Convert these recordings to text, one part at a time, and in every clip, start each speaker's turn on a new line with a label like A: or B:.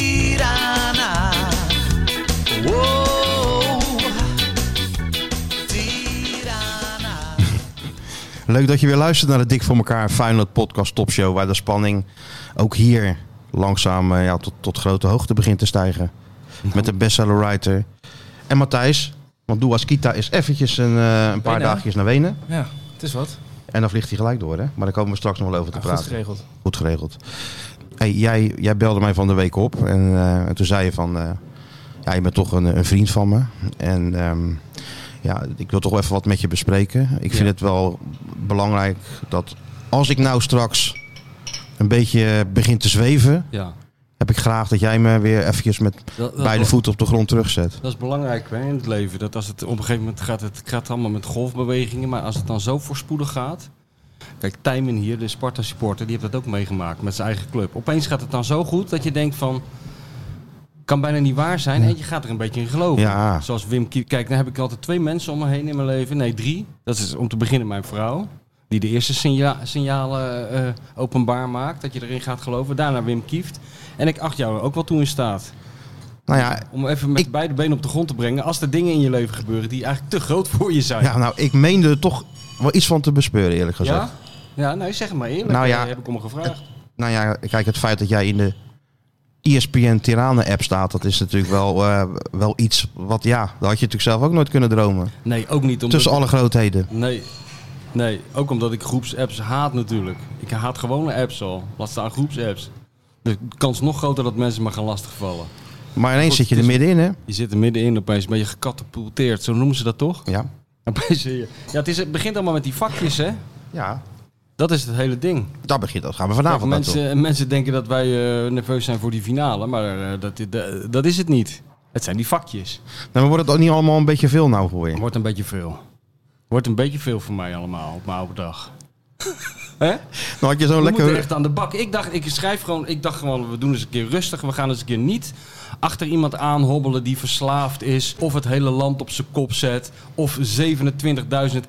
A: Tirana. Wow. Tirana.
B: Leuk dat je weer luistert naar de Dik voor elkaar Feyenoord podcast topshow. Waar de spanning ook hier langzaam eh, ja, tot, tot grote hoogte begint te stijgen. Met de bestseller writer. En Matthijs, want Doe Kita is eventjes een, eh, een paar
C: Wenen, hè?
B: dagjes naar Wenen.
C: Ja, het is wat.
B: En dan vliegt hij gelijk door hè. Maar daar komen we straks nog wel over te
C: Ah, goed
B: praten.
C: geregeld.
B: Goed geregeld. Hey, jij, jij belde mij van de week op en, eh, en toen zei je van, eh, ja, je bent toch een, een vriend van me. En ehm, ja, ik wil toch wel even wat met je bespreken. Ik vind
C: Ja.
B: het wel belangrijk dat als ik nou straks een beetje begin te zweven,
D: Ja,
B: heb ik graag dat jij me weer eventjes met
D: dat, dat,
B: beide voeten op de grond terugzet.
D: dat is belangrijk hè, in het leven. Dat als het op een gegeven moment gaat, het gaat allemaal met golfbewegingen. Maar als het dan zo voorspoedig gaat. Kijk, Tijmen hier, de Sparta supporter, die heeft dat ook meegemaakt met zijn eigen club. Opeens gaat het dan zo goed dat je denkt van. Kan bijna niet waar zijn. En je gaat er een beetje in geloven.
B: Ja.
D: Zoals Wim Kiep. Kijk, dan heb ik altijd twee mensen om me heen in mijn leven. Nee, drie. Dat is om te beginnen mijn vrouw. Die de eerste signa- signalen eh, openbaar maakt. Dat je erin gaat geloven. Daarna Wim Kieft. En ik acht jou er ook wel toe in staat.
B: Nou ja,
D: Om even met
B: Ik-
D: beide benen op de grond te brengen. Als er dingen in je leven gebeuren die eigenlijk te groot voor je zijn.
B: ja, nou, ik meende er toch wel iets van te bespeuren eerlijk gezegd.
D: ja? Ja, nou zeg het maar eerlijk.
B: Nou
D: Nou,
B: ja.
D: heb ik om gevraagd.
B: Nou ja, kijk, het feit dat jij in de E ESPN Tirana app staat, dat is natuurlijk wel, eh, wel iets wat, ja, dat had je natuurlijk zelf ook nooit kunnen dromen.
D: Nee, ook niet omdat...
B: Tussen alle grootheden.
D: Nee. Nee, ook omdat ik groepsapps haat natuurlijk. Ik haat gewone apps al. Laat staan groepsapps. De kans nog groter dat mensen me gaan lastigvallen.
B: Maar ineens
D: Goed, dus-
B: zit je er
D: het is-
B: middenin, hè?
D: Je zit er middenin opeens, ben je gecatapulteerd. Zo noemen ze dat toch?
B: Ja.
D: Opeens zie je- Ja, het, is, het begint allemaal met die vakjes, hè?
B: Ja.
D: Dat is het hele ding.
B: Dat begint, dat gaan we vanavond naartoe.
D: mensen, mensen denken dat wij eh, nerveus zijn voor die finale, maar eh, dat, dat, dat is het niet. Het zijn die vakjes.
B: Nou, maar wordt het ook niet allemaal een beetje veel nou voor je?
D: Wordt een beetje veel. Wordt een beetje veel voor mij allemaal op mijn oude dag. Hè?
B: Nou had je zo'n
D: We moeten
B: lekker...
D: echt aan de bak. Ik dacht, ik schrijf gewoon, ik dacht gewoon, we doen eens een keer rustig. We gaan eens een keer niet achter iemand aanhobbelen die verslaafd is. Of het hele land op zijn kop zet. Of 27.000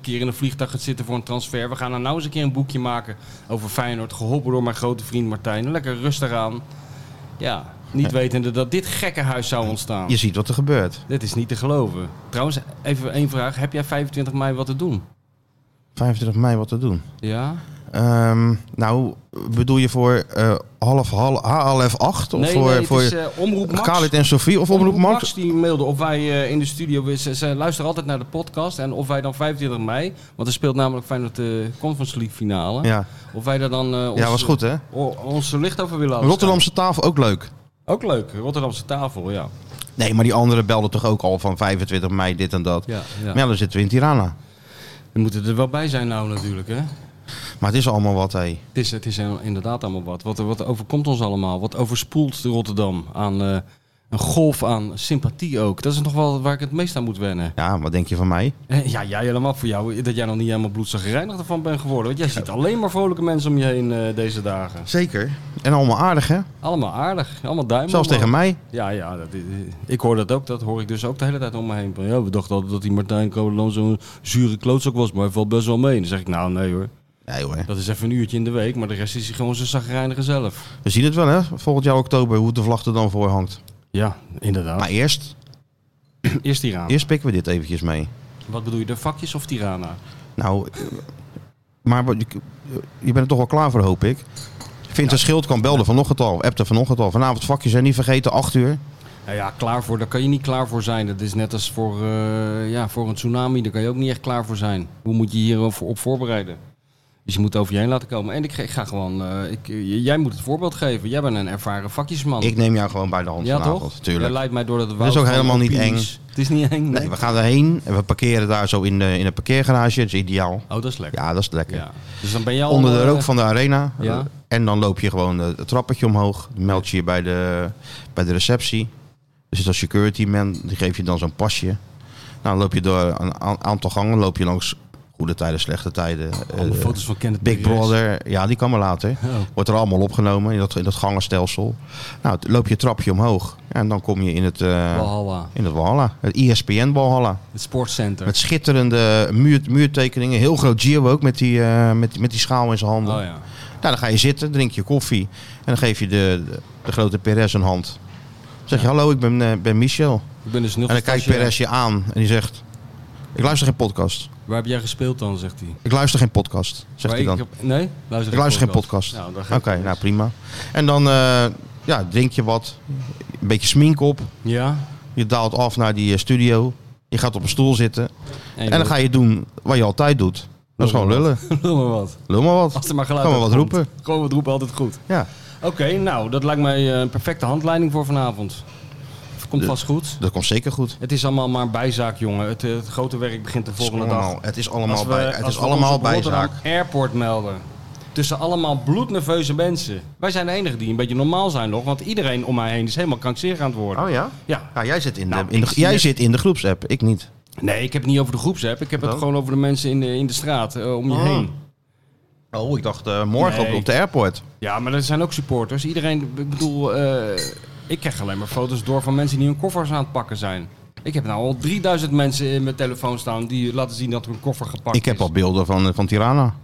D: keer in een vliegtuig gaat zitten voor een transfer. We gaan er nou eens een keer een boekje maken over Feyenoord. Geholpen door mijn grote vriend Martijn. Lekker rustig aan. Ja, niet wetende dat dit gekke huis zou ontstaan.
B: Je ziet wat er gebeurt.
D: Dit is niet te geloven. Trouwens, even één vraag. Heb jij 25 mei wat te doen?
B: 25 mei wat te doen.
D: Ja?
B: Ehm, nou, bedoel je voor eh, half, half, half acht? Of
D: nee,
B: voor,
D: nee, het
B: voor
D: is eh, Omroep Max.
B: Khalid en Sofie? Of Omroep Max?
D: die mailde of wij eh, in de studio... we- Ze, ze luisteren altijd naar de podcast. En of wij dan 25 mei... Want er speelt namelijk Feyenoord de Conference League finale.
B: Ja.
D: Of wij daar dan eh, ons,
B: ja, was goed, hè?
D: o- ons licht over willen laten
B: Rotterdamse tafel ook leuk.
D: schijnen. Ook leuk. Rotterdamse tafel, ja.
B: Nee, maar die anderen belden toch ook al van 25 mei dit en dat.
D: ja,
B: Maar ja, dan zitten we in Tirana.
D: We moeten er wel bij zijn nou natuurlijk, hè.
B: Maar het is allemaal wat, hé.
D: Het is, het is inderdaad allemaal wat. wat. Wat overkomt ons allemaal? Wat overspoelt de Rotterdam aan... eh, een golf aan sympathie ook. Dat is nog wel waar ik het meest aan moet wennen.
B: Ja, wat denk je van mij?
D: Eh, Ja, jij helemaal voor jou. Dat jij nog niet helemaal bloedzagrijnig ervan bent geworden. Want jij ziet alleen maar vrolijke mensen om je heen eh, deze dagen.
B: Zeker. En allemaal aardig, hè?
D: Allemaal aardig. Allemaal duimen.
B: Zelfs tegen
D: omhoog.
B: mij.
D: Ja, ja. Dat, is- eh, ik hoor dat ook. Dat hoor ik dus ook de hele tijd om me heen. Van, Ja, we dachten altijd dat die Martijn Kolan zo'n zure klootzak was. Maar hij valt best wel mee. Dan zeg ik, nou nee hoor.
B: Nee hoor.
D: Dat is even een uurtje in de week. Maar de rest is hij gewoon zijn zagrijnige zelf.
B: We zien het wel, hè? Volgend jaar oktober, hoe de vlag er dan voor hangt.
D: Ja, inderdaad.
B: Maar eerst,
D: Eerst Tirana.
B: eerst pikken we dit eventjes mee.
D: Wat bedoel je, de vakjes of Tirana?
B: Nou, eh, maar wat- ik- eh, je bent er toch wel klaar voor, hoop ik. Vincent Schild kan belden vanochtend al, appte vanochtend al. Vanavond vakjes en niet vergeten, 8 uur.
D: Nou ja, klaar voor, daar kan je niet klaar voor zijn. Dat is net als voor, eh, ja, voor een tsunami, daar kan je ook niet echt klaar voor zijn. Hoe moet je hier op, op voorbereiden? Dus je moet over je heen laten komen. En ik, ga- ik ga gewoon, eh, ik, eh, jij moet het voorbeeld geven. Jij bent een ervaren vakjesman.
B: Ik neem jou gewoon bij de hand
D: ja,
B: vanavond.
D: toch? Jij
B: Tuurlijk.
D: leidt mij door dat woud.
B: is ook
D: van
B: helemaal niet
D: opinies. Het is niet eng.
B: Nee, we gaan erheen en we parkeren daar zo in de, in de parkeergarage. Dat is ideaal.
D: Oh, dat is lekker.
B: Ja, dat is lekker.
D: Ja. Dus dan ben je al...
B: Onder de
D: eh,
B: rook van de arena.
D: Ja.
B: En dan loop je gewoon eh, het trappetje omhoog. Dan meld je je bij de, bij de receptie. Er zit een security man, die geeft je dan zo'n pasje. Nou, dan loop je door een a- aantal gangen, loop je langs goede tijden, slechte tijden. eh,
D: Allemaal foto's van Kenneth
B: Big
D: Perez.
B: Brother, ja, die kan maar later.
D: Oh.
B: Wordt er allemaal opgenomen in dat, in dat gangenstelsel. Nou, t- loop je het trapje omhoog en dan kom je in het, eh
D: Walhalla.
B: in het Walhalla. Het E ESPN Walhalla.
D: Het sportcenter.
B: Met schitterende muur, muurtekeningen. Heel groot Gio ook met die, eh, met, met die schaal in zijn handen.
D: Oh ja.
B: Nou, dan ga je zitten, drink je koffie. En dan geef je de, de, de grote Perez een hand. Dan zeg je, hallo, ik ben, eh, ben Michel.
D: Ik ben dus nul
B: En dan kijkt Perez je aan en die zegt... Ik luister geen podcast.
D: Waar heb jij gespeeld dan, zegt hij.
B: Ik luister geen podcast, zegt
D: Maar
B: hij
D: ik
B: dan.
D: heb- nee? Luister
B: Ik luister geen podcast.
D: Nou,
B: Oké,
D: dan geef ik
B: nou
D: niks.
B: prima. En dan eh, ja, drink je wat. Een beetje smink op.
D: Ja?
B: Je daalt af naar die eh, studio. Je gaat op een stoel zitten.
D: En,
B: En dan ga je doen wat je altijd doet. Dat is gewoon lullen.
D: Lul maar wat.
B: Lul maar wat.
D: Als er maar geluid
B: Gewoon wat
D: uitkomt.
B: roepen.
D: Gewoon wat roepen, altijd goed.
B: Ja,
D: Oké, nou, dat lijkt mij eh, een perfecte handleiding voor vanavond. Komt vast goed.
B: dat komt zeker goed.
D: Het is allemaal maar een bijzaak, jongen. Het, eh, het grote werk begint de
B: Het is
D: volgende dag.
B: allemaal, het is allemaal,
D: Als we-
B: bij, het
D: als
B: is
D: we ons
B: allemaal
D: op Rotterdam
B: bijzaak.
D: Airport melden. Tussen allemaal bloednerveuze mensen. Wij zijn de enigen die een beetje normaal zijn nog. Want iedereen om mij heen is helemaal krankzinnig aan het worden.
B: Oh ja?
D: Ja.
B: Ja, jij zit in de,
D: Nou,
B: in de,
D: ik zie
B: jij
D: het.
B: zit in de groepsapp. Ik niet.
D: Nee, ik heb het niet over de groepsapp. Ik heb het
B: Dan?
D: gewoon over de mensen in de, in de straat eh, om je
B: Oh.
D: heen.
B: Oh, ik dacht eh, morgen op,
D: Nee.
B: op de airport.
D: Ja, maar er zijn ook supporters. Iedereen, ik bedoel, eh, ik krijg alleen maar foto's door van mensen die hun koffers aan het pakken zijn. Ik heb nou al 3000 mensen in mijn telefoon staan die laten zien dat hun koffer gepakt
B: Ik heb
D: is.
B: al beelden van, van Tirana.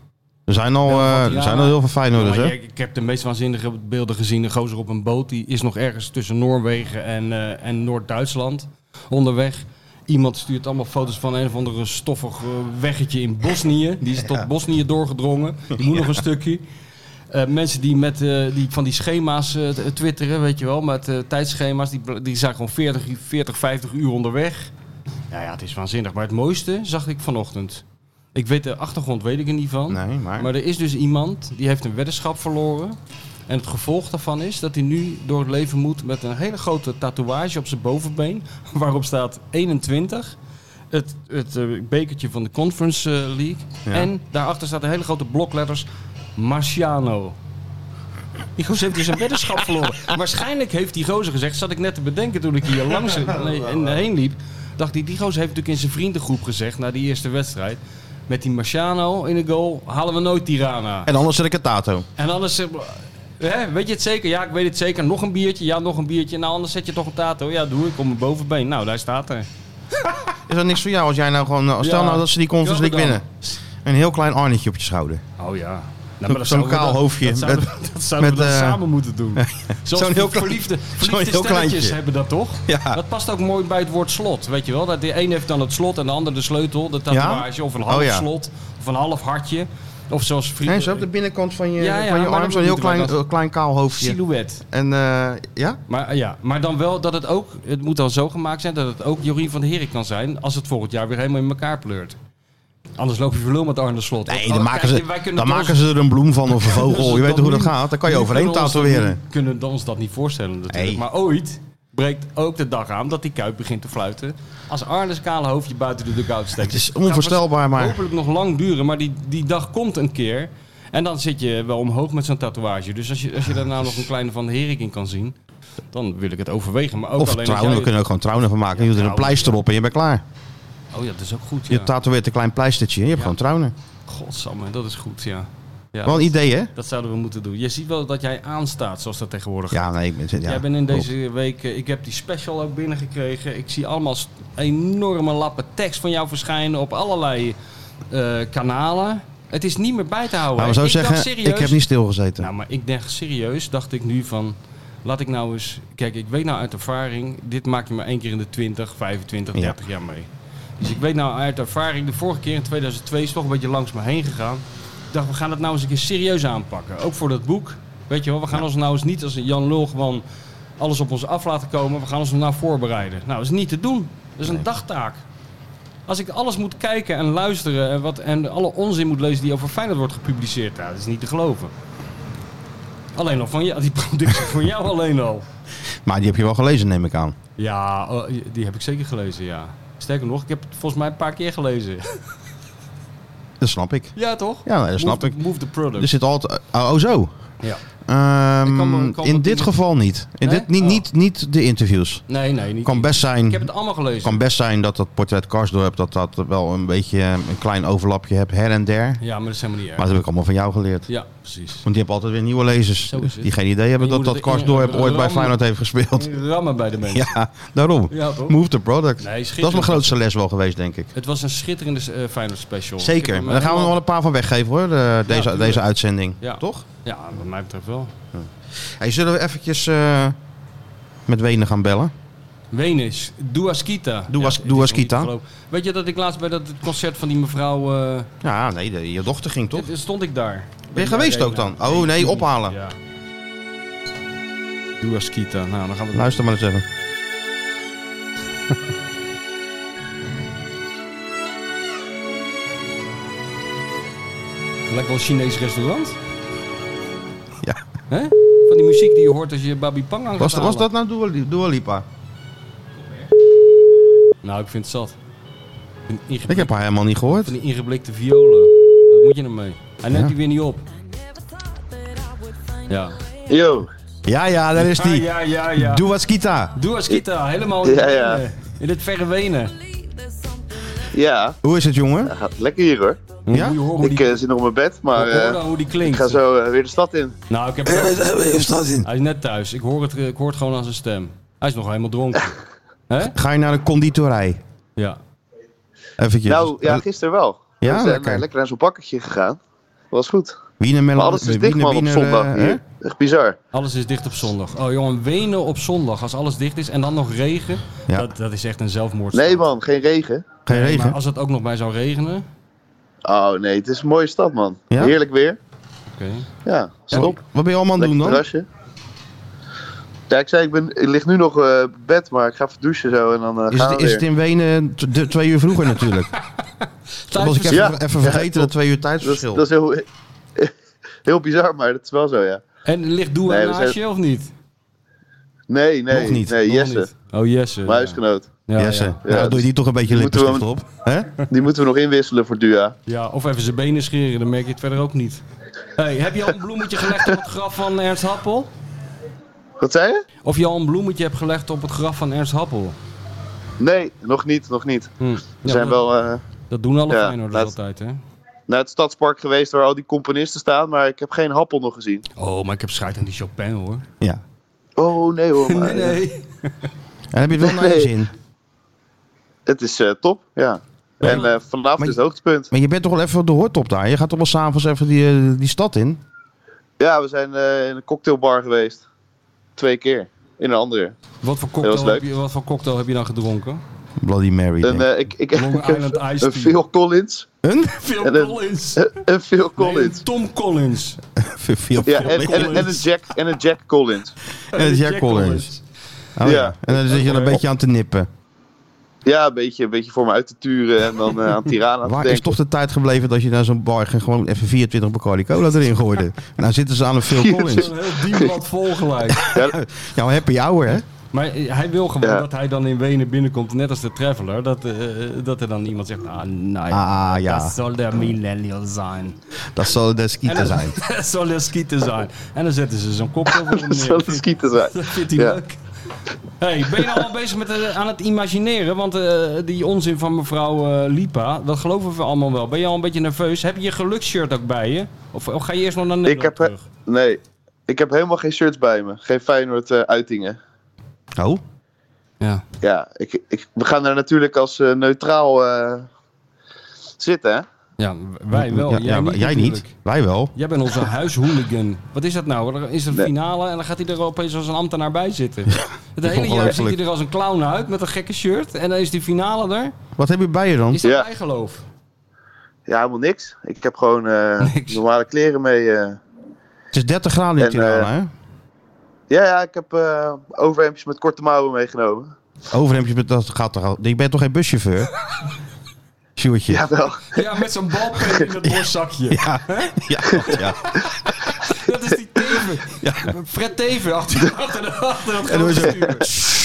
B: Er zijn al,
D: Beelden van
B: eh, er
D: Tirana.
B: zijn al heel veel Feyenoorders,
D: Maar
B: hè?
D: ik, ik heb de meest waanzinnige beelden gezien. Een gozer op een boot, die is nog ergens tussen Noorwegen en, eh, en Noord-Duitsland onderweg. Iemand stuurt allemaal foto's van een of andere stoffig eh, weggetje in Bosnië. Die is tot Bosnië doorgedrongen. Die moet nog een stukje. Eh, mensen die, met, eh, die van die schema's eh, t- twitteren, weet je wel, met eh, tijdschema's, die, bl- die zijn gewoon 40, 40, 50 uur onderweg. Ja, ja, het is waanzinnig. Maar het mooiste zag ik vanochtend. Ik weet de achtergrond, weet ik er niet van.
B: Nee, maar...
D: Maar er is dus iemand die heeft een weddenschap verloren. En het gevolg daarvan is dat hij nu door het leven moet met een hele grote tatoeage op zijn bovenbeen. Waarop staat 21. Het, het eh, bekertje van de Conference eh, League.
B: Ja.
D: En daarachter staat een hele grote blokletters Marciano. Die gozer heeft dus een weddenschap verloren. Waarschijnlijk heeft die gozer gezegd, zat ik net te bedenken toen ik hier langs nee, en heen liep. Dacht hij, die gozer heeft natuurlijk in zijn vriendengroep gezegd na die eerste wedstrijd. Met die Marciano in de goal halen we nooit Tirana.
B: En anders zet ik het tato.
D: En anders, eh, hè, weet je het zeker? Ja, ik weet het zeker. Nog een biertje, ja, nog een biertje. Nou, anders zet je toch een tato. Ja, doe ik om mijn bovenbeen. Nou, daar staat er.
B: Is dat niks voor jou als jij nou gewoon... nou, Stel
D: Ja.
B: nou dat ze die Conference League
D: Jammer
B: winnen.
D: dan.
B: Een heel klein arnetje op je schouder.
D: Oh ja. Nou,
B: Zo'n
D: zouden we
B: kaal
D: dan-
B: hoofdje
D: Dat zouden,
B: met-
D: we- dat zouden
B: met,
D: we dan
B: eh,
D: samen moeten doen. Zoals
B: zo'n heel klein-
D: verliefde,
B: zo'n
D: verliefde
B: heel
D: stelletjes
B: kleintje.
D: hebben dat toch?
B: Ja.
D: Dat past ook mooi bij het woord slot, weet je wel. Dat de een heeft dan het slot en de ander de sleutel, de tatoeage. Of een half
B: Oh ja.
D: slot, of een half hartje. Of zoals vrienden...
B: Nee, zo op de binnenkant van je,
D: Ja, ja,
B: van je
D: maar
B: arm
D: dat
B: zo'n heel
D: moeten we
B: klein,
D: dat-
B: eh, klein kaal hoofdje.
D: Silhouet.
B: En eh, ja?
D: Maar, eh, ja, maar dan wel dat het ook, het moet dan zo gemaakt zijn dat het ook Jorien van de Herik kan zijn als het volgend jaar weer helemaal in elkaar pleurt. Anders loop je verlul met Arne Slot.
B: Nee,
D: Want,
B: dan,
D: oh,
B: maken,
D: kijk,
B: ze,
D: wij
B: dan
D: kunnen dus ons-
B: maken ze er een bloem van of een vogel. Je weet
D: dan
B: hoe dat
D: nu-
B: gaat. Dan kan je
D: nu
B: overheen
D: kunnen we ons dat
B: tatoeëren.
D: niet- Kunnen we ons dat niet voorstellen natuurlijk.
B: Nee.
D: Maar ooit breekt ook de dag aan dat die kuip begint te fluiten. Als Arne's kale hoofdje buiten de dugout steekt.
B: Het is onvoorstelbaar,
D: Het
B: maar...
D: gaat Hopelijk nog lang duren, maar die, die dag komt een keer. En dan zit je wel omhoog met zo'n tatoeage. Dus als je, als je daar
B: Ah,
D: nou nog een kleine van de Herik in kan zien, dan wil ik het overwegen. Maar ook
B: Of
D: alleen als
B: trouwen, we
D: jij-
B: kunnen ook gewoon trouwen van maken. Je doet er een
D: trouwen.
B: pleister op en je bent klaar.
D: Oh ja, dat is ook goed.
B: Je
D: Ja.
B: tatoeëert een klein pleistertje en je hebt
D: Ja.
B: gewoon trouwen.
D: Godsamme, dat is goed, ja. ja
B: Wel een idee, hè?
D: Dat zouden we moeten doen. Je ziet wel dat jij aanstaat, zoals dat tegenwoordig
B: Ja, nee, ik ben... Ja,
D: Jij bent in
B: klopt.
D: deze week, eh, ik heb die special ook binnengekregen. Ik zie allemaal st- enorme lappen tekst van jou verschijnen op allerlei eh, kanalen. Het is niet meer bij te houden.
B: Laten we Nou, zo
D: ik dacht
B: zeggen,
D: serieus,
B: ik heb niet stilgezeten.
D: Nou, maar ik dacht serieus, dacht ik nu van... Laat ik nou eens... Kijk, ik weet nou uit ervaring... Dit maak je maar één keer in de 20, 25,
B: Ja.
D: 30 jaar mee. Dus ik weet nou uit ervaring... De vorige keer in 2002 is toch een beetje langs me heen gegaan. Ik dacht, we gaan het nou eens een keer serieus aanpakken. Ook voor dat boek. Weet je wel, we gaan ons nou eens niet als een Jan Lul gewoon... Alles op ons af laten komen. We gaan ons er nou voorbereiden. Nou, dat is niet te doen. Dat is een dagtaak. Als ik alles moet kijken en luisteren en, wat, en alle onzin moet lezen die over Feyenoord wordt gepubliceerd, nou, dat is niet te geloven. Alleen al van jou, die productie van jou alleen al.
B: Maar die heb je wel gelezen, neem ik aan.
D: Ja, eh, die heb ik zeker gelezen, ja. Sterker nog, ik heb het volgens mij een paar keer gelezen.
B: Dat snap ik.
D: Ja, toch?
B: Ja, nee, dat snap
D: move
B: ik. Dus
D: The, move the
B: Er
D: product.
B: zit altijd... Oh, oh, zo.
D: Ja.
B: Ehm,
D: Ik kan me- kan me
B: in dit
D: dingen-
B: geval niet. In
D: Nee?
B: dit, niet,
D: Oh.
B: niet, niet de interviews.
D: Nee, nee. Niet,
B: Kan best zijn,
D: Ik heb het allemaal gelezen.
B: kan best zijn dat dat portret Karsdorp dat dat wel een beetje eh, een klein overlapje hebt her en der.
D: Ja, maar dat is helemaal niet erg.
B: Maar dat heb ik allemaal van jou geleerd.
D: Ja, precies.
B: Want die hebben altijd weer nieuwe lezers.
D: Zo is het.
B: Die geen idee hebben
D: En je
B: dat dat
D: moet het in-
B: Karsdorp ooit bij
D: rammen.
B: Feyenoord heeft gespeeld.
D: Rammen bij de mensen.
B: Ja, daarom.
D: Ja, toch?
B: Move the product.
D: Nee, schitterend.
B: dat is mijn grootste les wel geweest, denk ik.
D: Het was een schitterende eh Feyenoord special. Ik heb
B: Zeker.
D: hem
B: Maar daar gaan we nog wel
D: helemaal-
B: een paar van weggeven hoor, de- deze,
D: tuurlijk.
B: deze uitzending.
D: Ja.
B: Toch?
D: Ja, wat mij betreft wel.
B: Hey, zullen we eventjes eh, met Wenen gaan bellen?
D: Wenis, Duaskita.
B: Duas-
D: het is nog
B: Duaskita.
D: niet te geloven. Weet je dat ik laatst bij dat concert van die mevrouw... eh,
B: Ja, nee, de- je dochter ging toch?
D: dit- stond ik daar.
B: Ben je geweest ook dan? Oh, nee, ophalen.
D: Ja. Duaskita. Nou, dan gaan we...
B: Luister maar eens even.
D: Lijkt wel een Chinees restaurant.
B: Ja.
D: Hè? Van die muziek die je hoort als je Babi Pang aan gaat
B: Was, dat- was
D: halen.
B: dat nou Dua, Dua Lipa?
D: Nou, ik vind het zat. Een ingeblik-
B: Ik heb haar helemaal niet gehoord.
D: Van die ingeblikte violen. Wat moet je nou mee? Hij neemt
B: Ja.
D: die weer niet op. Ja.
C: Yo,
B: Ja, ja, daar is die.
D: ja, ja, ja.
B: Doe wat skita.
D: Doe als Kita, helemaal in,
C: Ja, ja.
D: Wenen. in het verre Wenen.
C: ja,
B: Hoe is het, jongen?
C: dat gaat lekker hier hoor.
B: Ja?
D: Moet je horen hoe
C: Ik
D: die,
C: eh, zit nog op mijn bed, maar
D: hoor
C: eh,
D: dan hoe die
C: ik
D: klinkt.
C: ga zo eh, weer de stad in.
D: Nou, ik heb Hij is net thuis. Ik hoor, het, eh, ik hoor het gewoon aan zijn stem. Hij is nog helemaal dronken. Hè?
B: Ga je naar de conditorij?
D: Ja.
B: Eventjes. Eh,
C: Nou, ja, gisteren wel.
B: Ja,
C: we zijn
B: lekker.
C: eh, lekker naar zo'n bakkertje gegaan. Dat was goed.
B: Wiener
C: Maar alles
B: eh,
C: is dicht man op zondag hier. Echt bizar.
D: Alles is dicht op zondag. Oh jongen, Wenen op zondag. Als alles dicht is en dan nog regen.
B: Ja.
D: Dat, dat is echt een zelfmoord.
C: Nee man, geen regen.
B: Geen
D: Maar
B: regen.
D: als het ook nog bij zou regenen.
C: Oh nee, het is een mooie stad man.
B: Ja?
C: Heerlijk weer.
D: Oké.
C: Ja,
B: Wat
C: stop.
B: wat ben je allemaal aan het
C: Lekker
B: doen dan?
C: terrasje. Ja, ik zei, ik, ben, ik lig nu nog eh, op bed, maar ik ga even douchen zo en dan eh,
B: Is
C: gaan
B: het,
C: we
B: is het
C: weer.
B: in Wenen t- de- twee uur vroeger natuurlijk? Dat was ik even,
C: Ja.
B: even vergeten,
C: Ja,
B: dat twee uur
C: Dat is,
B: tijdsverschil.
C: dat is heel, heel bizar, maar dat is wel zo ja.
D: En ligt Doe
C: Nee, we
D: naast
C: zijn-
D: je of niet?
C: Nee, nee,
B: Nog niet,
C: nee,
D: Nog
C: Jesse,
D: niet. Oh Jesse.
C: mijn huisgenoot.
D: Ja,
B: Jesse,
D: ja.
B: nou,
C: Ja,
B: doe je die toch een beetje
C: die moeten we
B: lippenstift op. hè?
C: Die moeten we nog inwisselen voor Dua.
D: Ja, of even zijn benen scheren, dan merk je het verder ook niet. Hey, heb je al een bloemetje gelegd op het graf van Ernst Happel?
C: Wat zei je?
D: Of je al een bloemetje hebt gelegd op het graf van Ernst Happel?
C: Nee, nog niet, nog niet.
D: Hm.
C: We
D: Ja,
C: zijn
D: dat,
C: wel eh,
D: dat doen alle
C: Ja,
D: Feyenoorders
C: laat-
D: altijd, hè?
C: naar het stadspark geweest waar al die componisten staan, maar ik heb geen happel nog gezien.
D: Oh, maar ik heb schijt aan die Chopin, hoor.
B: Ja.
C: Oh nee hoor, maar, eh,
B: En heb je het wel naar je
C: Nee.
B: zin?
C: het is eh, top, ja. En eh, vanavond
B: maar-
C: is het hoogtepunt.
B: Maar je bent toch wel even op de hoortop daar? Je gaat toch wel s'avonds even die, eh, die stad in?
C: Ja, we zijn eh, in een cocktailbar geweest. Twee keer. In een andere.
D: Wat voor,
C: Dat
D: cocktail
C: was
D: heb
C: leuk.
D: je, wat voor cocktail heb je dan gedronken?
B: Bloody Mary.
C: Een,
B: denk ik.
C: eh, ik, ik, ik
D: Long
C: heb
D: Island Ice
C: een
D: Tea.
C: Phil Collins.
B: Een?
D: Phil
C: En een-
D: Collins.
C: Een Phil
D: Nee,
C: Collins.
D: een Tom Collins.
B: Veel
C: Ja, en, en, en een
D: Collins.
C: Jack, en een Jack Collins.
B: En Jack Collins. Oh, ja.
C: Ja.
B: En dan zit je er een beetje aan te nippen.
C: Ja, een beetje, een beetje voor me uit te turen en dan eh, aan Tirana te
B: Waar
C: denken.
B: is toch de tijd gebleven dat je naar zo'n bar ging, gewoon even 24 Bacardi Cola erin gooide? nou zitten ze aan een Phil Collins.
D: Een heel dienblad vol gelijk.
C: Ja,
B: Jouw happy hour, hè?
D: Maar eh, hij wil gewoon
C: Ja.
D: dat hij dan in Wenen binnenkomt, net als de Traveler. Dat, eh, dat er dan iemand zegt, ah nee,
B: Ah, ja.
D: dat zal de millennial zijn.
B: Dat zal de
D: En
B: skita
D: dan-
B: zijn.
D: Dat zal de skieten zijn. En dan zetten ze zo'n kop over hem
C: dat zou de
D: neer.
C: schieten zijn.
D: Dat vindt hij
C: Ja.
D: leuk. Hey, ben je nou al bezig met eh, aan het imagineren? Want eh, die onzin van mevrouw eh, Lipa, dat geloven we allemaal wel. Ben je al een beetje nerveus? Heb je je geluksshirt ook bij je? Of, of ga je eerst nog naar
C: Ik
D: Nederland
C: heb, eh,
D: terug?
C: nee, ik heb helemaal geen shirts bij me. Geen Feyenoord eh, uitingen.
B: Oh?
D: Ja.
C: Ja, ik, ik, we gaan daar natuurlijk als eh, neutraal eh, zitten, hè?
D: ja, wij wel.
B: Ja,
D: jij
B: ja,
D: niet.
B: jij
D: natuurlijk.
B: niet. Wij wel.
D: Jij bent onze huishooligan. Wat is dat nou? Er is een
C: Nee.
D: finale en dan gaat hij er opeens als een ambtenaar bij zitten. Het hele jaar
B: ongelooflijk.
D: ziet hij er als een clown uit met een gekke shirt. En dan is die finale er.
B: Wat heb je bij je dan?
D: Is dat
C: Ja.
D: bijgeloof?
C: Ja, helemaal niks. Ik heb gewoon eh,
D: Niks.
C: normale kleren mee. eh.
B: Het is 30 graden in
C: En, eh,
B: Tirana, hè?
C: Ja, ja, ik heb eh overhemdjes met korte mouwen meegenomen.
B: Overhemdjes, met- dat gaat toch al... Je bent toch geen buschauffeur? Sjoerdje. Ja,
C: Jawel.
D: Ja, met zo'n balpen in dat borstzakje.
B: ja, ja, ja.
D: Dat is die Teven. Fred Teven achter, achter, de- achter dat
B: En dan
D: grote
B: is het-
D: stuur.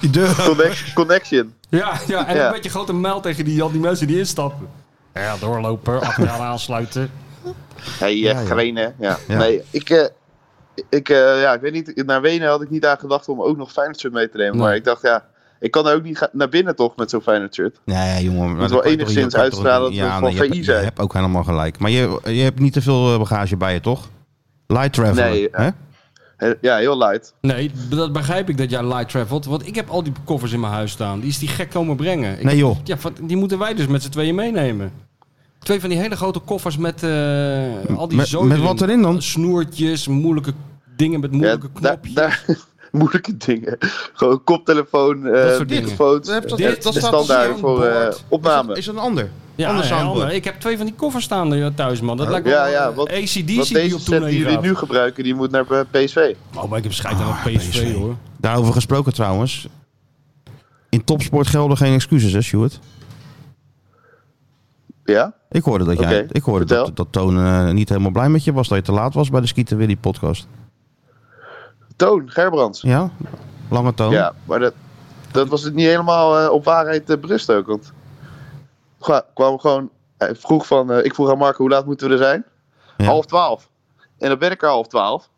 B: Die deur.
C: Connect- connection.
D: Ja, ja, en
C: Ja.
D: een beetje grote muil tegen die, al die mensen die instappen. Ja, doorlopen, achteraan aansluiten.
C: Hey, eh,
B: ja.
C: Grenen. Ja.
B: Ja.
C: Nee, ik, eh, ik, eh, ja, ik weet niet, naar Wenen had ik niet aan gedacht om ook nog Feyenoord shirt mee te nemen.
D: Nee.
C: Maar ik dacht, ja, ik kan er ook niet ga- naar binnen toch met zo'n Feyenoord shirt.
B: Nee, jongen. maar
C: wel
B: dat kan je toch-
C: enigszins
B: je kan toch-
C: uitstralen dat we van
B: je, hebt-
C: VI
B: je
C: zijn.
B: hebt ook helemaal gelijk. Maar je, je hebt niet te veel eh, bagage bij je, toch? Light travel.
C: Nee, eh,
B: hè?
C: He- Ja, heel light.
D: Nee, dat begrijp ik dat jij light travelt. Want ik heb al die koffers in mijn huis staan. Die is die gek komen brengen. Ik-
B: Nee, joh.
D: Ja, van- die moeten wij dus met z'n tweeën meenemen. Twee van die hele grote koffers met eh, al die
B: Met-
D: zooi
B: met wat erin dan?
D: Snoertjes, moeilijke dingen met
C: Ja,
D: moeilijke
C: daar,
D: knopjes.
C: daar, moeilijke dingen. Gewoon koptelefoon, eh
D: soort dingen.
C: microfoons.
B: Dat heb- dat-
C: eh,
D: dat
C: de
D: staat op
C: standaard voor eh,
D: soundboard.
C: opname.
B: Is dat een ander?
D: Ja,
B: ander
D: nee,
B: soundboard.
D: ander. Ik heb twee van die koffers staan eh, thuis, man. Dat lijkt wel eh,
C: Ja, ja, wat-
D: ACDC
C: Want
D: die
C: deze
D: op
C: set die
D: tournee
C: jullie
D: gaat.
C: nu gebruiken, die moet naar eh, PSV.
D: Oh, maar ik heb schijt aan PSV,
B: PSV.
D: hoor.
B: Daarover gesproken trouwens. In topsport gelden geen excuses, hè, Stuart?
C: Ja?
B: Ik hoorde dat jij.
C: Oké,
B: ik hoorde
C: vertel.
B: dat, dat Toon eh, niet helemaal blij met je was. Dat je te laat was bij de Skieten Willy podcast.
C: Toon Gerbrands.
B: Ja? Lange
D: Oh.
B: Toon.
C: Ja, maar dat, dat was het niet helemaal eh, op waarheid eh, berust ook. Want Gwa- kwam gewoon, hij vroeg van, eh, ik vroeg aan Marco hoe laat moeten we er zijn?
B: Ja.
C: Half twaalf. En dan ben ik er half twaalf.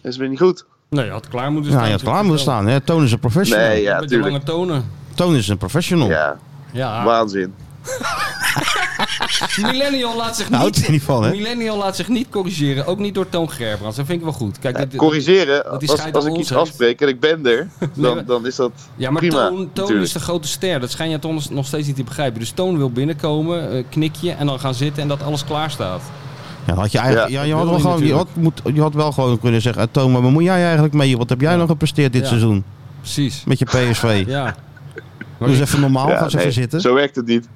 C: Dat is weer niet goed.
D: Nee, je had klaar moeten
B: Ja,
D: staan.
B: je had klaar moeten staan. Hè? Toon is een professional.
C: Nee, ja,
D: Met die
C: natuurlijk.
D: lange tonen.
B: Toon is een professional.
C: Ja, Ah.
D: Ja,
C: waanzin.
D: Millennial laat zich
B: Daar houdt
D: niet...
B: hij niet van, hè?
D: Millennial laat zich niet corrigeren, ook niet door Toon Gerbrands. Dat vind ik wel goed. Kijk, dit-
C: Corrigeren,
D: dat die
C: als,
D: scheid
C: als
D: aan
C: ik
D: ons
C: iets
D: heeft.
C: afspreek en ik ben er, dan, dan is dat
D: ja, maar
C: prima.
D: Toon, Toon
C: natuurlijk.
D: is de grote ster. Dat schijn je toch nog- nog steeds niet te begrijpen. Dus Toon wil binnenkomen, eh, knik je en dan gaan zitten en dat alles klaar staat.
B: Ja, had je, eigenlijk, ja.
C: Ja.
B: je,
D: Dat
B: had
D: wil
B: wel
D: je
B: gewoon, je, had moet, je had wel gewoon kunnen zeggen... eh, Toon, maar waar moet jij eigenlijk mee? Wat heb jij nou gepresteerd dit
D: Ja.
B: seizoen?
D: Precies.
B: Met je PSV.
D: Ja.
B: Dus even normaal,
C: Ja,
B: ga eens
C: nee,
B: even zitten.
C: Zo werkt het niet.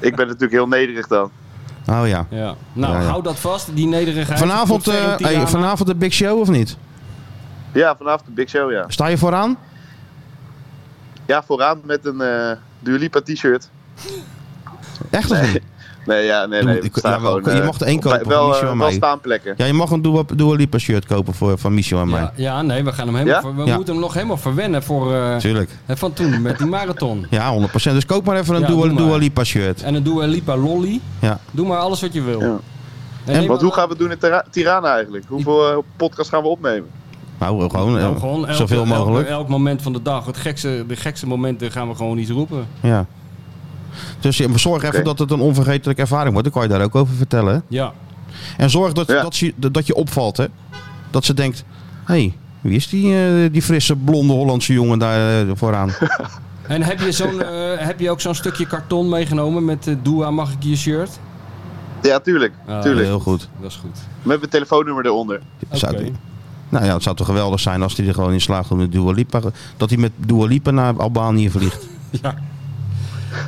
C: ik ben natuurlijk heel nederig dan.
B: Oh ja.
D: ja. Nou,
B: Ja, ja.
D: hou dat vast, die nederigheid.
B: Vanavond,
D: Tot ver in
B: eh, hey,
D: Tirana.
B: vanavond de Big Show of niet?
C: Ja, vanavond de Big Show, ja.
B: Sta je vooraan?
C: Ja, vooraan met een eh Dua Lipa t-shirt.
B: Echt of niet?
C: Nee, ja, nee,
B: Doe-
C: nee. we
B: ik-
C: staan
B: ja, wel,
C: gewoon,
B: je
C: eh,
B: mag er één
C: bij-
B: kopen,
C: Wel,
B: niet
C: eh,
B: zo aan
C: wel
B: mij.
C: staanplekken.
B: Ja, je mag een Dua, Dua Lipa shirt kopen voor, van Michel en mij.
D: Ja, ja, nee, we gaan hem helemaal.
C: Ja?
D: ver- we
B: Ja.
D: moeten hem nog helemaal verwennen voor eh,
B: Tuurlijk.
D: het van toen met die marathon.
B: Ja, 100%. Dus koop maar even een
D: Ja,
B: Dua,
D: doe maar.
B: Dua Lipa shirt.
D: En dan doen we Lipa Lolly.
B: Ja.
D: Doe maar alles wat je wil.
C: Ja.
D: En, neem
C: Want
D: maar-
C: hoe gaan we het doen in Tira- Tirana eigenlijk? Hoeveel eh, podcast gaan we opnemen?
B: Nou, gewoon, eh,
D: Nou, gewoon elke-
B: zoveel
D: elke-
B: mogelijk.
D: Elk, moment van de dag. Het gekste, de gekste momenten gaan we gewoon iets roepen.
B: Ja. Dus je- zorg even
C: Oké.
B: dat het een onvergetelijke ervaring wordt. Dan kan je daar ook over vertellen. hè.
D: Ja.
B: En zorg dat,
C: Ja.
B: dat, ze, dat je opvalt, hè. Dat ze denkt, hé, hey, wie is die, eh, die frisse, blonde Hollandse jongen daar eh, vooraan?
D: En heb je, zo'n, eh, heb je ook zo'n stukje karton meegenomen met eh Doa, mag ik je shirt?
C: Ja, tuurlijk.
D: Ah,
C: tuurlijk.
B: Heel goed.
D: Dat is goed.
C: Met mijn telefoonnummer eronder.
B: Zou-
D: Oké.
B: nou ja, het zou toch geweldig zijn als hij er gewoon in slaagt om de Dua Lipa, dat hij met Dua Lipa naar Albanië vliegt.
D: Ja.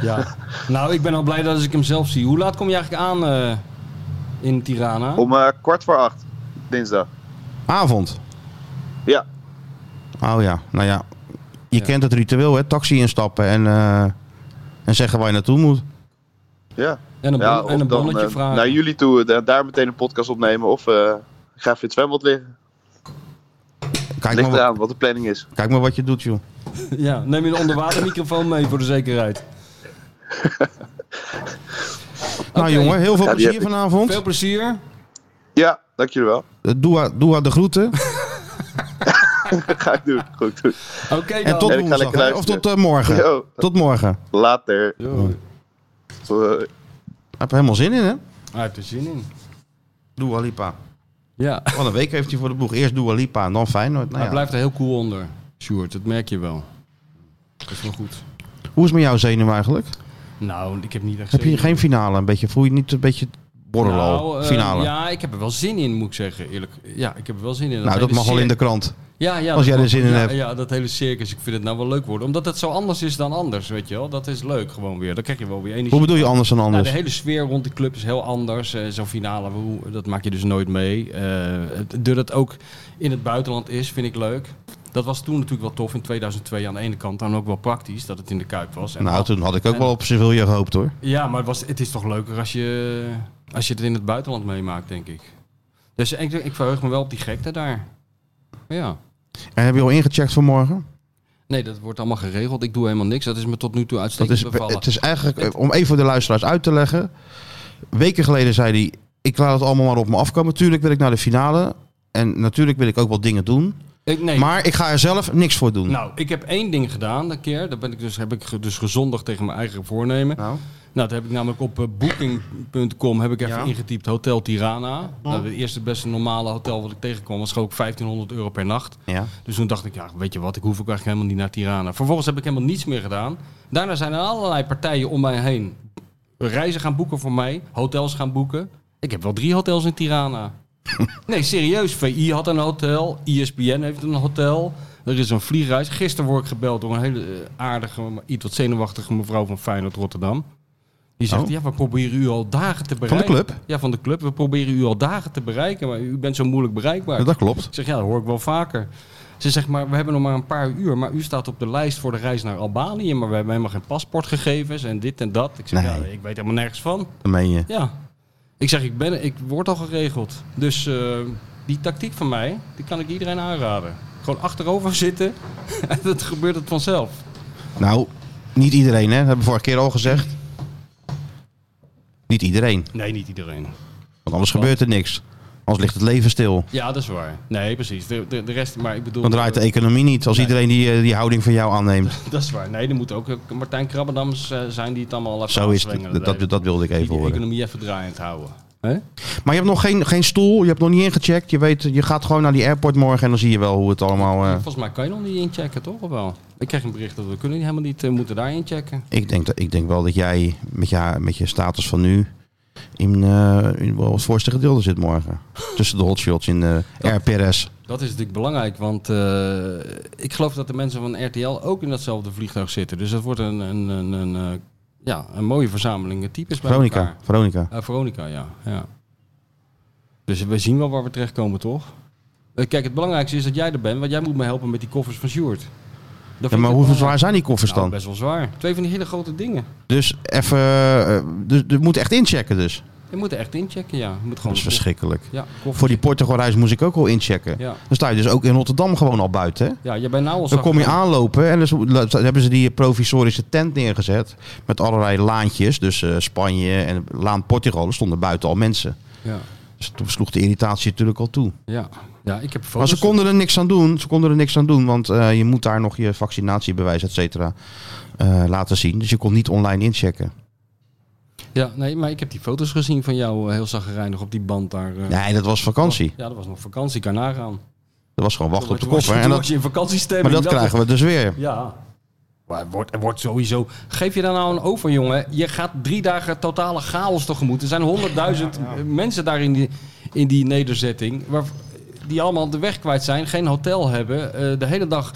D: ja. Nou, ik ben al blij dat als ik hem zelf zie. Hoe laat kom je eigenlijk aan eh, in Tirana?
C: Om eh, kwart voor acht, dinsdag.
B: Avond.
C: Ja,
B: Oh ja, nou ja. Je
D: Ja.
B: kent het ritueel, hè? Taxi instappen en, eh, en zeggen waar je naartoe moet.
C: ja.
D: En een, bon-
C: ja
D: en een
C: of dan,
D: bonnetje
C: eh,
D: vragen.
C: Naar jullie toe, eh, da- daar meteen een podcast opnemen. Of eh, ik ga even in het zwembad liggen.
B: Kijk maar,
C: Ligt
B: wat,
C: eraan wat de planning is.
B: kijk maar wat je doet, joh.
D: Ja, neem je een onderwatermicrofoon mee voor de zekerheid.
B: Nou
D: Oké.
B: jongen, heel veel
C: Ja, die
B: plezier
C: heb ik.
B: vanavond.
D: Veel plezier.
C: Ja, dank jullie wel.
B: Eh, Doe, haar- doe haar de groeten.
C: ga ik doen. Goed doen.
D: Oké dan.
B: En tot
C: En ik ga
B: woensdag,
C: lekker
B: hè? Of
C: luisteren.
B: tot eh, morgen.
C: Yo.
B: Tot morgen.
C: Later.
D: Yo.
C: Eh,
B: Ik heb er helemaal zin in, hè?
D: Hij heeft er zin in.
B: Dua Lipa.
D: Ja.
B: Wat een week heeft hij voor de boeg. Eerst Dua Lipa en dan Feyenoord. Nou
D: Hij
B: ja.
D: blijft er heel cool onder, Sjoerd. Dat merk je wel. Dat is wel goed.
B: Hoe is het met jouw zenuw eigenlijk?
D: Nou, ik heb niet echt
B: Heb je
D: zin in.
B: geen finale? Een beetje, voel je niet een beetje borrelen al?
D: Nou, eh,
B: finale.
D: ja, ik heb er wel zin in, moet ik zeggen. Eerlijk. Ja, ik heb er wel zin in.
B: nou, dat
D: hele
B: mag wel in de
D: cir-
B: krant.
D: Ja, ja,
B: als
D: dat
B: jij er
D: mag-
B: zin in
D: ja,
B: hebt.
D: Ja, dat hele circus. Ik vind het nou wel leuk worden. Omdat het zo anders is dan anders, weet je wel. Dat is leuk gewoon weer. Dan krijg je wel weer energie.
B: Hoe bedoel je anders dan
D: Nou,
B: anders?
D: de hele sfeer rond die club is heel anders. Eh, Zo'n finale, hoe- dat maak je dus nooit mee. Eh, het- doordat het ook in het buitenland is, vind ik leuk. Dat was toen natuurlijk wel tof in 2002 aan de ene kant. En ook wel praktisch dat het in de Kuip was. En
B: Nou, toen had ik ook wel op Sevilla gehoopt, hoor.
D: Ja, maar het, was, het is toch leuker als je, als je het in het buitenland meemaakt, denk ik. Dus ik, ik verheug me wel op die gekte daar. Ja.
B: En heb je al ingecheckt voor morgen?
D: Nee, dat wordt allemaal geregeld. Ik doe helemaal niks. Dat is me tot nu toe
B: Dat
D: uitstekend
B: is,
D: bevallen.
B: het is eigenlijk, eh, om even voor de luisteraars uit te leggen. Weken geleden zei hij, ik laat het allemaal maar op me afkomen. Tuurlijk wil ik naar de finale. En natuurlijk wil ik ook wel dingen doen.
D: Ik, nee,
B: Maar ik ga er zelf niks voor doen.
D: nou, ik heb één ding gedaan een keer. Daar ben ik dus, heb ik ge- dus gezondigd tegen mijn eigen voornemen.
B: Nou.
D: Nou, dat heb ik namelijk op eh, booking.com heb ik even
B: Ja.
D: ingetypt Hotel Tirana. Nou, het eerste beste normale hotel wat ik tegenkwam was gewoon ook 1500 euro per nacht.
B: Ja.
D: Dus toen dacht ik, ja, weet je wat, ik hoef ook eigenlijk helemaal niet naar Tirana. Vervolgens heb ik helemaal niets meer gedaan. Daarna zijn er allerlei partijen om mij heen reizen gaan boeken voor mij, hotels gaan boeken. Ik heb wel drie hotels in Tirana. nee, serieus. VI had een hotel, E ISBN heeft een hotel. Er is een vliegreis. Gisteren word ik gebeld door een hele eh, aardige, maar iets wat zenuwachtige mevrouw van Feyenoord Rotterdam. Die zegt,
B: Oh.
D: ja, we proberen u al dagen te bereiken.
B: club?
D: Ja, van de club. We proberen u al dagen te bereiken, maar u bent zo moeilijk bereikbaar.
B: Ja, dat klopt.
D: Ik zeg, ja, dat hoor ik wel vaker. Ze zegt, maar we hebben nog maar een paar uur, maar u staat op de lijst voor de reis naar Albanië, maar we hebben helemaal geen paspoortgegevens en dit en dat. Ik zeg,
B: Nee.
D: ja, ik weet helemaal nergens van.
B: Dat meen je.
D: Ja. Ik zeg, ik, ben, ik word al geregeld. Dus eh, die tactiek van mij, die kan ik iedereen aanraden. Gewoon achterover zitten en dat gebeurt het vanzelf.
B: Nou, niet iedereen, hè? Dat hebben we vorige keer al gezegd. Niet iedereen,
D: Nee, niet iedereen.
B: want anders gebeurt er niks. Anders ligt het leven stil.
D: Ja, dat is waar. Nee, precies. De, de, de rest, maar ik bedoel...
B: Dan draait de e- economie niet als iedereen die, eh, die houding van jou aanneemt.
D: Dat is waar. Nee, er moet ook eh, Martijn Krabbendams eh, zijn die het allemaal even
B: Zo is
D: aanzwengelen.
B: het. Dat, dat wilde ik
D: Die
B: even
D: de
B: horen.
D: economie even draaiend houden. Hè?
B: Maar je hebt nog geen, geen stoel, je hebt nog niet ingecheckt. Je, weet, je gaat gewoon naar die airport morgen en dan zie je wel hoe het allemaal... eh,
D: Volgens mij kan je nog niet inchecken, toch? Of wel? Ik kreeg een bericht dat we kunnen helemaal niet eh, moeten daar inchecken.
B: ik, denk dat, ik denk wel dat jij met je, met je status van nu in, eh, in wel het voorste gedeelte zit morgen. Tussen de hotshots in eh, de RPRS.
D: Dat is natuurlijk belangrijk, want eh, ik geloof dat de mensen van RTL ook in datzelfde vliegtuig zitten. Dus dat wordt een, een, een, een, eh, ja, een mooie verzameling eh, types bij
B: Veronica,
D: elkaar.
B: Veronica.
D: Eh, Veronica, ja. ja. Dus we zien wel waar we terechtkomen, toch? Eh, Kijk, het belangrijkste is dat jij er bent, want jij moet me helpen met die koffers van Sjoerd. Dat vind
B: Ja,
D: ik
B: maar
D: het
B: hoeveel
D: belangrijk.
B: zwaar zijn die koffers
D: Nou,
B: dan?
D: best wel zwaar. Twee van die hele grote dingen.
B: Dus even. eh, Dus je moet echt inchecken, dus.
D: Je moet er echt inchecken, ja. Je moet gewoon
B: Dat is verschrikkelijk.
D: Ja, koffers.
B: Voor die Portugal-reis moest ik ook al inchecken.
D: Ja.
B: Dan sta je dus ook in Rotterdam gewoon al buiten. hè?
D: Ja, je bent nou al
B: Dan kom je
D: zacht-
B: aanlopen en dus dan hebben ze die provisorische tent neergezet. Met allerlei laantjes. Dus eh, Spanje en Laan Portugal. Er stonden buiten al mensen.
D: Ja,
B: Dus toen sloeg de irritatie natuurlijk al toe.
D: ja. ja ik heb
B: Maar
D: foto's.
B: ze konden er niks aan doen. Ze konden er niks aan doen. Want eh, je moet daar nog je vaccinatiebewijs, et cetera, eh, laten zien. Dus je kon niet online inchecken.
D: Ja, nee, maar ik heb die foto's gezien van jou eh, heel zagrijnig op die band daar. eh.
B: Nee, dat was vakantie.
D: Ja, dat was nog vakantie, kan nagaan.
B: Dat was gewoon wachten op de
D: Toen was je-
B: koffer. En dat,
D: toen was je in vakantiestemming.
B: Maar dat krijgen we dus weer.
D: Ja. Maar het wordt, het wordt sowieso... Geef je daar nou een over, jongen. Je gaat drie dagen totale chaos tegemoet. Er zijn honderdduizend mensen daar in die, in die nederzetting... Waar, die allemaal de weg kwijt zijn, geen hotel hebben, eh, de hele dag...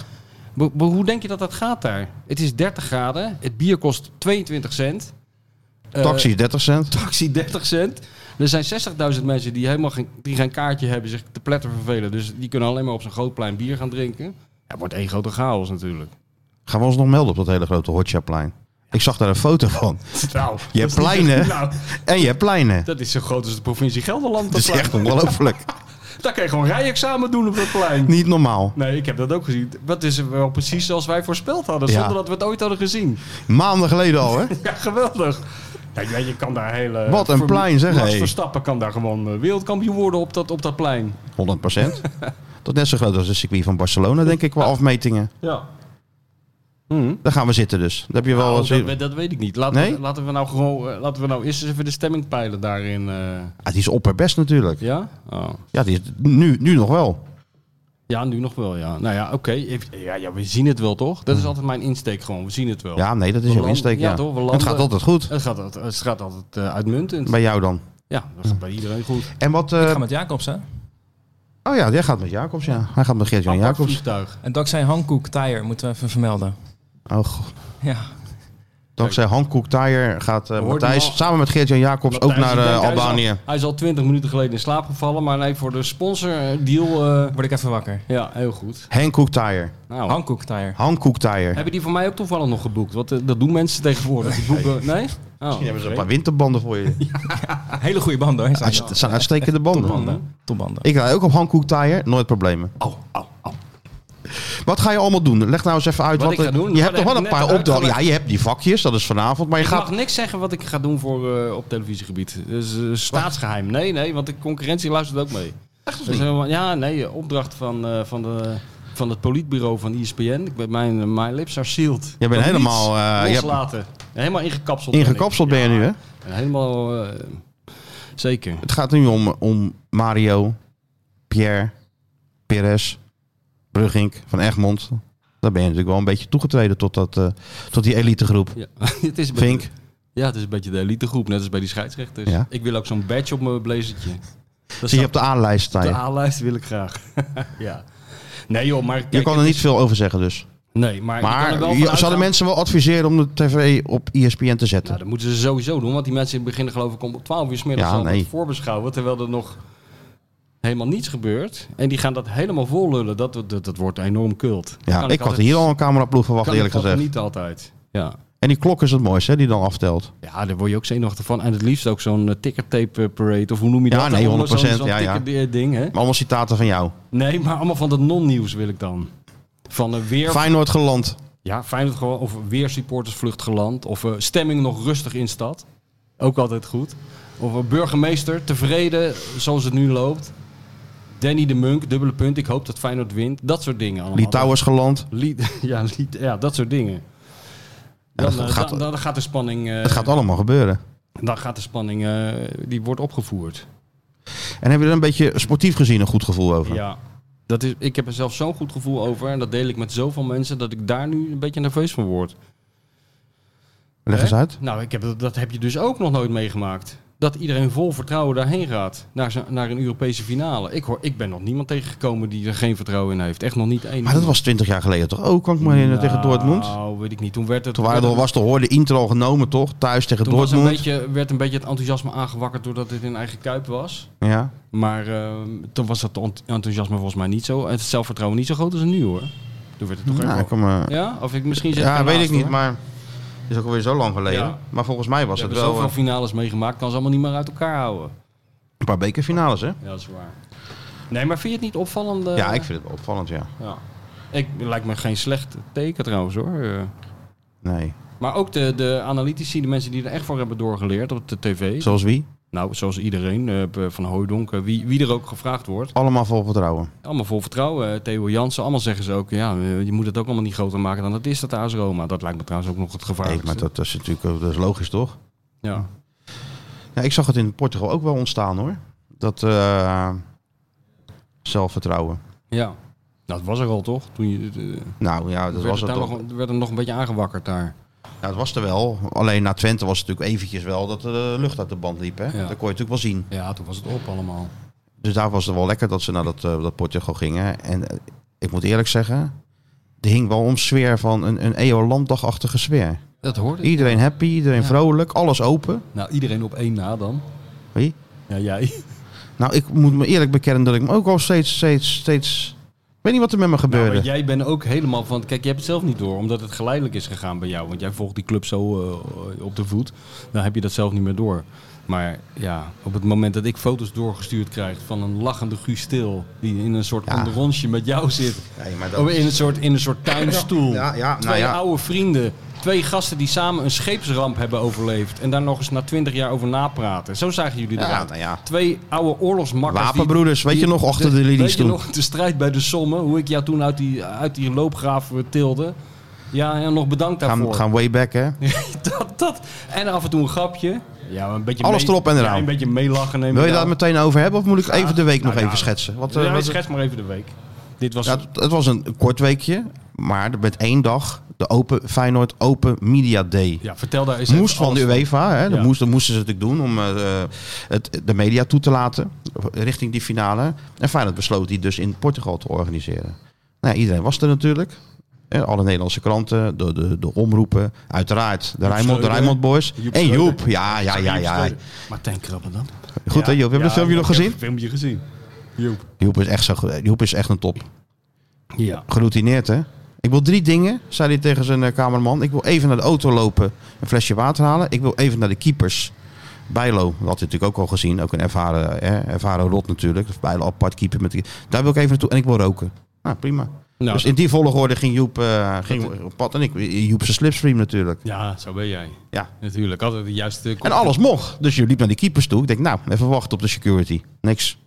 D: Bo- bo- hoe denk je dat dat gaat daar? Het is 30 graden, het bier kost 22 cent. Eh,
B: Taxi 30 cent.
D: taxi 30 cent. Er zijn 60.000 mensen die helemaal geen, die geen kaartje hebben, zich te pletter vervelen. Dus die kunnen alleen maar op zo'n groot plein bier gaan drinken. Ja, het wordt één grote chaos natuurlijk.
B: Gaan we ons nog melden op dat hele grote hotshotplein? Ik zag daar een foto van.
D: Nou,
B: Je hebt pleinen en je hebt pleinen.
D: dat is zo groot als de provincie Gelderland.
B: Dat
D: Dat
B: is
D: plein.
B: echt ongelooflijk.
D: Daar kan je gewoon rijexamen doen op dat plein.
B: Niet normaal.
D: Nee, ik heb dat ook gezien. Dat is wel precies zoals wij voorspeld hadden,
B: Ja.
D: zonder dat we het ooit hadden gezien.
B: Maanden geleden al, hè?
D: Ja, geweldig. Ja, je, je kan daar hele...
B: Wat een
D: Voor-
B: plein, zeg,
D: Max
B: hé.
D: Verstappen kan daar gewoon eh, wereldkampioen worden op dat, op dat plein.
B: 100 procent. Dat net zo groot als het circuit van Barcelona, denk ik, qua afmetingen.
D: Ja.
B: Daar gaan we zitten dus. Dat heb je wel...
D: Nou,
B: eens-
D: dat, we- dat weet ik niet. Laten,
B: Nee?
D: we, laten we nou gewoon, eh, laten we nou eerst eens even de stemming peilen daarin. eh.
B: Ah, die is opperbest natuurlijk.
D: ja? Oh.
B: Ja, die is nu, nu nog wel.
D: Ja, nu nog wel, ja. Nou ja, oké. Ik- Ja, ja, we zien het wel, toch? Dat is altijd mijn insteek gewoon. We zien het wel.
B: Hmm. Ja, nee, dat is heel
D: We landen-
B: insteek,
D: ja,
B: ja.
D: toch, we
B: Het
D: landen-
B: gaat altijd goed.
D: Het gaat, altijd- het gaat altijd eh, uitmuntend.
B: Bij jou dan.
D: Ja, dat gaat bij iedereen goed.
B: En wat...
E: Ik
B: eh,
E: ga met Jacobs, hè?
B: Oh ja, jij gaat met Jacobs, ja. Hij gaat met Geert-Jan
D: Apart
B: Jacobs.
D: vliegtuig.
E: En dankzij Hankook Tire moeten we even vermelden.
B: Oh, god.
E: Ja.
B: Dankzij Hankook Tire gaat eh,
D: hoorden hem
B: Matthijs
D: al.
B: samen met Geert-Jan Jacobs ook naar
D: Matthijs, ik
B: eh,
D: denk, hij is al-
B: Albanië.
D: Hij is al twintig minuten geleden in slaap gevallen, maar nee, voor de sponsordeal... eh
E: Word ik even wakker.
D: ja, heel goed.
B: Hankook Tire.
D: Nou,
E: Hankook Tire.
B: Hankook Tire.
D: hebben die voor mij ook toevallig nog geboekt? Want eh, dat doen mensen tegenwoordig. Die boeken... Nee? Oh,
B: Misschien hebben ze
D: oké.
B: een paar winterbanden voor je.
E: Hele goede banden, hoor. Zijn
B: Uit- Het zijn uitstekende banden.
E: banden. Topbanden.
B: Ik rij ook op Hankook Tire, nooit problemen. Wat ga je allemaal doen? Leg nou eens even uit.
D: Wat ik
B: er-
D: ga doen?
B: Je
D: Nou,
B: hebt toch
D: dat
B: wel een
D: heb ik
B: paar
D: net
B: opdrachten. Ja,
D: uitgelegd.
B: je hebt die vakjes, dat is vanavond. Maar je
D: Ik
B: gaat...
D: mag niks zeggen wat ik ga doen voor, eh, op televisiegebied. Dus eh, staatsgeheim. Nee, nee, want de concurrentie luistert ook mee.
B: opdracht of
D: Dat is
B: niet?
D: helemaal- ja, nee, opdracht van, eh, van, de, van het politbureau van E ESPN. Ik ben, mijn, eh, mijn lips are sealed.
B: Jij bent
D: Kan
B: helemaal,
D: niets
B: eh, je hebt-
D: loslaten. Helemaal ingekapseld. ben ik.
B: Ingekapseld ben je nu, hè?
D: Ja, Helemaal... eh, zeker.
B: Het gaat nu om, om Mario, Pierre, Perez, Brugink, Van Egmond. Daar ben je natuurlijk wel een beetje toegetreden tot, dat, eh, tot die elitegroep.
D: Ja. het is een beetje-
B: Vink, dus
D: Ja, het is een beetje de elitegroep, net als bij die scheidsrechters.
B: Ja.
D: Ik wil ook zo'n badge op mijn blazertje. Dat
B: zie je
D: staat
B: op de A-lijst
D: op
B: staan.
D: de
B: je.
D: A-lijst wil ik graag. ja. Nee joh, maar...
B: Je
D: kijk,
B: kan er
D: het
B: niet
D: is-
B: veel over zeggen dus.
D: Nee, maar... je kan er
B: Maar
D: wel
B: je-
D: van
B: zouden
D: uitgaan-
B: mensen wel adviseren om de tv op E ESPN te zetten?
D: Nou, dat moeten ze sowieso doen, want die mensen beginnen geloof ik om 12 uur 's middags
B: Ja,
D: al
B: nee.
D: met voorbeschouwen, terwijl er nog helemaal niets gebeurt. En die gaan dat helemaal vol lullen. Dat, dat, dat wordt enorm kult.
B: ja, ik had hier al een cameraploeg verwacht,
D: kan
B: eerlijk
D: ik altijd
B: gezegd.
D: niet altijd. Ja.
B: En die klok is het mooiste, hè, die dan aftelt.
D: Ja, daar word je ook zenuwachtig van. En het liefst ook zo'n eh, tickertape eh, parade, of hoe noem je
B: Ja,
D: dat?
B: nee,
D: Allemaal
B: 100%,
D: Zo'n,
B: ja,
D: zo'n
B: ja.
D: ticker- eh, ding, hè?
B: Maar Allemaal citaten van jou.
D: Nee, maar allemaal van dat non-nieuws wil ik dan. Van eh, weer...
B: Feyenoord geland.
D: Ja, Feyenoord gewoon, of weer supportersvlucht geland. Of eh, stemming nog rustig in stad. Ook altijd goed. Of een burgemeester tevreden zoals het nu loopt. Danny de Munk, dubbele punt. Ik hoop dat Feyenoord wint. Dat soort dingen allemaal.
B: Litouwers geland.
D: Lied- ja, lied- ja, dat soort dingen. Dan,
B: dat
D: eh, dan-
B: gaat-
D: dan, dan gaat de spanning, eh,
B: Het gaat allemaal gebeuren.
D: dan gaat de spanning eh, die wordt opgevoerd.
B: En hebben we er een beetje sportief gezien een goed gevoel over?
D: Ja. Dat is, ik heb er zelf zo'n goed gevoel over. En dat deel ik met zoveel mensen dat ik daar nu een beetje nerveus van word.
B: Leg eens
D: Hè?
B: uit.
D: Nou, ik heb, dat- dat heb je dus ook nog nooit meegemaakt. Dat iedereen vol vertrouwen daarheen gaat. Naar, zo'n- naar een Europese finale. Ik, hoor, ik ben nog niemand tegengekomen die er geen vertrouwen in heeft. Echt nog niet één.
B: Maar dat was 20 jaar geleden toch ook, kan ik me herinneren, tegen Dortmund?
D: Nou, weet ik niet. Toen werd het...
B: Toen waren er, was de hoorde intro genomen toch, thuis tegen
D: toen was een
B: Dortmund.
D: beetje, werd een beetje het enthousiasme aangewakkerd doordat dit in eigen kuip was.
B: Ja.
D: Maar ehm, toen was dat ont- enthousiasme volgens mij niet zo. Het zelfvertrouwen niet zo groot als nu hoor. Toen werd het toch
B: Nou,
D: echt
B: ik
D: wel-
B: kan me-
D: Ja? Of ik misschien zit
B: ja,
D: ernaast,
B: weet ik niet,
D: hoor.
B: maar het is ook alweer zo lang geleden.
D: Ja.
B: Maar volgens mij was
D: We
B: het
D: hebben
B: wel
D: zoveel
B: eh,
D: finales meegemaakt, kan ze allemaal niet meer uit elkaar houden.
B: een paar bekerfinales, hè?
D: Ja, dat is waar. Nee, maar vind je het niet opvallend? eh?
B: Ja, ik vind het wel opvallend, ja.
D: Ja. Ik lijkt me geen slecht teken trouwens hoor. Eh,
B: Nee.
D: Maar ook de, de analytici, de mensen die er echt voor hebben doorgeleerd op de tv.
B: Zoals wie?
D: Nou, zoals iedereen, eh, Van Hooijdonk, eh, wie, wie er ook gevraagd wordt.
B: Allemaal vol vertrouwen.
D: Allemaal vol vertrouwen. Eh, Theo Jansen, allemaal zeggen ze ook, ja, eh, je moet het ook allemaal niet groter maken dan het is, dat AS Roma. Dat lijkt me trouwens ook nog het
B: Nee,
D: gevaarlijkste.
B: maar dat is natuurlijk eh, dat is logisch, toch?
D: ja.
B: Ja, ik zag het in Portugal ook wel ontstaan, hoor. Dat eh, zelfvertrouwen.
D: ja. Nou, dat was er al toch? Toen je, eh,
B: Nou ja, dat
D: werd,
B: was
D: het
B: het
D: daar
B: toch.
D: nog, werd er nog een beetje aangewakkerd daar.
B: Ja, het was er wel. Alleen na Twente was het natuurlijk eventjes wel dat er de lucht uit de band liep. Hè? Dat kon je natuurlijk wel zien.
D: Ja, toen was het op allemaal.
B: Dus daar was het wel lekker dat ze naar dat, eh, dat Portugal gingen. En eh, ik moet eerlijk zeggen, er hing wel een sfeer van een, een EO-landdagachtige sfeer.
D: Dat hoorde ik.
B: Iedereen happy, iedereen
D: Ja.
B: vrolijk, alles open.
D: Nou, iedereen op één na dan.
B: Wie?
D: Ja, jij.
B: Nou, ik moet me eerlijk bekennen dat ik me ook al steeds, steeds, steeds... Ik weet niet wat er met me
D: Nou,
B: gebeurde.
D: maar jij bent ook helemaal van. Kijk, je hebt het zelf niet door, omdat het geleidelijk is gegaan bij jou. Want jij volgt die club zo eh, op de voet. Dan heb je dat zelf niet meer door. Maar ja, op het moment dat ik foto's doorgestuurd krijg van een lachende Guus Stil. die in een soort
B: Ja.
D: onderonsje met jou zit.
B: Nee, maar dat-
D: Of in een soort, in een soort tuinstoel.
B: Ja, ja, nou
D: Twee
B: ja.
D: oude vrienden. Twee gasten die samen een scheepsramp hebben overleefd. en daar nog eens na twintig jaar over napraten. Zo zagen jullie
B: Ja,
D: eruit.
B: nou ja.
D: Twee oude oorlogsmakkers. die-
B: Wapenbroeders, weet je nog, achter de
D: Weet
B: linies
D: je
B: toen.
D: nog de strijd bij de sommen? Hoe ik jou toen uit die, uit die loopgraaf eh, tilde? Ja, en nog bedankt daarvoor.
B: Gaan, gaan way back, hè?
D: Dat, dat. En af en toe een grapje. Ja, maar een beetje
B: Alles erop en
D: ja,
B: eraan.
D: een beetje meelachen. neem
B: Wil je
D: ik
B: daar
D: aan.
B: meteen over hebben of moet ik even de week nog
D: Nou ja,
B: even schetsen? Wat, eh,
D: Ja,
B: wat-
D: schets maar even de week. Dit was
B: Ja,
D: het.
B: het, het was een kort weekje, maar met één dag de open, Feyenoord Open Media Day.
D: Ja, vertel daar eens
B: Moest
D: even
B: van de
D: alles
B: UEFA, hè, dat,
D: Ja.
B: moest, dat moesten ze natuurlijk doen om eh, het, de media toe te laten richting die finale. En Feyenoord besloot die dus in Portugal te organiseren. Nou, ja, iedereen was er natuurlijk. Eh, Alle Nederlandse kranten, de, de, de omroepen, uiteraard de Rijnmond, de
D: Schreuder.
B: Rijnmond Boys.
D: Joep
B: en
D: Schreuder.
B: Joep, ja, ja, ja, ja.
D: eh, Maar Martijn Krabben dan.
B: Goed hè Joep, heb je het filmpje nog gezien?
D: Ik heb het filmpje gezien. Joep.
B: Joep is echt, zo, goed. Joep is echt een top.
D: Ja.
B: geroutineerd, hè? Ik wil drie dingen, zei hij tegen zijn eh, cameraman. Ik wil even naar de auto lopen, een flesje water halen. Ik wil even naar de keepers. Bijlo, dat had hij natuurlijk ook al gezien. Ook een ervaren, hè, ervaren rot natuurlijk. Of Bijlo apart keeper. Met de- Daar wil ik even naartoe. En ik wil roken. Nou, prima.
D: Nou,
B: dus in die volgorde ging Joep eh, ging op pad. En ik, Joep zijn slipstream natuurlijk.
D: ja, zo ben jij.
B: Ja.
D: Natuurlijk, altijd de juiste...
B: En alles mocht. Dus je liep naar de keepers toe. Ik denk, nou, even wachten op de security. Niks.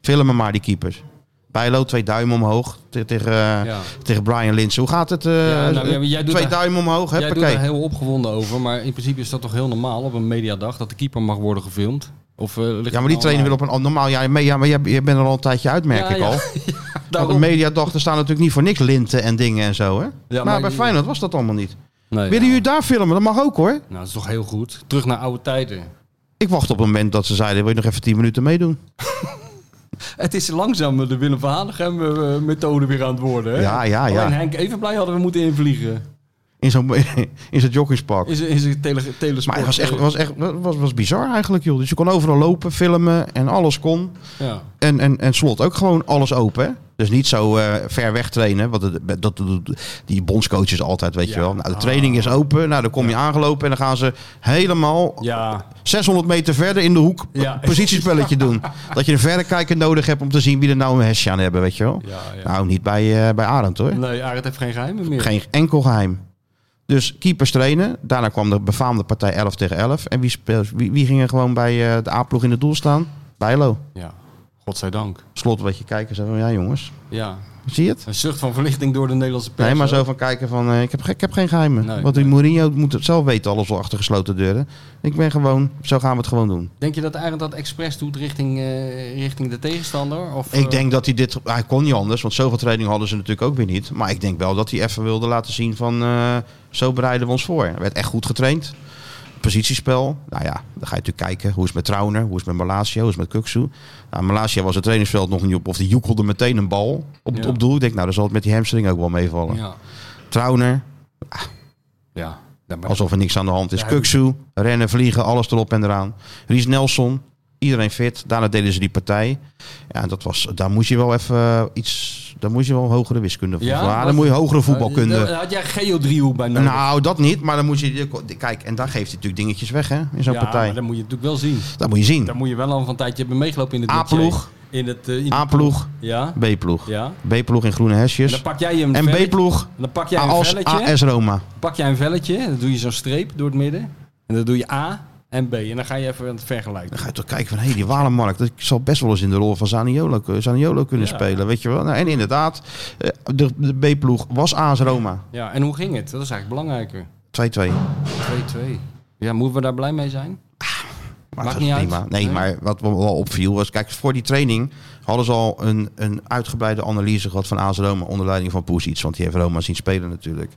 B: Filmen maar die keepers. Bijlo, twee duimen omhoog te- tegen, eh,
D: Ja.
B: tegen Brian Linsen. Hoe gaat het? eh,
D: Ja, nou, ja, maar jij doet
B: twee
D: daar-
B: duimen omhoog,
D: Jij doet
B: huppakee.
D: daar heel opgewonden over, maar in principe is dat toch heel normaal op een mediadag dat de keeper mag worden gefilmd? Of, eh,
B: Ja,
D: ligt
B: maar die
D: het allemaal
B: trainer wil op een an- normaal jaar mee. Ja, maar jij, jij bent er al een tijdje uit, merk
D: Ja,
B: ik
D: ja.
B: al. Want
D: Daarom.
B: op mediadag, er staan natuurlijk niet voor niks linten en dingen en zo, hè? maar,
D: maar
B: bij
D: je-
B: Feyenoord was dat allemaal niet.
D: Nee,
B: Willen
D: ja.
B: jullie daar filmen? Dat mag ook, hoor.
D: Nou, dat is toch heel goed. Terug naar oude tijden.
B: Ik wacht op het moment dat ze zeiden, wil je nog even 10 minuten meedoen?
D: Het is langzaam de Willem van Hanegem eh, methode weer aan het worden. Hè?
B: Ja, ja, ja.
D: Alleen Henk even blij hadden we moeten invliegen.
B: In zo'n in zo'n joggingspak.
D: Is is een tele, telesport. eh,
B: Maar het was echt, was echt was, was bizar eigenlijk, joh. Dus je kon overal lopen, filmen en alles kon.
D: Ja.
B: En, en, en slot ook gewoon alles open. hè. Dus niet zo eh, ver weg trainen. Want het- dat doet die bondscoaches altijd, weet je
D: Ja. Ah.
B: wel. Nou, de training is open. Nou, dan kom je aangelopen en dan gaan ze helemaal
D: Ja.
B: 600 meter verder in de hoek
D: Ja.
B: een positiespelletje doen. Dat je een verrekijker nodig hebt om te zien wie er nou een hesje aan hebben, weet je wel.
D: Ja, ja.
B: Nou, niet bij, eh, bij Arend hoor.
D: Nee, Arend heeft geen geheimen meer.
B: Geen enkel geheim. Dus keepers trainen. Daarna kwam de befaamde partij 11 tegen 11. En wie, speel, wie, wie ging er gewoon bij eh, de A-ploeg in het doel staan? Bijlo.
D: Ja. Godzijdank.
B: Slot een beetje kijken. Zo van, ja jongens,
D: Ja.
B: zie je het?
D: Een zucht van verlichting door de Nederlandse pers.
B: Nee, maar
D: hè?
B: zo van kijken van, eh, ik, heb, ge- ik heb geen geheimen.
D: Nee,
B: Want die
D: nee.
B: Mourinho moet het zelf weten, alles wel achter gesloten deuren. Ik ben gewoon, zo gaan we het gewoon doen.
D: Denk je dat Arend dat expres doet richting, eh, richting de tegenstander? Of, eh,
B: Ik denk dat hij dit, hij kon niet anders, want zoveel training hadden ze natuurlijk ook weer niet. Maar ik denk wel dat hij even wilde laten zien van, eh, zo bereiden we ons voor. Hij werd echt goed getraind. Positiespel, nou ja, dan ga je natuurlijk kijken. Hoe is het met Trauner, hoe is het met Malasia, hoe is het met Kuksu. Nou, Malasia was het trainingsveld nog niet op, of die joekelde meteen een bal op,
D: Ja.
B: op doel. Ik denk, nou, dan zal het met die hamstring ook wel meevallen.
D: Ja.
B: Trauner,
D: Ja. Ja, maar-
B: alsof er niks aan de hand is.
D: Ja,
B: Kuksu, rennen, vliegen, alles erop en eraan. Ries Nelson, iedereen fit. Daarna deden ze die partij. Ja, dat was, daar moest je wel even eh, iets... Daar moest je wel hogere wiskunde voor.
D: Ja?
B: Ja, dan
D: Wat-
B: moet je hogere
D: Eh,
B: voetbalkunde.
D: daar Had jij geodriehoek bij nodig?
B: Nou, dat niet, maar dan moet je... Kijk, en daar geeft hij natuurlijk dingetjes weg, hè? In zo'n
D: ja,
B: partij.
D: maar dat moet je natuurlijk wel zien.
B: Dat moet je zien.
D: Daar moet je wel al van een tijdje hebben meegelopen in het dossier.
B: A-ploeg.
D: In het... eh, in de-
B: A-ploeg,
D: Ja.
B: B-ploeg.
D: Ja.
B: B-ploeg in groene
D: En dan
B: hesjes.
D: pak jij een
B: En
D: velletje-
B: B-ploeg
D: Dan pak jij een
B: als
D: velletje.
B: AS Roma.
D: pak jij een velletje. Dan doe je zo'n streep door het midden. En dan doe je A en B. En dan ga je even aan het vergelijken.
B: Dan ga je toch kijken van, hé, die Walenmarkt, dat zal best wel eens in de rol van Zaniolo, eh, Zaniolo kunnen
D: Ja.
B: spelen, weet je wel. Nou, en inderdaad, eh, de, de B-ploeg was AS Roma, 2-2.
D: Ja, en hoe ging het? Dat is eigenlijk belangrijker. 2-2. Ja, moeten we daar blij mee zijn?
B: Maar
D: Maakt
B: dat is
D: niet
B: prima.
D: uit.
B: Nee,
D: Nee.
B: maar wat me wel opviel was, kijk, voor die training hadden ze al een, een uitgebreide analyse gehad van AS Roma onder leiding van Poesic, want die heeft Roma zien spelen natuurlijk.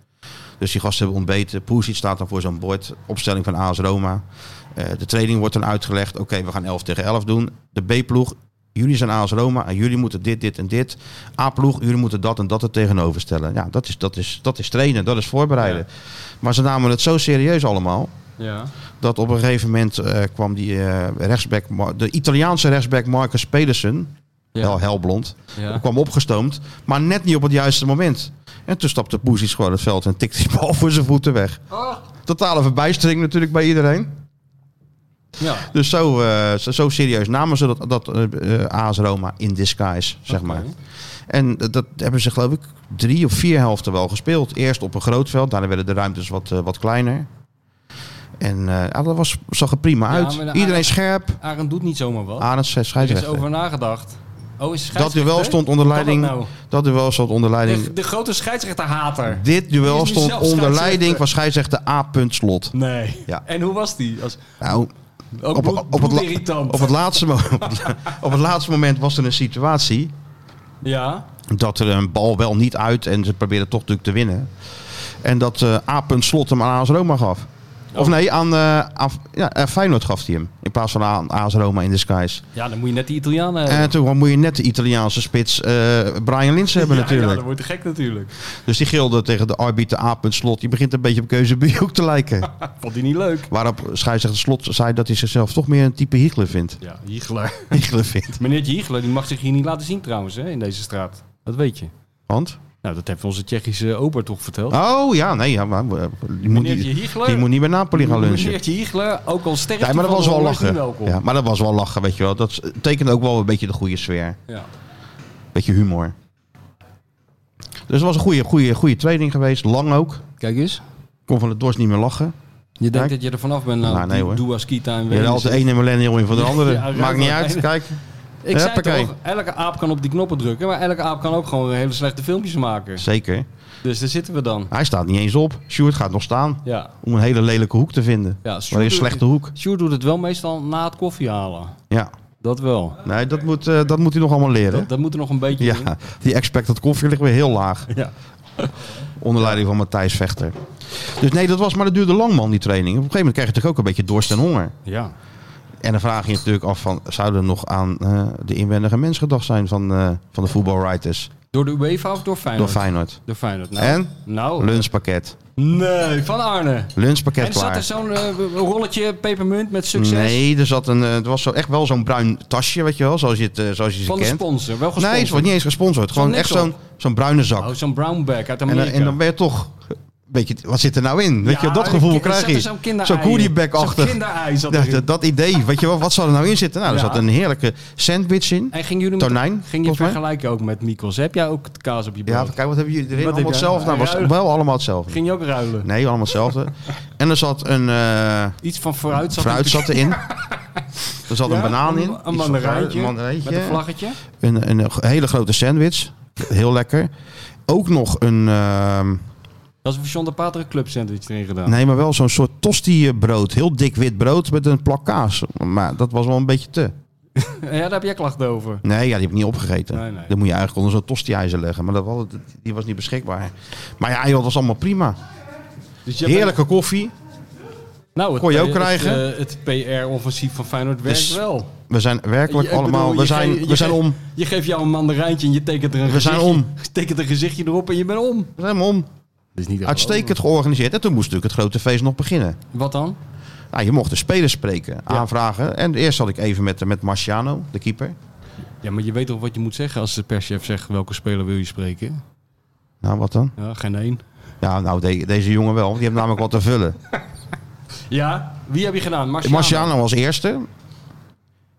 B: Dus die gasten hebben ontbeten. Poesic staat dan voor zo'n bord, opstelling van AS Roma. Eh, de training wordt dan uitgelegd, oké, we gaan 11 tegen 11 doen. De B-ploeg, jullie zijn AS Roma en jullie moeten dit, dit en dit. A-ploeg, jullie moeten dat en dat er tegenover stellen. Ja, dat is, dat is, dat is trainen, dat is voorbereiden. Maar ze namen het zo serieus allemaal
D: Ja.
B: dat op een gegeven moment eh, kwam die eh, rechtsback, Mar- de Italiaanse rechtsback Marcus Pedersen,
D: Ja.
B: wel helblond, eh,
D: Ja.
B: kwam opgestoomd, maar net niet op het juiste moment. En toen stapte Poesies gewoon het veld en tikte die bal voor zijn voeten weg.
D: Oh.
B: Totale verbijstering natuurlijk bij iedereen.
D: Ja.
B: Dus zo, eh, zo, zo serieus namen ze dat, dat eh, eh, AS Roma in disguise, zeg
D: Oké.
B: maar. En eh, dat hebben ze geloof ik drie of vier helften wel gespeeld. Eerst op een groot veld, daarna werden de ruimtes wat, eh, wat kleiner. En eh, ja, dat was, zag er prima
D: Ja,
B: uit.
D: maar de
B: Iedereen
D: Ajax-
B: scherp.
D: Arend doet niet zomaar wat.
B: Arends zei
D: er is
B: scheidsrechter.
D: over nagedacht. Oh, is
B: Ah, Dat
D: scheidsrechter?
B: duel stond onder
D: Hoe kan
B: leiding.
D: dat nou?
B: Dat duel stond onder leiding.
D: De, de grote scheidsrechterhater.
B: Dit
D: Die
B: duel
D: is nu
B: stond
D: zelf
B: onder
D: scheidsrechter.
B: leiding van scheidsrechter A. Slot.
D: Nee.
B: Ja.
D: En hoe was die? Als,
B: Nou,
D: ook
B: op, op, het, la-
D: irritant.
B: op, het laatste, mo- op het la- op het laatste moment was er een situatie.
D: ja.
B: dat er een bal wel niet uit en ze probeerden toch natuurlijk te winnen. En dat eh A. Slot hem aan AS Roma gaf.
D: Oh.
B: Of nee, aan, eh, aan ja, aan Feyenoord gaf hij hem. In plaats van aan AS Roma in disguise.
D: ja, dan moet je net die eh, Italianen
B: En toen moet je net de Italiaanse spits eh, Brian Lins hebben
D: Ja,
B: natuurlijk.
D: Ja, dat wordt te gek natuurlijk.
B: Dus die gilde tegen de arbiter A. Slot. Die begint een beetje op keuze ook te lijken.
D: Vond die niet leuk?
B: Waarop scheidsrechter Slot zei dat hij zichzelf toch meer een type Hiegler vindt.
D: Ja, Hiegler.
B: Hiegler vindt.
D: Meneertje Hiegler, die mag zich hier niet laten zien trouwens, hè, in deze straat. Dat weet je.
B: Want?
D: Nou, dat heeft onze Tsjechische ober toch verteld.
B: Oh ja, nee. Ja, maar, eh, die, moet
D: Meneertje
B: niet,
D: Hiegler.
B: die moet niet bij Napoli gaan lunchen.
D: Meneertje Hiegler, ook al sterft
B: Ja, maar
D: hij
B: dat
D: van
B: was
D: de
B: wel
D: honger, is hij
B: lachen.
D: welkom.
B: Ja, maar dat was wel lachen, weet je wel. Dat eh, tekent ook wel een beetje de goede sfeer.
D: Ja.
B: Beetje humor. Dus het was een goede, goede, goede training geweest. Lang ook.
D: Kijk eens.
B: Kon van het dorst niet meer lachen.
D: Je denkt
B: Kijk.
D: dat je er vanaf bent. Nou,
B: Nou, nee, hoor.
D: Doe als Kita en
B: Je had de
D: Wenen.
B: ene millennial in van de andere.
D: dus Ja,
B: Maakt niet uit.
D: ja.
B: Kijk.
D: Ik zei
B: Huppakee.
D: toch, elke aap kan op die knoppen drukken, maar elke aap kan ook gewoon hele slechte filmpjes maken.
B: Zeker.
D: Dus daar zitten we dan.
B: Hij staat niet eens op. Sjoerd gaat nog staan.
D: Ja.
B: Om een hele lelijke hoek te vinden.
D: Ja,
B: maar een slechte hoek.
D: Sjoerd doet het wel meestal na het koffie halen.
B: Ja.
D: Dat wel.
B: Nee, dat moet, eh, dat moet hij nog allemaal leren.
D: Dat, dat moet er nog een beetje in.
B: Ja, die expected koffie ligt weer heel laag.
D: Ja.
B: Onder leiding van Matthijs Vechter. Dus nee, dat was maar dat duurde lang man, die training. Op een gegeven moment krijg je natuurlijk ook een beetje dorst en honger.
D: ja.
B: En dan vraag je je natuurlijk af van, zou er nog aan eh, de inwendige mens gedacht zijn van, eh, van de voetbalwriters
D: Door de UEFA of door
B: door
D: Feyenoord?
B: Feyenoord?
D: Door Feyenoord. Nou,
B: En?
D: Nou.
B: Lunchpakket.
D: Nee, van Arne.
B: Lunchpakket
D: En zat
B: klaar.
D: er zo'n eh, rolletje pepermunt met succes?
B: Nee, er zat een, eh, het was zo, echt wel zo'n bruin tasje, weet je wel, zoals je het eh, zoals je ze
D: Van de
B: kent.
D: sponsor. Wel
B: Nee,
D: gesponsord.
B: het wordt niet eens gesponsord. Gewoon
D: niks
B: echt zo'n
D: op.
B: zo'n bruine zak.
D: Oh, zo'n brownback uit
B: en,
D: Amerika.
B: dan, en dan ben je toch, weet je, wat zit er nou in? Weet
D: Ja,
B: je, dat gevoel
D: er
B: krijg
D: zat er
B: je.
D: Zo'n kinderei
B: Zo'n
D: in. Zo'n
B: koerieback-achtig.
D: kinderei zat
B: Ja,
D: erin.
B: dat, dat idee, weet je wel, wat zou er nou in zitten? Nou, er
D: Ja.
B: zat een heerlijke sandwich in.
D: En ging jullie met-
B: Tonijn,
D: ging je
B: volgens mij.
D: vergelijken ook met Mikos? Heb jij ook het kaas op je
B: Ja,
D: brood?
B: kijk, wat hebben jullie erin?
D: Wat
B: allemaal
D: heb jij?
B: hetzelfde. Nou, was
D: Ruilen.
B: wel allemaal hetzelfde.
D: Ging je ook ruilen?
B: Nee, allemaal hetzelfde. en er zat een eh
D: Iets van vooruit zat
B: fruit zat erin. Er zat
D: Ja,
B: een banaan
D: een-
B: in.
D: een
B: Iets van fruit,
D: mandarijntje
B: Een
D: Met een
B: mandarijntje.
D: vlaggetje.
B: Een, een hele grote sandwich. Heel lekker. Ook nog een, ehm,
D: Dat is een John de Pater een club sandwich erin gedaan.
B: nee, maar wel zo'n soort tosti-brood. Heel dik wit brood met een plak kaas. Maar dat was wel een beetje te.
D: Ja, daar heb jij klachten over.
B: Nee, ja, die heb ik niet opgegeten.
D: Nee, nee.
B: Dat moet je eigenlijk onder zo'n tosti-ijzer leggen. Maar dat was, die was niet beschikbaar. Maar ja, joh, dat was allemaal prima.
D: Dus jij
B: Heerlijke koffie.
D: bent- nou, het
B: kon je ook
D: P-
B: krijgen.
D: Het, PR-offensief van Feyenoord werkt
B: Dus-
D: wel.
B: We zijn werkelijk
D: Je- ik
B: allemaal...
D: bedoel,
B: we
D: je
B: zijn,
D: ge- je
B: we zijn
D: ge-
B: om.
D: Je geeft jou een mandarijntje en je tekent er een
B: We zijn
D: gezichtje.
B: om.
D: Je tekent een gezichtje erop en je bent om.
B: We zijn om.
D: Dat is niet te
B: Uitstekend georganiseerd. En toen moest natuurlijk het grote feest nog beginnen.
D: geloven. Wat dan?
B: Nou, je mocht de spelers spreken, aanvragen. En eerst zat ik even met, met Marciano, de keeper.
D: Ja, maar je weet toch wat je moet zeggen als de perschef zegt welke speler wil je spreken?
B: Nou, wat dan?
D: Ja, geen één.
B: Ja, nou, de- deze jongen wel. Die heeft namelijk wat te vullen.
D: Ja, wie heb je gedaan? Marciano.
B: Marciano als eerste.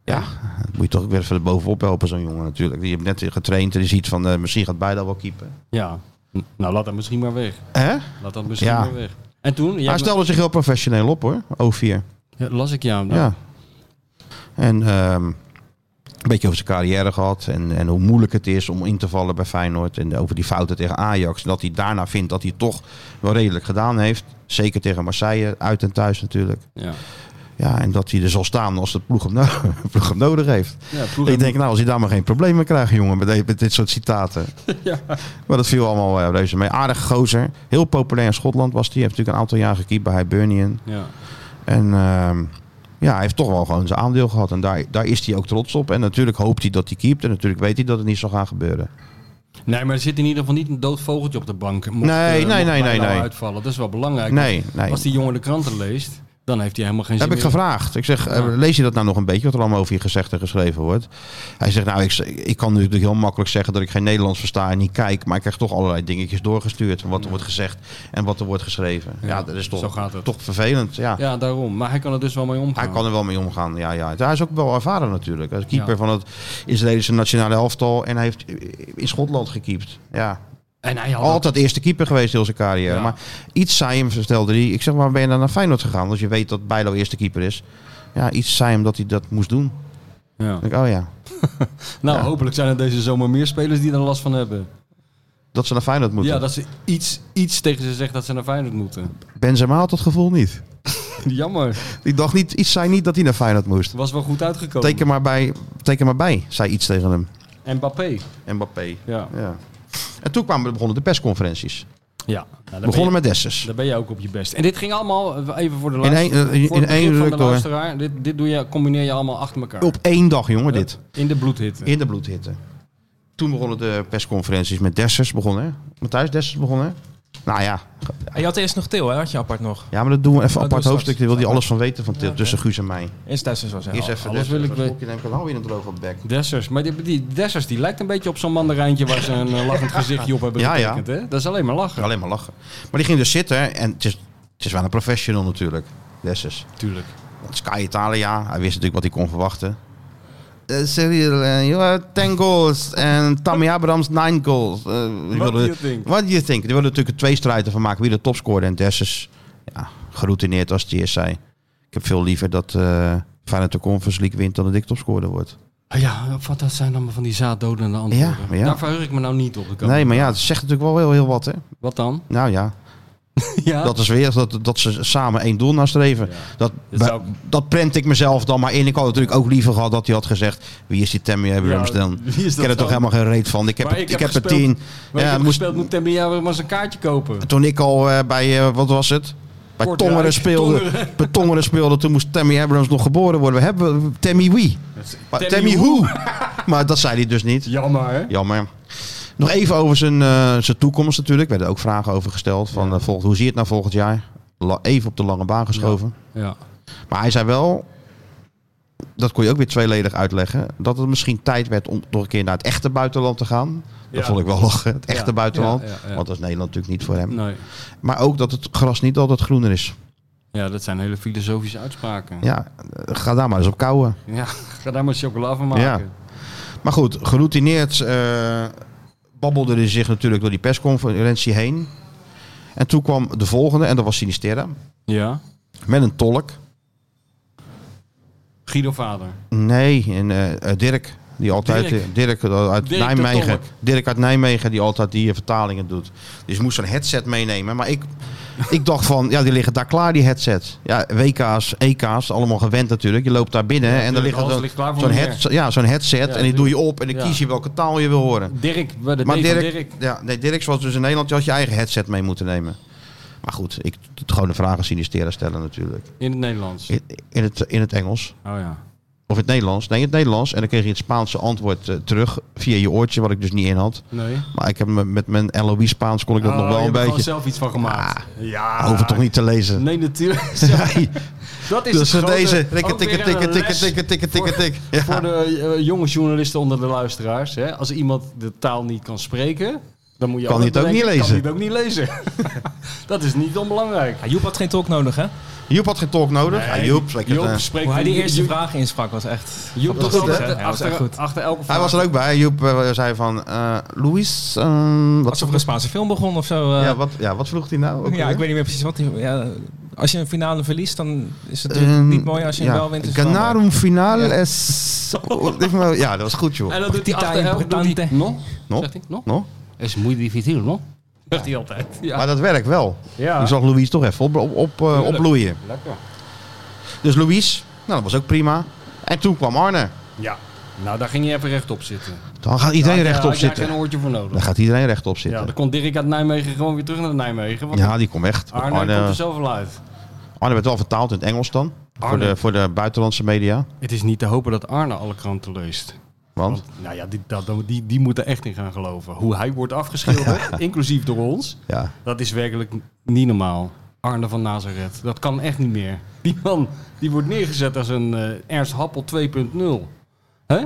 B: Ja, dat moet je toch ook weer even bovenop helpen, zo'n jongen natuurlijk. Die heeft net getraind en die ziet van, eh, misschien gaat beide wel keepen.
D: Ja. N- Nou, laat dat misschien maar weg.
B: Hè?
D: Laat dat misschien
B: Ja.
D: maar weg. En toen? Jij
B: Hij stelde zich heel professioneel op, hoor. O4.
D: Ja, las ik jou.
B: Ja. En ehm, een beetje over zijn carrière gehad. En, en hoe moeilijk het is om in te vallen bij Feyenoord. En over die fouten tegen Ajax. En dat hij daarna vindt dat hij het toch wel redelijk gedaan heeft. Zeker tegen Marseille, uit en thuis natuurlijk.
D: Ja.
B: Ja, en dat hij er zal staan als de ploeg hem, no- ploeg hem nodig heeft.
D: Ja, ploeg
B: Ik denk, nou, als hij daar maar geen problemen krijgt, jongen, met, de- met dit soort citaten.
D: Ja.
B: Maar dat viel allemaal eh, reuze mee. Aardige gozer. Heel populair in Schotland was hij. Hij heeft natuurlijk een aantal jaar gekiept bij Hibernian.
D: Ja.
B: En ehm, ja, hij heeft toch wel gewoon zijn aandeel gehad. En daar, daar is hij ook trots op. En natuurlijk hoopt hij dat hij keept. En natuurlijk weet hij dat het niet zal gaan gebeuren.
D: Nee, maar er zit in ieder geval niet een dood vogeltje op de bank. Mocht,
B: Nee,
D: eh,
B: nee,
D: mocht
B: nee, nee,
D: Bijlo
B: nee.
D: uitvallen. Dat is wel belangrijk.
B: Nee,
D: Want
B: nee.
D: Als die jongen de kranten leest, dan heeft hij helemaal geen zin
B: heb ik
D: meer.
B: gevraagd. Ik zeg, eh, lees je dat nou nog een beetje? Wat er allemaal over je gezegd en geschreven wordt. Hij zegt, nou, ik, ik kan natuurlijk heel makkelijk zeggen dat ik geen Nederlands versta en niet kijk. Maar ik krijg toch allerlei dingetjes doorgestuurd. Van wat er wordt gezegd en wat er wordt geschreven. Ja,
D: Ja,
B: dat is
D: zo
B: toch,
D: gaat het.
B: toch vervelend. Ja.
D: Ja, daarom. Maar hij kan er dus wel mee omgaan.
B: Hij kan er wel mee omgaan. Ja, ja. Hij is ook wel ervaren natuurlijk. Hij is keeper van het Israëlische nationale elftal. En hij heeft in Schotland gekiept. Ja,
D: En hij had
B: Altijd eerste keeper geweest heel zijn carrière.
D: Ja.
B: Maar iets zei hem, vertelde hij. Ik zeg, waarom ben je dan naar Feyenoord gegaan? Als je weet dat Bijlo eerste keeper is. Ja, iets zei hem dat hij dat moest doen.
D: Ja.
B: Ik, oh ja,
D: Nou,
B: Ja.
D: hopelijk zijn er deze zomer meer spelers die er last van hebben.
B: dat ze naar Feyenoord moeten.
D: Ja, dat ze iets, iets tegen ze zegt dat ze naar Feyenoord moeten.
B: Benzema had dat gevoel niet.
D: Jammer.
B: Die dacht niet, iets zei niet dat hij naar Feyenoord moest.
D: Was wel goed uitgekomen.
B: Teken maar bij, teken maar bij zei iets tegen hem.
D: Mbappé.
B: Mbappé.
D: Ja.
B: Ja. En toen kwamen, begonnen de persconferenties.
D: Ja. Nou, daar,
B: Begonnen
D: ben
B: met Dessers.
D: je, daar ben je ook op je best. En dit ging allemaal, eh, even voor de
B: In één,
D: luisteraar.
B: eh, in
D: voor het
B: één
D: begrip van
B: ruk
D: de
B: door.
D: luisteraar. Dit, dit doe je, combineer je allemaal achter elkaar.
B: Op één dag, jongen, dit.
D: In de bloedhitte.
B: In de bloedhitte. Toen begonnen de persconferenties met Dessers begonnen. Matthijs Dessers begonnen. Nou ja,
E: Ah, je had eerst nog Til, hè? Had je apart nog.
B: Ja, maar dat doen we even
E: Dat
B: apart
E: doen we
B: hoofdstuk. Daar wil hij alles van weten van
E: Ja, oké.
B: tussen Guus en mij.
E: Eerst Dessers was hij.
B: Eerst even
D: alles wil ik
B: even een slokje nemen. Dan hou je een droge bek.
D: Dessers. Maar die, die Dessers die lijkt een beetje op zo'n mandarijntje waar ze een eh, lachend gezichtje op hebben
B: Ja, ja.
D: getekend. Hè? Dat is alleen maar lachen.
B: Alleen maar lachen. Maar die ging dus zitten en het is, het is wel een professional natuurlijk. Dessus.
D: Natuurlijk.
B: Want Sky Italia, hij wist natuurlijk wat hij kon verwachten. Eh, Cyril, eh, you have 10 goals en Tammy Abrams 9 goals. Eh, die
D: What do
B: wilde-
D: you think?
B: What do you think? Die wilden natuurlijk twee strijden van maken wie de topscorer en Dessus. Ja, geroutineerd als hij eerst zei. Ik heb veel liever dat eh Feyenoord de Conference League wint dan dat ik topscorer word.
D: Ah, Ja, wat dat zijn allemaal van die zaaddodende antwoorden.
B: Ja, ja.
D: Daar verheug ik me nou niet op. de komende-
B: Nee, maar ja, het zegt natuurlijk wel heel, heel wat, hè?
D: Wat dan?
B: Nou ja,
D: Ja,
B: dat is weer dat, dat ze samen één doel nastreven. Dat,
D: Dat zou-
B: dat prent ik mezelf dan maar in. Ik had natuurlijk ook liever gehad dat hij had gezegd... Wie is die Tammy Abrams dan?
D: wie is
B: Ik ken er
D: dat
B: toch
D: dan?
B: helemaal geen reet van. Ik heb,
D: Maar
B: het-
D: ik
B: ik
D: heb
B: heb er
D: gespeeld-
B: tien.
D: Maar
B: Ja,
D: ik heb
B: moest,
D: gespeeld, moet Tammy Jaren maar eens een kaartje kopen.
B: toen ik al eh, bij, eh, wat was het? Bij
D: Kortrijk.
B: Tongeren speelde,
D: Tongeren.
B: bij Tongeren speelde, toen moest Tammy Abrams nog geboren worden. We hebben Tammy wie? Maar
D: Tammy
B: Tammy, hoe? maar dat zei hij dus niet.
D: Jammer, hè?
B: Jammer. Nog even over zijn, eh, zijn toekomst natuurlijk. Er werden ook vragen over gesteld. Van, eh, volgend, hoe zie je het nou volgend jaar? La- even op de lange baan geschoven.
D: Ja.
B: Maar hij zei wel, dat kon je ook weer tweeledig uitleggen, dat het misschien tijd werd om nog een keer naar het echte buitenland te gaan. Dat
D: Ja.
B: vond ik wel lachen, het echte
D: Ja,
B: buitenland.
D: ja, ja, ja.
B: Want dat is Nederland natuurlijk niet voor hem.
D: Nee.
B: Maar ook dat het gras niet altijd groener is.
D: Ja, dat zijn hele filosofische uitspraken. Ja,
B: Ja, eh, ga daar maar eens op kouwen.
D: ga daar maar chocola van maken.
B: Maar goed, geroutineerd eh, babbelde hij zich natuurlijk door die persconferentie heen. En toen kwam de volgende, en dat was Sinisterra,
D: Ja.
B: met een tolk.
D: Guido Vader.
B: Nee, en eh, eh, Dirk. Die altijd,
D: Dirk.
B: Dirk, Dirk eh, uit
D: Dirk de
B: Nijmegen.
D: Tolk.
B: Dirk uit Nijmegen die altijd die eh, vertalingen doet. Dus ik moest zo'n headset meenemen. Maar ik, ik dacht van, ja, die liggen daar klaar, die headsets. Ja, WK's, EK's, allemaal gewend natuurlijk. Je loopt daar binnen en er
D: tuurlijk,
B: liggen
D: alles
B: dan
D: ligt klaar voor
B: zo'n
D: meneer.
B: head, ja, zo'n headset. en die doe je op en dan
D: Ja.
B: kies je welke taal je wil horen.
D: Dirk, bij de
B: Maar
D: D van
B: Dirk,
D: Dirk.
B: Ja, nee, Dirk was dus in Nederland. Je had je eigen headset mee moeten nemen. Maar goed, ik t- gewoon de vragen sinisteren stellen natuurlijk.
D: In het Nederlands.
B: In, in, het, in het Engels.
D: Oh ja.
B: Of in het Nederlands. Nee, in het Nederlands. En dan kreeg je het Spaanse antwoord eh, terug. Via je oortje, wat ik dus niet in had.
D: Nee.
B: Maar ik heb me- met mijn LOE Spaans kon ik dat
D: Oh,
B: nog
D: je
B: wel
D: hebt
B: een
D: er gewoon
B: beetje. Ah,
D: zelf iets van gemaakt. ja.
B: Hoef het toch niet te lezen.
D: Nee, natuurlijk.
B: Nee.
D: Dat is
B: Dus
D: het grote-
B: deze. Tikken,
D: ook weer
B: tikken,
D: een
B: tikken, tikken,
D: les
B: tikken, tikken, tikken, tikken.
D: Voor
B: Ja.
D: de eh, jonge journalisten onder de luisteraars. Hè? Als iemand de taal niet kan spreken, dan moet je
B: Kan
D: altijd
B: hij het ook
D: bedenken,
B: niet lezen.
D: Kan hij het ook niet lezen. dat is niet onbelangrijk.
E: Ja, Joep had geen tolk nodig, hè?
B: Joep had geen tolk nodig. Ja, Joep, lekker,
D: Joep
B: eh.
D: spreekt
E: Hoe hij die
D: Joep-
E: eerste
D: Joep-
E: vraag insprak was echt...
D: Joep
B: was
D: doet
B: goed, hè?
D: altijd
E: Ja, was echt
D: achter,
E: goed.
D: achter elke vraag.
B: Hij was er ook bij. Joep eh, zei van... eh Luis, ehm, wat,
E: Alsof er een Spaanse film begon of zo. eh.
B: ja, wat, ja, wat vroeg hij nou? ook
E: Ja,
B: weer?
E: ik weet niet meer precies wat. die- Ja, als je een finale verliest, dan is het natuurlijk
B: Ehm,
E: niet mooi als je hem wel wint. is het wel mooi.
B: Ganarum finale es... Ja, dat was goed, joh.
D: En dan doet hij
E: Partita
D: achter elke doet hij,
E: importante.
D: No?
B: No?
D: Zegt hij, no?
B: No?
D: Is moeilijk difficil, no? Zegt hij altijd. Ja.
B: Maar dat werkt wel.
D: Ja.
B: Ik zag Louis toch even op, op, op, eh,
D: Tuurlijk.
B: opbloeien.
D: Lekker.
B: Dus Louis, nou, dat was ook prima. En toen kwam Arne.
D: Ja. Nou, daar ging je even rechtop zitten.
B: Dan gaat iedereen rechtop
D: Daar had jij
B: zitten.
D: geen oortje voor
B: Dan
D: nodig.
B: gaat iedereen rechtop
D: Ja,
B: zitten.
D: dan
B: Ja,
D: kon Dirk uit Nijmegen gewoon weer terug naar Nijmegen. Want
B: die komt echt.
D: Arne,
B: Arne,
D: komt er
B: Arne,
D: zoveel uit.
B: werd wel vertaald in het Engels dan. Voor
D: Arne.
B: de, voor de buitenlandse media.
D: Het is niet te hopen dat Arne alle kranten leest.
B: Want,
D: Want nou ja, die, dat, die, die moeten echt in gaan geloven. Hoe hij wordt afgeschilderd, inclusief door ons,
B: ja.
D: dat is werkelijk niet normaal. Arne van Nazareth, dat kan echt niet meer. Die man die wordt neergezet als een eh, Ernst Happel 2.0. Hè?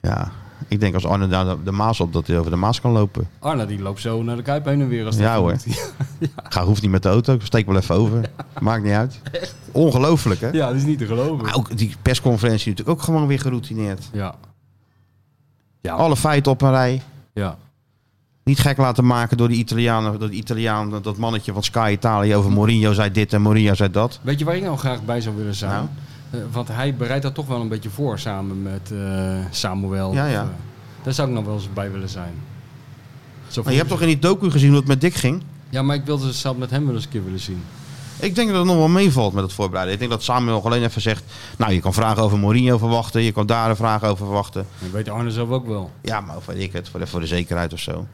B: ja. Ik denk als Arne daar de, de Maas op, dat hij over de Maas kan lopen.
D: Arne die loopt zo naar de Kuip heen en weer. Als
B: Ja,
D: dat
B: hoor.
D: moet.
B: Ga, hoeft niet met de auto. Ik steek wel even over. Maakt niet uit. Ongelooflijk, hè?
D: Ja, dat is niet te geloven.
B: Maar ook die persconferentie natuurlijk ook gewoon weer geroutineerd.
D: Ja,
B: Alle feiten op een rij.
D: ja.
B: Niet gek laten maken door die Italianen, door die Italiaan, dat- dat mannetje van Sky Italië over Mourinho zei dit en Mourinho zei dat.
D: Weet je waar ik nou graag bij zou willen zijn? Eh, want hij bereidt dat toch wel een beetje voor samen met eh, Samuel.
B: Ja,
D: Of,
B: ja.
D: eh, daar zou ik nog wel eens bij willen zijn. Zo
B: Maar je hebt toch in die docu gezien hoe het met Dick ging?
D: Ja, maar ik wilde het zelf met hem wel eens een keer willen zien.
B: Ik denk dat het nog wel meevalt met het voorbereiden. Ik denk dat Samuel alleen even zegt, nou je kan vragen over Mourinho verwachten, je kan daar een vraag over verwachten.
D: Dat weet Arne zelf ook wel.
B: Ja, maar of weet ik het, voor de, voor de zekerheid of zo.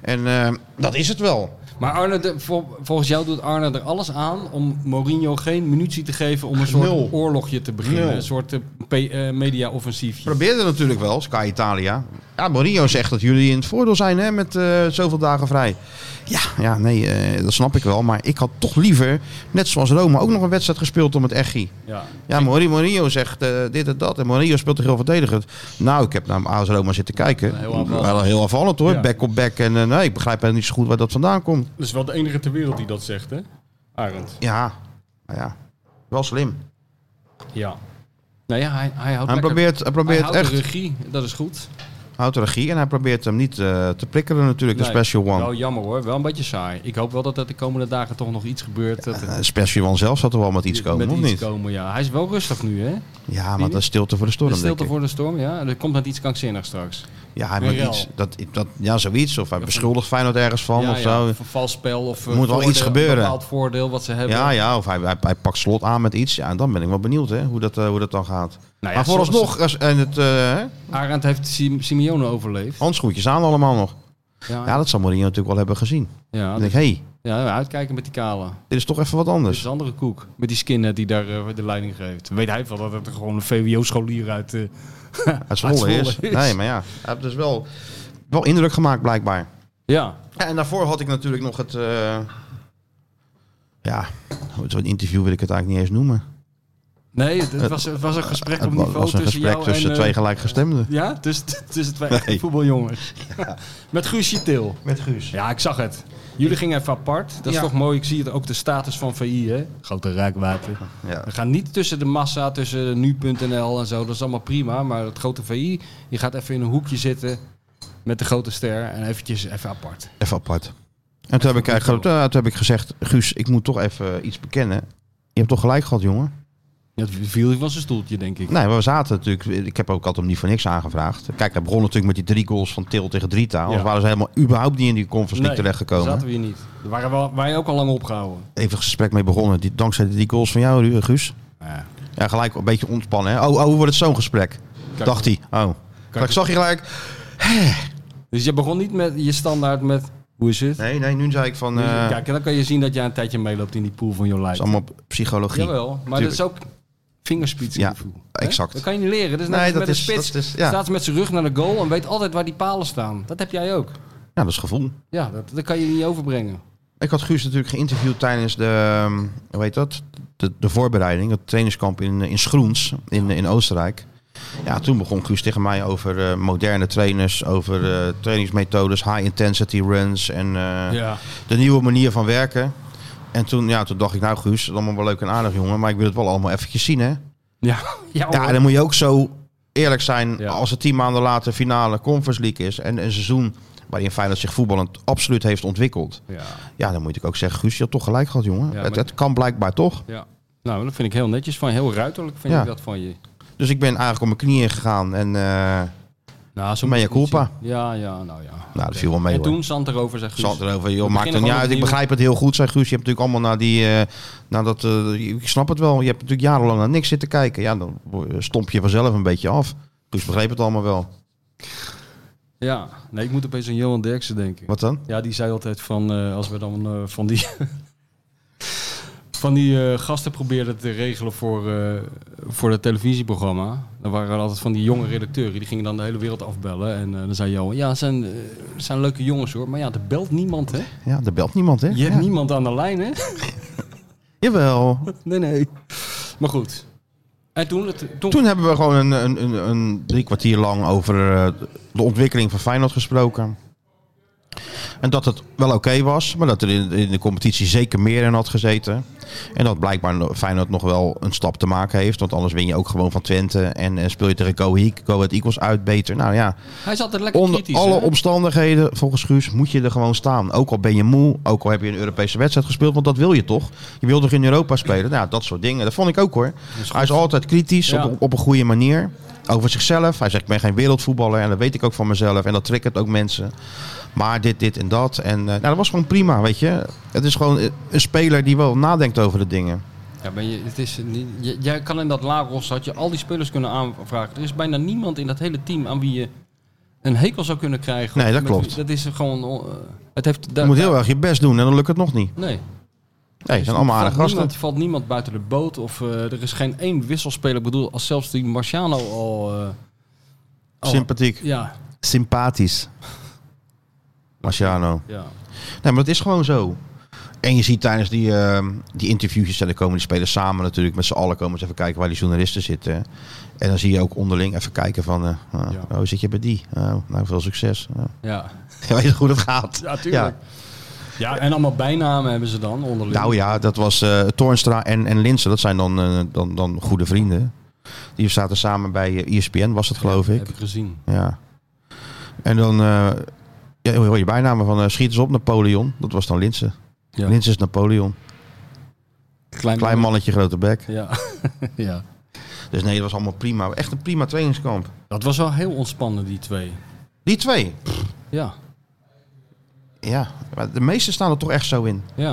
B: En eh, dat is het wel.
D: Maar Arne, de- vol- volgens jou doet Arne er alles aan om Mourinho geen munitie te geven om een soort
B: Nul.
D: oorlogje te beginnen.
B: Nul.
D: Een soort eh, P- eh, media-offensiefje.
B: Probeerde natuurlijk wel, Sky Italia. Ja, Mourinho zegt dat jullie in het voordeel zijn hè, met eh, zoveel dagen vrij. Ja, ja nee, eh, dat snap ik wel. Maar ik had toch liever, net zoals Roma, ook nog een wedstrijd gespeeld om het Echi.
D: Ja.
B: Ja, Mourinho, Mourinho zegt eh, dit en dat. En Mourinho speelt toch heel verdedigend. Nou, ik heb naar AS Roma zitten kijken.
D: Heel aanvallend.
B: Wel heel aanvallend hoor.
D: Ja.
B: Back op back. En eh, nee, ik begrijp helemaal niet zo goed waar dat vandaan komt.
D: Dat is wel de enige ter wereld die dat zegt, hè? Arend.
B: Ja, nou ja. Wel slim.
D: Ja. Nou ja, hij, hij houdt
B: Hij
D: lekker-
B: probeert, hij probeert
D: hij houdt
B: echt
D: de regie, dat is goed.
B: houdt regie en hij probeert hem niet eh, te prikkelen natuurlijk, de
D: Nee.
B: special one.
D: Wel jammer hoor, wel een beetje saai. Ik hoop wel dat er de komende dagen toch nog iets gebeurt. Dat er
B: Eh, special one zelf zal er wel met iets komen,
D: met
B: of
D: iets
B: niet?
D: komen, ja. Hij is wel rustig nu, hè?
B: Ja, maar dat is stilte voor de storm,
D: De stilte
B: denk ik.
D: voor de storm, ja. Er komt net iets krankzinnigs straks.
B: Ja, hij
D: Een
B: moet
D: rel.
B: iets, dat, dat, ja, zoiets. Of hij beschuldigt Feyenoord ergens van
D: ja,
B: of
D: ja,
B: zo.
D: of een vals spel of eh,
B: Er moet wel
D: voordeel-
B: iets gebeuren.
D: Een bepaald voordeel wat ze hebben.
B: Ja, ja, of hij, hij, hij pakt slot aan met iets. Ja, en dan ben ik wel benieuwd hè, hoe, dat, eh, hoe dat dan gaat.
D: Nou ja,
B: maar vooralsnog, als, en het, eh, hè,
D: Arend heeft Sim- Simeone overleefd.
B: handschoentjes aan allemaal nog.
D: Ja,
B: Ja,
D: ja,
B: dat zal Mourinho natuurlijk wel hebben gezien.
D: ja,
B: Dan denk ik, hé, hey,
D: ja, uitkijken met die kale.
B: dit is toch even wat
D: Dus
B: anders.
D: een andere koek. Met die skinhead die daar eh, de leiding geeft. Weet hij wel dat het er gewoon een VWO-scholier uit... eh,
B: Het Zwolle
D: Zwolle
B: is.
D: is.
B: Nee, maar ja, hij heeft dus wel, wel indruk gemaakt blijkbaar.
D: Ja,
B: Ja, en daarvoor had ik natuurlijk nog het... eh, ja, zo'n interview wil ik het eigenlijk niet eens noemen.
D: nee, het, het was, het was een gesprek op
B: Eh, Het wa-
D: niveau
B: was een
D: tussen
B: gesprek
D: jou
B: tussen
D: en... eh,
B: twee gelijkgestemden.
D: Ja, tussen, tussen twee
B: Nee.
D: voetbaljongens. Met Guusje Til.
B: Met Guus.
D: Ja, ik zag het. Jullie gingen even apart. Dat is
B: Ja.
D: toch mooi. Ik zie het ook de status van VI, hè? Grote rijkwater.
B: Ja.
D: We gaan niet tussen de massa, tussen nu.nl en zo. Dat is allemaal prima. Maar het grote VI, je gaat even in een hoekje zitten met de grote ster. En eventjes even apart.
B: Even apart. En toen heb, ik, eigenlijk- eh, toen heb ik gezegd, Guus, ik moet toch even iets bekennen. Je hebt toch gelijk gehad, jongen?
D: Ja, Dat viel hij van zijn stoeltje, denk ik.
B: Nee, we zaten natuurlijk... Ik heb ook altijd hem niet voor niks aangevraagd. Kijk, hij begon natuurlijk met die drie goals van Til tegen Drita. Anders
D: Ja.
B: waren ze helemaal überhaupt niet in die conference
D: Nee,
B: League terechtgekomen.
D: daar zaten we hier niet. Daar waren wel- wij ook al lang opgehouden.
B: Even het gesprek mee begonnen. Die, dankzij die drie goals van jou, Ru- Guus.
D: Ja.
B: Ja, gelijk een beetje ontspannen. Hè? Oh, oh, hoe wordt het zo'n gesprek? Dacht hij. Oh. Maar ik zag je gelijk...
D: Dus je begon niet met je standaard met... Hoe is het?
B: Nee, nee, nu zei ik van...
D: Dus,
B: eh,
D: Kijk, dan kan je zien dat jij een tijdje meeloopt in die pool van je
B: het
D: lijf.
B: is allemaal psychologie.
D: Jawel, maar dat is ook vingerspitsengevoel.
B: Ja, exact.
D: Dat kan je niet leren. Dat is net
B: Nee,
D: als
B: dat
D: met een
B: is-
D: spits.
B: dat is- ja.
D: Staat ze met zijn rug naar de goal en weet altijd waar die palen staan. Dat heb jij ook.
B: Ja, dat is gevoel.
D: Ja, dat, dat kan je niet overbrengen.
B: Ik had Guus natuurlijk geïnterviewd tijdens de, ehm, hoe heet dat? De, de voorbereiding, het trainingskamp in, eh, in Schroens in, in Oostenrijk. Ja, toen begon Guus tegen mij over eh, moderne trainers, over eh, trainingsmethodes, high intensity runs en eh,
D: Ja.
B: de nieuwe manier van werken. En toen, ja, toen dacht ik, nou Guus, dat is allemaal wel leuk en aardig jongen, maar ik wil het wel allemaal eventjes zien hè.
D: Ja, ja,
B: Ja, en dan moet je ook zo eerlijk zijn
D: Ja.
B: als het tien maanden later finale Conference League is en een seizoen waarin Feyenoord zich voetballend absoluut heeft ontwikkeld.
D: ja.
B: Ja, dan moet ik ook zeggen, Guus, je had toch gelijk gehad, jongen.
D: Ja,
B: het,
D: maar-
B: het kan blijkbaar toch.
D: ja. Nou, dat vind ik heel netjes van je. Heel ruiterlijk vind
B: Ja.
D: ik dat van je.
B: Dus ik ben eigenlijk op mijn knieën gegaan en eh Mea
D: Nou, zo moet je het niet
B: culpa.
D: zien. Ja, ja, nou ja.
B: nou, dat viel wel mee
D: en
B: hoor.
D: toen zand erover, zegt Guus.
B: Zand erover, joh,
D: We
B: maakt er
D: beginnen
B: niet
D: gewoon
B: uit. Ik
D: opnieuw.
B: begrijp het heel goed, zei Guus. Je hebt natuurlijk allemaal naar die, eh, naar dat, eh, ik snap het wel. Je hebt natuurlijk jarenlang naar niks zitten kijken. Ja, dan stomp je vanzelf een beetje af. Guus begreep het allemaal wel.
D: Ja, nee, ik moet opeens aan Johan Derksen denken.
B: Wat dan?
D: Ja, die zei altijd van eh, als we dan eh, van die. Van die eh, gasten probeerden te regelen voor, eh voor dat televisieprogramma. Dan waren er altijd van die jonge redacteuren. Die gingen dan de hele wereld afbellen. En eh, dan zei Johan, ja, het zijn, eh, het zijn leuke jongens hoor. Maar ja, er belt niemand, hè?
B: Ja, er belt niemand, hè?
D: Je hebt
B: Ja.
D: niemand aan de lijn, hè?
B: Jawel.
D: Nee, nee. Maar goed. En toen... Het, toen,
B: Toen hebben we gewoon een, een, een, een drie kwartier lang over eh, de ontwikkeling van Feyenoord gesproken. En dat het wel oké was, maar dat er in, in de competitie zeker meer in had gezeten. En dat blijkbaar no- Feyenoord nog wel een stap te maken heeft. Want anders win je ook gewoon van Twente en eh, speel je tegen Go Ahead- Go Ahead Eagles uit beter. Nou ja,
D: hij zat er lekker
B: onder
D: kritisch,
B: alle
D: hè?
B: omstandigheden, volgens Guus, moet je er gewoon staan. Ook al ben je moe, ook al heb je een Europese wedstrijd gespeeld, want dat wil je toch? Je wil toch in Europa spelen? Nou, dat soort dingen. Dat vond ik ook hoor. Hij is altijd kritisch,
D: Ja.
B: op, op een goede manier. Over zichzelf. Hij zegt, ik ben geen wereldvoetballer en dat weet ik ook van mezelf. En dat triggert ook mensen. Maar dit, dit en dat. En eh, nou, dat was gewoon prima, weet je. Het is gewoon eh, een speler die wel nadenkt over de dingen.
D: Ja, maar je, het is, niet- je- jij kan in dat Lagos had je al die spelers kunnen aanvragen. Er is bijna niemand in dat hele team aan wie je een hekel zou kunnen krijgen.
B: Nee, dat
D: Met wie-
B: klopt.
D: dat is gewoon. eh, het heeft.
B: Je
D: daar-
B: moet heel erg je best doen en dan lukt het nog niet.
D: Nee.
B: Nee, het zijn allemaal aardige
D: valt
B: gasten.
D: niemand, valt niemand buiten de boot of eh, er is geen één wisselspeler. Ik bedoel, als zelfs die Marciano al. eh, al-
B: Sympathiek.
D: Ja,
B: Sympathisch. Marciano.
D: ja.
B: Nee, maar dat is gewoon zo. En je ziet tijdens die, ehm die interviewjes, en dan komen die spelers samen natuurlijk met z'n allen komen eens even kijken waar die journalisten zitten. En dan zie je ook onderling even kijken van, eh, ah,
D: Ja.
B: oh zit je bij die? Oh, nou veel succes. Ja.
D: Ja,
B: Je weet hoe dat gaat.
D: ja tuurlijk. Ja. en allemaal bijnamen hebben ze dan onderling.
B: Nou ja, dat was eh Toornstra en, en Linsen, dat zijn dan, eh, dan, dan eh, E goede vrienden. Die zaten samen bij ISPN was het geloof ik.
D: Heb ik gezien.
B: Ja. En dan eh ja, hoor je bijnamen van eh schiet eens op Napoleon. Dat was dan Linse.
D: Ja.
B: Linse is Napoleon.
D: Klein,
B: Klein mannetje, grote bek.
D: Ja. ja.
B: Dus nee, dat was allemaal prima. Echt een prima trainingskamp.
D: Dat was wel heel ontspannen, die twee.
B: Die twee.
D: Ja,
B: Ja, maar de meeste staan er toch echt zo in.
D: ja.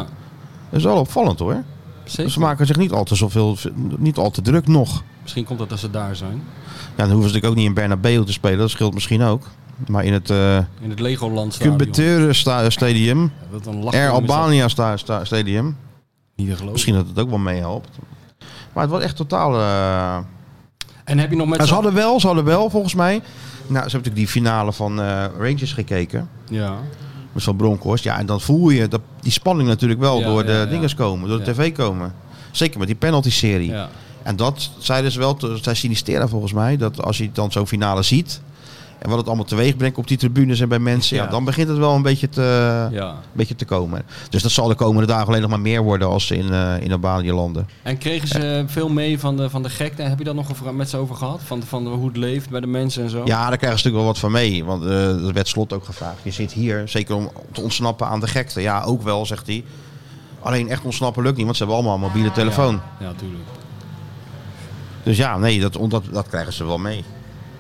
B: Dat is wel opvallend hoor.
D: Zeker.
B: Ze maken zich niet al te zoveel, niet al te druk nog.
D: Misschien komt dat als ze daar zijn.
B: Ja, dan hoeven ze natuurlijk ook niet in Bernabeu te spelen. Dat scheelt misschien ook. Maar in het eh
D: In het Legoland stadion.
B: Cumbetere sta- Stadium,
D: Ja, dat dan lachen
B: Air
D: mensen
B: Albania sta- sta- Stadium,
D: Niet te geloven.
B: misschien dat het ook wel meehelpt. Maar het was echt totaal... eh,
D: En heb je nog met
B: Nou, ze
D: z'n-
B: hadden wel, ze hadden wel volgens mij. Nou, ze hebben natuurlijk die finale van eh, Rangers gekeken.
D: Ja.
B: Met zo'n Bronkhorst. Ja, en dan voel je dat, die spanning natuurlijk wel
D: Ja,
B: door de
D: ja, ja.
B: dinges komen, door de
D: Ja.
B: tv komen. Zeker met die penalty-serie.
D: ja.
B: En dat zeiden ze wel, te- zij sinisteren volgens mij, dat als je dan zo'n finale ziet. En wat het allemaal teweeg brengt op die tribunes en bij mensen. Ja,
D: Ja.
B: dan begint het wel een beetje te,
D: Ja.
B: een beetje te komen. Dus dat zal de komende dagen alleen nog maar meer worden als ze in, eh in Albanië landen.
D: En kregen ze eh, veel mee van de, van de gekte? Heb je daar nog een- met ze over gehad? Van, van hoe het leeft bij de mensen en zo?
B: Ja, daar krijgen ze natuurlijk wel wat van mee. Want eh dat werd slot ook gevraagd. Je zit hier, zeker om te ontsnappen aan de gekte. Ja, ook wel, zegt hij. Alleen echt ontsnappen lukt niet, want ze hebben allemaal een mobiele telefoon.
D: Ja, tuurlijk.
B: Dus ja, nee, dat, dat, dat krijgen ze wel mee.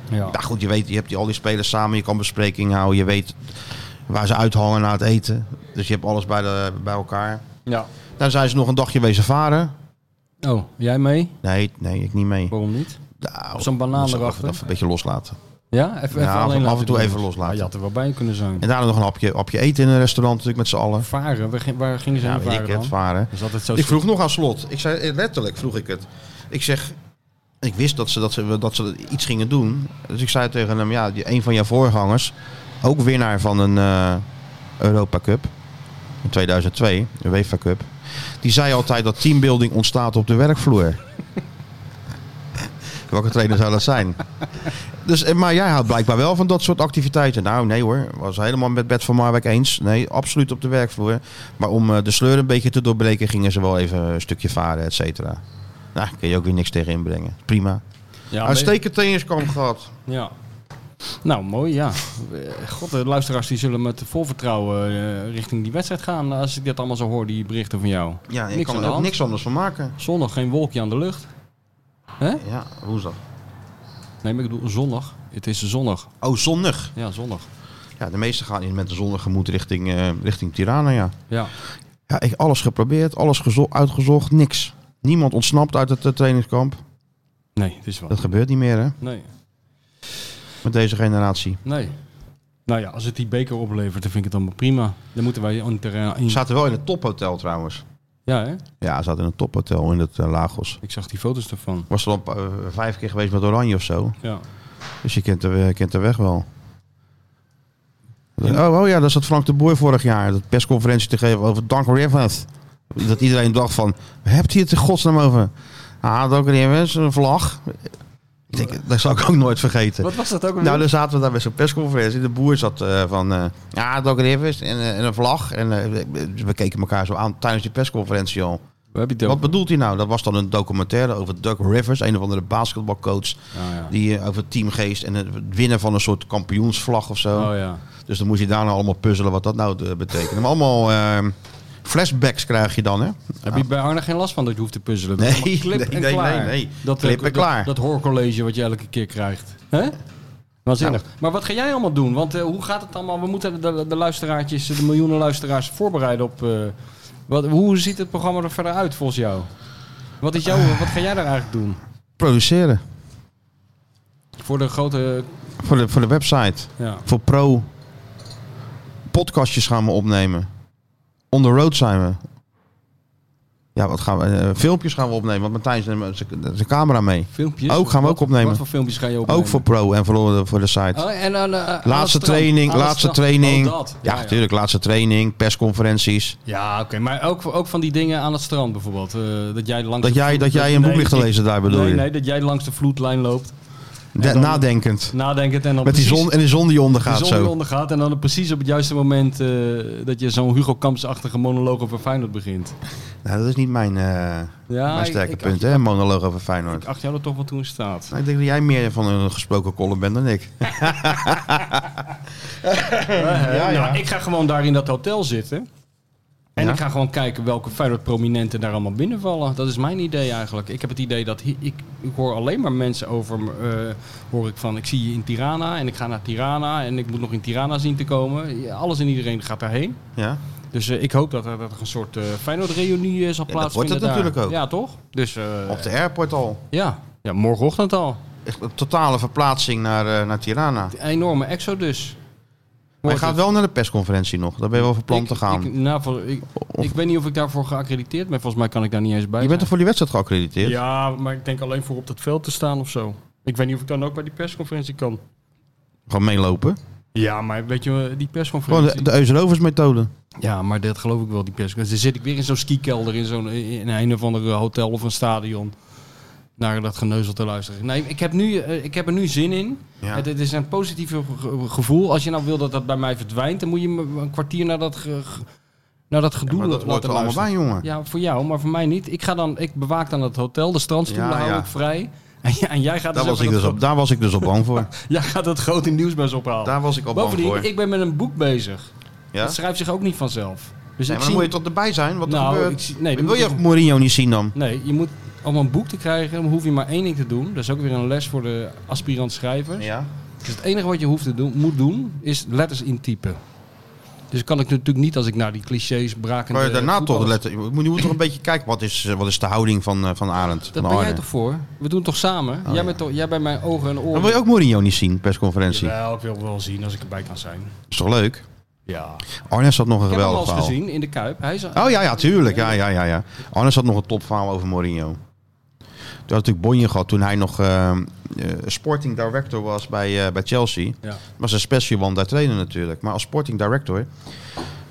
D: Ja.
B: Ja, goed, je weet, je hebt die, al die spelers samen, je kan besprekingen houden, je weet waar ze uithangen na het eten. Dus je hebt alles bij, de, bij elkaar.
D: ja.
B: Dan zijn ze nog een dagje wezen varen.
D: Oh, jij mee?
B: Nee, nee, ik niet mee.
D: Waarom niet?
B: Nou,
D: Zo'n banaan
B: dat zou ik
D: erachter?
B: Even, een beetje loslaten.
D: Ja, even, even
B: Ja,
D: alleen
B: af en toe
D: doen.
B: even loslaten.
D: Ja, je had er wel bij kunnen zijn.
B: En daarna nog een hapje, hapje eten in een restaurant natuurlijk met z'n allen.
D: Varen, waar, ging- waar gingen ze
B: Ja,
D: heen
B: weet
D: varen
B: ik het,
D: dan?
B: varen.
D: Is altijd zo
B: Ik vroeg nog aan slot. Ik zei, eh, letterlijk vroeg ik het. Ik zeg, ik wist dat ze, dat ze, dat ze iets gingen doen. Dus ik zei tegen hem, ja, die, een van jouw voorgangers, ook winnaar van een eh, Europa Cup in 2002, de UEFA Cup. Die zei altijd dat teambuilding ontstaat op de werkvloer. Welke trainer zou dat zijn? Dus, eh, maar jij houdt blijkbaar wel van dat soort activiteiten. Nou, nee hoor. Was helemaal met Bert van Marwijk eens. Nee, absoluut op de werkvloer. Maar om eh, de sleur een beetje te doorbreken, gingen ze wel even een stukje varen, et cetera. Nou, kun je ook weer niks tegen inbrengen. Prima.
D: Ja,
B: Uitstekend trainingskamp gehad.
D: Ja. Nou, mooi, ja. Eh, God, de luisteraars die zullen met vol vertrouwen eh, richting die wedstrijd gaan. Als ik dit allemaal zo hoor, die berichten van jou.
B: Ja, ik
D: Niks aan
B: kan
D: de
B: er ook
D: hand.
B: niks anders van maken.
D: Zondag geen wolkje aan de lucht.
B: Ja, woensdag.
D: Nee, maar ik bedoel zondag. Het is zondag.
B: Oh, zondag.
D: Ja, zondag.
B: Ja, de meesten gaan in met de zondag gemoed richting, eh, richting Tirana, ja.
D: Ja.
B: Ja, ik alles geprobeerd, alles gezo- uitgezocht, niks. Niemand ontsnapt uit het eh, trainingskamp.
D: Nee, het is wel.
B: Dat gebeurt niet meer, hè,
D: Nee,
B: met deze generatie.
D: nee. Nou ja, als het die beker oplevert, dan vind ik het allemaal prima. Dan moeten wij een terrein in.
B: Ze zaten wel in het tophotel, trouwens.
D: Ja, hè?
B: Ja, ze zaten in het tophotel in het eh, Lagos.
D: Ik zag die foto's ervan.
B: Was er al een paar- eh, vijf keer geweest met Oranje of zo.
D: Ja.
B: Dus je kent de, kent de weg wel. Oh, oh ja, daar zat Frank de Boer vorig jaar. Dat persconferentie te geven over Dank Rivers. Dat iedereen dacht van, waar hebt hij het in godsnaam over? Ah, Dank Rivers, een vlag. Ik denk, dat zal ik ook nooit vergeten.
D: Wat was dat ook
B: Nou, dan zaten we daar bij zo'n persconferentie. De boer zat eh, van, eh, ja, Dank Rivers en, eh, en een vlag. En eh, we keken elkaar zo aan tijdens die persconferentie al.
D: heb je het
B: Wat
D: over?
B: bedoelt hij nou? Dat was dan een documentaire over Doug Rivers, een of andere basketbalcoach.
D: Ah, ja.
B: Die eh, over teamgeest en het winnen van een soort kampioensvlag of zo.
D: Oh ja.
B: Dus dan moest je daarna allemaal puzzelen wat dat nou eh, betekent. Maar allemaal eh, flashbacks krijg je dan, hè?
D: Heb je bij Arne geen last van dat je hoeft te puzzelen? Dat
B: Nee,
D: is allemaal clip
B: nee,
D: en
B: nee,
D: klaar.
B: nee, nee.
D: Dat, eh,
B: Clip en
D: dat-
B: klaar.
D: Dat, hoorcollege wat je elke keer krijgt. Hè? Waanzinnig.
B: Nou.
D: Maar wat ga jij allemaal doen? Want eh, hoe gaat het allemaal? We moeten de, de luisteraartjes, de miljoenen luisteraars voorbereiden op... eh, wat, hoe ziet het programma er verder uit volgens jou? Wat, is jouw,
B: Ah.
D: wat ga jij daar eigenlijk doen?
B: Produceren
D: Voor de grote...
B: voor de, voor de website,
D: Ja,
B: voor pro. Podcastjes gaan we opnemen. On the road zijn we. Ja, wat gaan we? eh, filmpjes gaan we opnemen, want Martijn is neemt zijn- zijn camera mee.
D: filmpjes?
B: Ook, gaan we
D: Wat-
B: ook opnemen.
D: Wat voor filmpjes ga je opnemen?
B: Ook voor pro en voor de, voor de site.
D: Oh, en, aan, eh, aan het
B: Laatste
D: strand.
B: training,
D: Aan het
B: laatste
D: strand.
B: training.
D: Oh, dat.
B: ja, natuurlijk, laatste training, persconferenties.
D: Ja, oké. Maar ook, ook van die dingen aan het strand bijvoorbeeld. eh, dat jij langs
B: Dat
D: de
B: jij,
D: vloed-
B: dat jij een boek
D: Nee,
B: ligt te
D: ik-
B: lezen daar bedoel
D: nee,
B: je?
D: nee, dat jij langs de vloedlijn loopt.
B: De-
D: dan-
B: nadenkend.
D: Nadenkend en dan
B: Met die
D: precies
B: zon, en de zon die ondergaat
D: de zon
B: zo.
D: die ondergaat. En dan precies op het juiste moment eh, dat je zo'n Hugo Kamps-achtige monoloog over Feyenoord begint.
B: Nou, dat is niet mijn, eh,
D: Ja,
B: mijn
D: ik-
B: sterke
D: ik
B: punt, hè? Monoloog over Feyenoord.
D: Ik acht jou er toch wel toe in staat.
B: Nou, ik denk dat jij meer van een gesproken column bent dan ik.
D: ja, Nou, ik ga gewoon daar in dat hotel zitten. En
B: Ja.
D: ik ga gewoon kijken welke Feyenoord-prominenten daar allemaal binnenvallen. Dat is mijn idee eigenlijk. Ik heb het idee dat... hi- Ik, ik hoor alleen maar mensen over... me, eh, hoor ik van, ik zie je in Tirana en ik ga naar Tirana... en ik moet nog in Tirana zien te komen. Ja, alles en iedereen gaat daarheen.
B: Ja.
D: Dus eh, ik hoop dat er, dat er een soort eh Feyenoord-reunie eh, zal
B: Ja, dat
D: plaatsvinden
B: wordt het
D: daar.
B: natuurlijk ook. Oh.
D: Ja, toch? Dus eh,
B: Op de airport al.
D: ja. ja, morgenochtend al.
B: Echt een totale verplaatsing naar, eh, naar Tirana.
D: Een enorme exodus.
B: Maar je
D: Wordt
B: gaat
D: het.
B: wel naar de persconferentie nog. Daar ben je wel van plan
D: Ik-
B: te gaan.
D: Ik, nou, voor- ik, ik weet niet of ik daarvoor geaccrediteerd ben. Volgens mij kan ik daar niet eens bij
B: je bent
D: zijn.
B: toch voor die wedstrijd geaccrediteerd?
D: Ja, maar ik denk alleen voor op dat veld te staan of zo. Ik weet niet of ik dan ook bij die persconferentie kan.
B: Gewoon meelopen.
D: Ja, maar weet je, eh, die
B: Gewoon
D: persconferentie...
B: de, de Euserovers methode.
D: Ja, maar dat geloof ik wel, die persconferentie. Dan zit ik weer in zo'n skikelder in, zo'n, in een of ander eh, hotel of een stadion... naar dat geneuzel te luisteren. Nee, ik heb, nu, eh, ik heb er nu zin in.
B: Ja.
D: Het, het is een positief ge- ge- gevoel. Als je nou wil dat dat bij mij verdwijnt... dan moet je me een kwartier naar dat, ge- ge- naar dat gedoe
B: maar dat
D: laten
B: hoort er allemaal
D: luisteren.
B: bij, jongen.
D: Ja, voor jou, maar voor mij niet. Ik, ga dan, ik bewaak dan het hotel, de strandstoelen
B: Ja,
D: hou
B: ja.
D: ik vrij. En, ja, en jij gaat
B: Daar,
D: dus
B: was ik
D: even
B: dus
D: dat
B: op, daar was ik dus op bang voor.
D: gro- Jij gaat dat grote nieuwsbus ophalen.
B: Daar was ik al bang
D: Bovendien,
B: voor.
D: ik ben met een boek bezig.
B: Ja?
D: Dat schrijft zich ook niet vanzelf.
B: Nee, maar
D: Dus ik
B: dan
D: zie...
B: moet je toch erbij zijn? Wat er
D: Nou, ik
B: gebeurt.
D: zie- nee, dan
B: Wil
D: moet
B: je
D: ik-
B: Mourinho niet zien dan?
D: Nee, je moet... Om een boek te krijgen dan hoef je maar één ding te doen. Dat is ook weer een les voor de aspirant schrijvers.
B: Ja.
D: Dus het enige wat je hoeft te doen, moet doen, is letters intypen. Dus kan ik natuurlijk niet als ik naar die clichés braken.
B: Maar daarna toch de letter. Je moet, je moet toch een beetje kijken. Wat is, eh, wat is de houding van, eh, van Arend?
D: Daar
B: van
D: ben jij
B: Arne?
D: toch voor? We doen het toch samen? jij, bent toch, jij bij mijn ogen en oren.
B: Dan wil je ook Mourinho niet zien, persconferentie.
D: Jawel, ik wil wel zien als ik erbij kan zijn.
B: Is toch leuk?
D: Ja.
B: Arnes had nog een
D: Ik heb hem al
B: geweldig
D: eens
B: verhaal.
D: gezien in de Kuip. Hij is
B: Oh ja, ja, tuurlijk. Ja, ja, ja, ja. Arnes had nog een topverhaal over Mourinho. Toen had natuurlijk Bonje gehad toen hij nog eh, eh, sporting director was bij, eh, bij Chelsea.
D: Ja.
B: Was een special one daar trainen natuurlijk. Maar als sporting director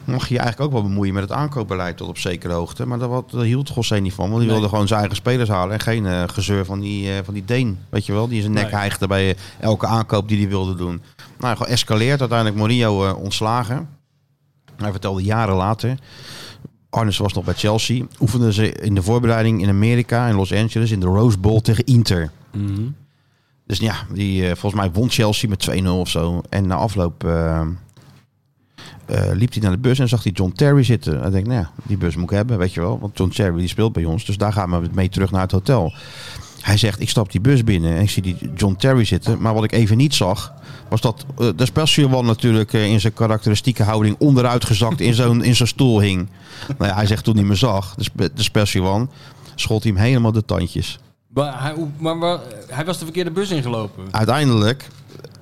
B: mag je je eigenlijk ook wel bemoeien met het aankoopbeleid tot op zekere hoogte. Maar daar, wat, daar hield Gossé niet van. Want die
D: Nee.
B: wilde gewoon zijn eigen spelers halen. En geen eh, gezeur van die, eh, van die Deen. Weet je wel, die zijn nek
D: Nee.
B: hijgde bij eh, elke aankoop die hij wilde doen. Nou, gewoon escaleert. Uiteindelijk Mourinho eh, ontslagen. Hij vertelde jaren later. Arnes was nog bij Chelsea. Oefenden ze in de voorbereiding in Amerika, in Los Angeles, in de Rose Bowl tegen Inter. Dus ja, die, eh, volgens mij won Chelsea met 2-0 of zo. En na afloop eh, eh, liep hij naar de bus en zag hij John Terry zitten. Hij denkt, nou ja, die bus moet ik hebben, weet je wel. Want John Terry die speelt bij ons, dus daar gaan we mee terug naar het hotel. Hij zegt, ik stap die bus binnen en ik zie die John Terry zitten. Maar wat ik even niet zag, was dat eh, de special one natuurlijk eh, in zijn karakteristieke houding onderuitgezakt in zo'n in zo'n stoel hing. Nou ja, hij zegt toen hij me zag, de, spe- de special one, schot hij hem helemaal de tandjes.
D: Maar, hij, maar, maar hij was de verkeerde bus ingelopen.
B: Uiteindelijk,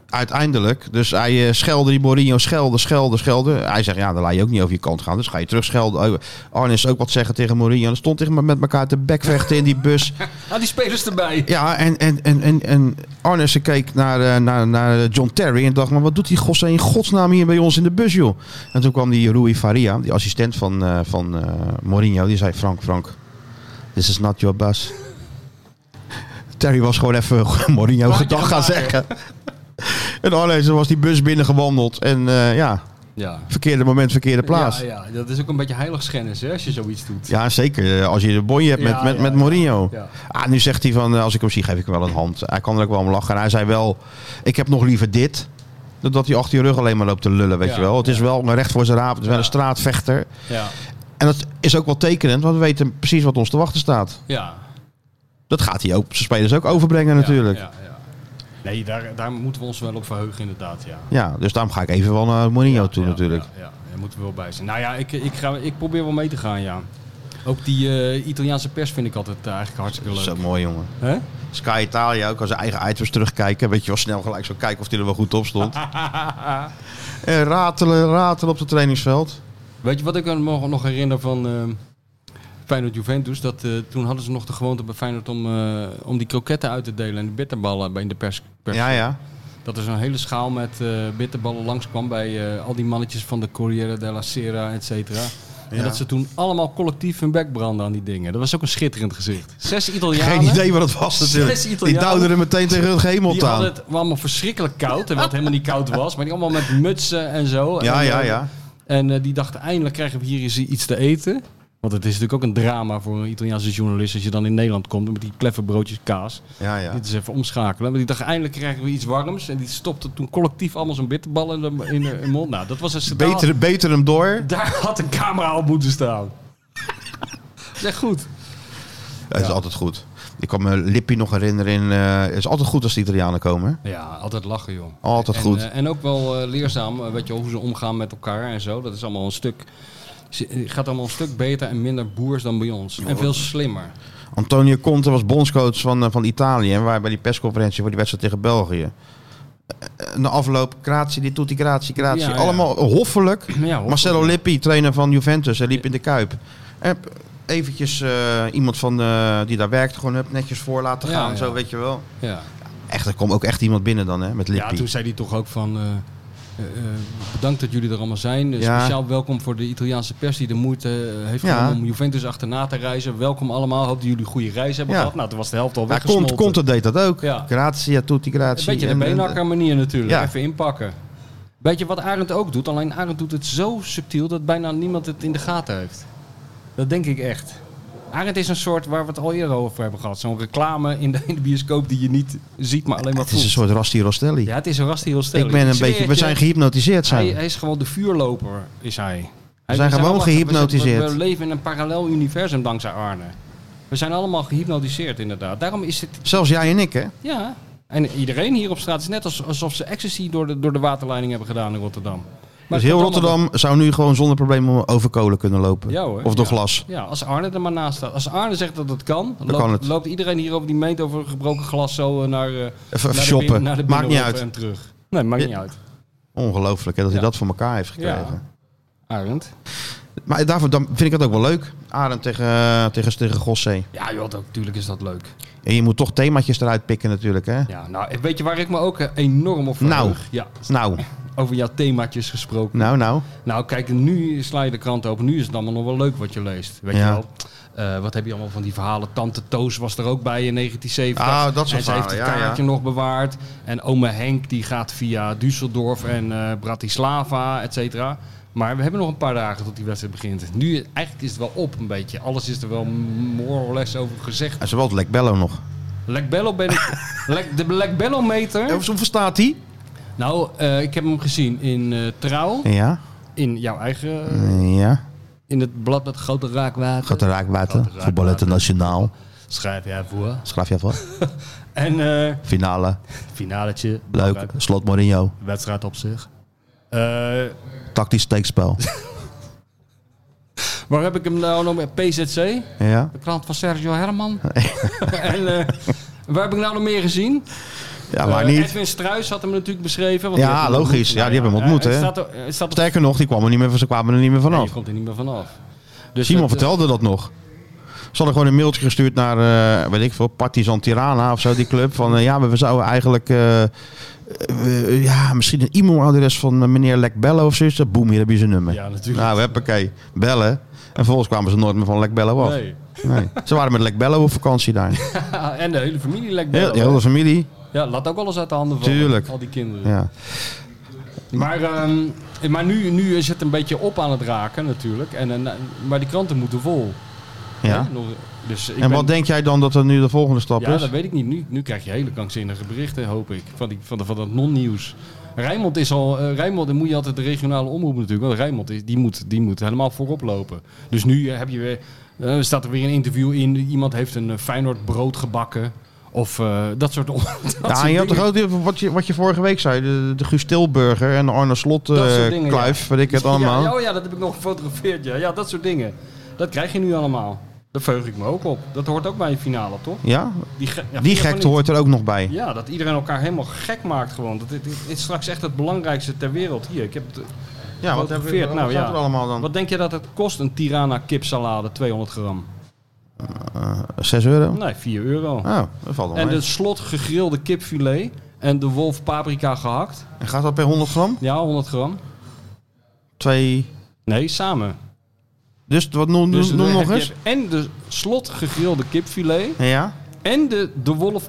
B: uiteindelijk, dus hij eh, schelde die Mourinho, schelde, schelde, schelde. Hij zegt, ja, dan laat je ook niet over je kant gaan, dus ga je terug schelden. Oh, Arnes ook wat zeggen tegen Mourinho. Dan stond tegen me met elkaar te bekvechten in die bus.
D: Ah, die spelers erbij.
B: Ja, en, en, en, en, en Arnissen keek naar, eh, naar, naar John Terry en dacht, maar wat doet die gosse in godsnaam hier bij ons in de bus, joh? En toen kwam die Rui Faria, die assistent van, eh, van eh, Mourinho, die zei, Frank, Frank, this is not your bus. Terry was gewoon even Mourinho gedag gaan zeggen. En Arnissen was die bus binnengewandeld en eh, ja,
D: Ja.
B: verkeerde moment, verkeerde plaats.
D: Ja,
B: Ja,
D: ja, dat is ook een beetje heiligschennis hè, als je zoiets doet.
B: zeker. eh, Als je de bonje hebt met,
D: Ja,
B: met,
D: ja,
B: met
D: ja.
B: Mourinho.
D: Ja.
B: Ah, nu zegt hij van, eh, als ik hem zie, geef ik hem wel een hand. Hij kan er ook wel om lachen. En hij zei wel, ik heb nog liever dit, dan dat hij achter je rug alleen maar loopt te lullen, weet
D: Ja,
B: je wel. Het is wel een recht voor zijn raap, het is wel een straatvechter.
D: Ja.
B: En dat is ook wel tekenend, want we weten precies wat ons te wachten staat.
D: ja.
B: Dat gaat hij ook, zijn spelers ook overbrengen natuurlijk. Ja,
D: Ja, ja, ja. Nee, daar, daar moeten we ons wel op verheugen inderdaad, ja.
B: dus daarom ga ik even wel naar Mourinho toe
D: ja,
B: natuurlijk.
D: Ja, ja, daar moeten we wel bij zijn. Nou ja, ik, ik, ga, ik probeer wel mee te gaan, ja. Ook die eh, Italiaanse pers vind ik altijd eh, eigenlijk hartstikke
B: Dat is
D: leuk.
B: zo mooi, jongen.
D: Hè?
B: Sky Italia ook als zijn eigen items terugkijken. Weet je wel, snel gelijk zo kijken of hij er wel goed op stond. en ratelen, ratelen op het trainingsveld.
D: Weet je wat ik me nog herinner van eh, Feyenoord Juventus? Dat, eh, toen hadden ze nog de gewoonte bij Feyenoord om, eh, om die kroketten uit te delen en de bitterballen bij in de pers. pers.
B: Ja, ja.
D: Dat er zo'n hele schaal met eh bitterballen langskwam bij eh, al die mannetjes van de Corriere della Sera, et cetera. En dat ze toen allemaal collectief hun bek branden aan die dingen. Dat was ook een schitterend gezicht. Zes Italianen.
B: Geen idee wat het was natuurlijk.
D: Zes
B: Die
D: Italianen.
B: duwden er meteen tegen hun hemel
D: Die
B: aan.
D: hadden het allemaal verschrikkelijk koud. Terwijl het helemaal niet koud was. Maar die allemaal met mutsen en zo.
B: Ja,
D: en,
B: ja,
D: eh,
B: ja.
D: En eh, die dachten, eindelijk krijgen we hier eens iets te eten. Want het is natuurlijk ook een drama voor een Italiaanse journalist... als je dan in Nederland komt met die kleffe broodjes kaas.
B: ja, ja.
D: Dit is even omschakelen. Maar die dachten, eindelijk krijgen we iets warms. En die stopte toen collectief allemaal zo'n bitterbal in de, in de- in de mond. Nou, dat was een schandaal.
B: Beter, beter hem door.
D: Daar had een camera op moeten staan. Zeg goed.
B: Dat is altijd goed. Ik kan me Lippi nog herinneren. in, eh, het is altijd goed als de Italianen komen. hè?
D: Ja, altijd lachen, joh.
B: Altijd
D: en,
B: goed.
D: eh, en ook wel eh, leerzaam, eh, weet je wel, hoe ze omgaan met elkaar en zo. Dat is allemaal een stuk... ze- eh, Gaat allemaal een stuk beter en minder boers dan bij ons. En veel slimmer.
B: Antonio Conte was bondscoach van, eh, van Italië. En wij bij die persconferentie voor die wedstrijd tegen België. Eh, eh, Na afloop, Kratie, dit doet die Kratie, Kratie.
D: Ja, ja.
B: Allemaal hoffelijk.
D: hoffelijk.
B: Marcelo Lippi, trainer van Juventus. Hij liep in de Kuip. En eventjes eh, iemand van, eh, die daar werkt gewoon hup, netjes voor laten
D: Ja,
B: gaan.
D: ja.
B: Zo, weet je wel.
D: Ja.
B: Echt, er kwam ook echt iemand binnen dan, hè, met
D: Ja,
B: Lippi.
D: toen zei hij toch ook van... eh, eh, eh, bedankt dat jullie er allemaal zijn. Eh,
B: Ja.
D: Speciaal welkom voor de Italiaanse pers die de moeite eh, heeft
B: Ja.
D: gedaan om Juventus achterna te reizen. Welkom allemaal. Hoop dat jullie een goede reis hebben
B: Ja.
D: gehad. Nou, toen was de helft al
B: ja,
D: weggesmolten.
B: Conte, Conte deed dat ook.
D: Ja.
B: Grazie, ja, tutti,
D: Een
B: grazie.
D: beetje de
B: En- eh, en-
D: beenhakker manier natuurlijk.
B: Ja.
D: Even inpakken. Beetje wat Arend ook doet. Alleen Arend doet het zo subtiel dat bijna niemand het in de gaten heeft. Dat denk ik echt. Arend is een soort waar we het al eerder over hebben gehad. Zo'n reclame in de, in de bioscoop die je niet ziet, maar alleen maar
B: Het is
D: voelt.
B: een soort Rasti Rostelli.
D: Ja, het is een rast heel stil.
B: ik ben een beetje...
D: eh,
B: We zijn gehypnotiseerd zijn.
D: hij,
B: we.
D: hij is gewoon de vuurloper, is hij. Hij- we
B: gewoon
D: allemaal-
B: gehypnotiseerd.
D: We, we leven in een parallel universum dankzij Arne. We zijn allemaal gehypnotiseerd inderdaad. Daarom is het
B: Zelfs jij en ik, hè?
D: ja, en iedereen hier op straat is net als, alsof ze ecstasy door de, door de waterleiding hebben gedaan in Rotterdam. Maar
B: dus heel
D: het komt allemaal-
B: Rotterdam zou nu gewoon zonder probleem over kolen kunnen lopen.
D: Ja, hoor.
B: Of door
D: Ja.
B: glas.
D: Ja, als Arne er maar naast staat. Als Arne zegt dat dat kan, loopt,
B: kan het.
D: loopt iedereen hier over die meent over gebroken glas zo eh, naar, eh, naar, de
B: shoppen.
D: bin- naar de
B: Maakt niet
D: binnenhof
B: uit.
D: en terug. Nee, maakt
B: Ja.
D: niet uit.
B: Ongelooflijk, hè, dat hij
D: Ja.
B: dat voor elkaar heeft gekregen.
D: Arend.
B: Maar daarvoor dan vind ik het ook wel leuk. Adem tegen, eh, tegen, tegen Gossé.
D: Ja, joh, dat- natuurlijk is dat leuk.
B: En je moet toch themaatjes eruit pikken natuurlijk, hè?
D: Ja, nou, weet je waar ik me ook eh, enorm op verheug?
B: Nou.
D: Ja,
B: Nou,
D: over jouw themaatjes gesproken.
B: nou, nou.
D: Nou, kijk, nu sla je de krant open. Nu is het allemaal nog wel leuk wat je leest. Weet
B: Ja.
D: je wel? Eh, wat heb je allemaal van die verhalen? Tante Toos was er ook bij in 1970.
B: Ah, dat soort
D: en ze heeft het
B: verhalen, ja, ja.
D: kaartje nog bewaard. En ome Henk die gaat via Düsseldorf en eh, Bratislava, et cetera. Maar we hebben nog een paar dagen tot die wedstrijd begint. Nu, eigenlijk is het wel op een beetje. Alles is er wel more or less over gezegd.
B: En ze wel het Lekbello nog.
D: Lekbello ben ik... Lek- de Lekbello-meter...
B: Hoe verstaat hij?
D: Nou, eh, ik heb hem gezien in eh, Trouw.
B: Ja,
D: In jouw eigen... eh,
B: ja.
D: In het blad met grote raakwater.
B: Gaat de raakwater.
D: raakwater.
B: Voetbal internationaal.
D: Schrijf jij voor.
B: Schrijf je voor.
D: En eh
B: Finale.
D: finaletje.
B: Leuk. Slot Mourinho.
D: Wedstrijd op zich. Eh,
B: Tactisch steekspel.
D: waar heb ik hem nou nog mee? PZC.
B: Ja.
D: De krant van Sergio Herman. en eh, waar heb ik nou nog meer gezien?
B: ja, maar
D: Eh,
B: niet.
D: Edwin Struis had hem natuurlijk beschreven. want
B: Ja,
D: die heeft hem
B: logisch.
D: ontmoet.
B: Ja, die hebben hem ontmoet,
D: eh,
B: hè.
D: Het staat, er- het staat op...
B: Sterker nog, die kwamen er niet meer, ze kwamen er niet meer
D: Nee, je
B: vanaf.
D: komt er niet meer vanaf. Dus
B: Simon
D: het, eh,
B: vertelde dat nog. Ze hadden gewoon een mailtje gestuurd naar, eh, weet ik veel, Partizan Tirana of zo, die club. Van eh, ja, we we zouden eigenlijk, eh, eh, eh, ja, misschien een e-mailadres van eh, meneer Lekbello of zoiets. Boem, hier heb je zijn nummer.
D: Ja, natuurlijk.
B: Nou, huppakee, bellen. En vervolgens kwamen ze nooit meer van Lekbello af. Nee.
D: Nee.
B: Ze waren met Lekbello op vakantie daar.
D: en de hele familie lijkt
B: Heel,
D: wel.
B: heel de familie.
D: Ja, laat ook alles uit de handen vallen.
B: Tuurlijk.
D: Al die kinderen.
B: Ja.
D: Maar, ehm, maar nu, nu is het een beetje op aan het raken natuurlijk. En, en, maar die kranten moeten vol.
B: Ja.
D: Hè? Nog- dus ik
B: En
D: ben-
B: wat denk jij dan dat er nu de volgende stap
D: Ja,
B: is?
D: dat weet ik niet. Nu, nu krijg je hele krankzinnige berichten, hoop ik. Van, die, van, de- van dat non-nieuws. Rijnmond is al... eh, Rijnmond, dan moet je altijd de regionale omroep natuurlijk. Want Rijnmond, is, die, moet, die moet helemaal voorop lopen. Dus nu eh, heb je weer, eh, staat er weer een interview in. Iemand heeft een eh, Feyenoord brood gebakken. Of eh, dat soort... on- dat soort
B: Ja, en je had
D: dingen.
B: toch ook die- wat je, wat je vorige week zei, de, de Guus Tilburger en de Arne Slot eh
D: Dat soort dingen,
B: kluif, weet ik het allemaal.
D: Ja, ja, oh ja, dat heb ik nog gefotografeerd. Ja. ja, dat soort dingen. Dat krijg je nu allemaal. Daar veug ik me ook op. Dat hoort ook bij een finale, toch?
B: Ja?
D: Die, ge- ja, vind je
B: Die
D: van
B: gekte
D: niet?
B: hoort er ook nog bij.
D: Ja, dat iedereen elkaar helemaal gek maakt gewoon. Dat, dit, dit is straks echt het belangrijkste ter wereld. Hier, ik heb het eh,
B: Ja, wat hebben we
D: gefotografeerd.
B: wat
D: nou,
B: staat
D: ja.
B: er allemaal dan?
D: Wat denk je dat het kost, een Tirana kipsalade, 200 gram?
B: 6 euro?
D: Nee, 4 euro.
B: Oh, dat valt wel
D: en dus-
B: mee.
D: de slot gegrilde kipfilet en de wolf paprika gehakt.
B: En gaat dat per 100 gram?
D: Ja, 100 gram.
B: Twee...
D: Nee, samen.
B: Dus wat noem,
D: Dus
B: noem
D: dan
B: nog
D: heb
B: eens.
D: je En de slot gegrilde kipfilet.
B: Ja?
D: En de, de wolf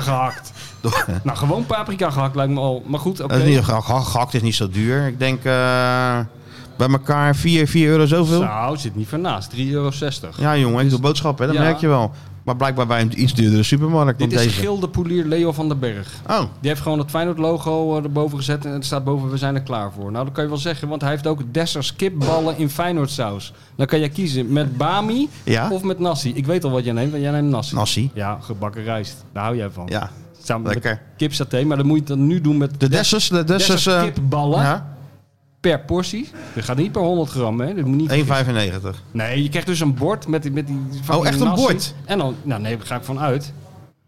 D: gehakt. nou, gewoon paprika gehakt lijkt me al. Maar goed, oké.
B: Dat is niet, ge- ge- gehakt is niet zo duur. Ik denk eh, bij elkaar 4, 4 euro zoveel.
D: Nou, zit niet van naast. 3,60 euro.
B: Ja jongen, ik doe boodschappen, hè, dat
D: Ja.
B: merk je wel. Maar blijkbaar bij een iets duurdere supermarkt dan
D: Dit is
B: deze.
D: Gildepoelier Leo van den Berg.
B: Oh,
D: Die heeft gewoon het Feyenoord logo eh, erboven gezet en er staat boven we zijn er klaar voor. Nou, dat kan je wel zeggen, want hij heeft ook Dessers kipballen in Feyenoord saus. Dan kan je kiezen met bami
B: Ja.
D: of met nasi. Ik weet al wat jij neemt, want jij neemt nasi.
B: nasi.
D: Ja, gebakken rijst. Daar hou jij van.
B: Ja.
D: Samen
B: lekker.
D: met kipsaté, maar dan moet je dat nu doen met
B: De Dessers, de Dessers.
D: Dessers
B: eh,
D: kipballen
B: ja,
D: per portie. Dit gaat niet per 100 gram, hè. Dit moet niet
B: 1,95.
D: Nee, je krijgt dus een bord met die, met die fucking
B: Oh, echt een
D: nasi.
B: bord?
D: En dan, nou nee, daar ga ik van uit.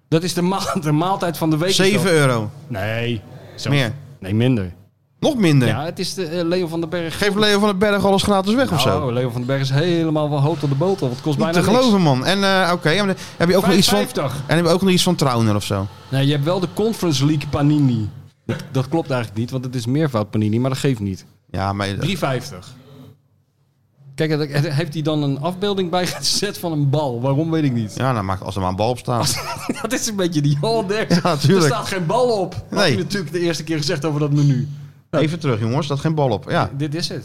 D: Dat is de, maal- de maaltijd van de week. is dat.
B: 7 euro.
D: Nee. Zo.
B: Meer.
D: Nee, minder.
B: Nog minder.
D: Ja, het is de eh, Leo van den Berg.
B: Geef Leo van den Berg alles gratis weg of
D: Nou,
B: zo.
D: Leo van den Berg is helemaal van hout tot de botel. Want het kost
B: Niet
D: bijna
B: te geloven, man. En eh, oké, en dan heb je ook nog iets van.
D: 50.
B: En heb je ook nog iets van Trouwner of zo?
D: niks. Nee, je hebt wel de Conference League panini. Dat, dat klopt eigenlijk niet, want het is meervoud panini, maar dat geeft niet.
B: Ja, maar
D: 3,50. Kijk, het- het- heeft hij dan een afbeelding bij gezet van een bal? Waarom weet ik niet.
B: ja, nou, maakt als er maar een bal op staat.
D: Dat is een beetje die Hollander.
B: Ja, natuurlijk.
D: Er staat geen bal op. Dat
B: Nee.
D: had je natuurlijk de eerste keer gezegd over dat menu.
B: Even terug, jongens, dat geen bal op. Ja.
D: Dit is het.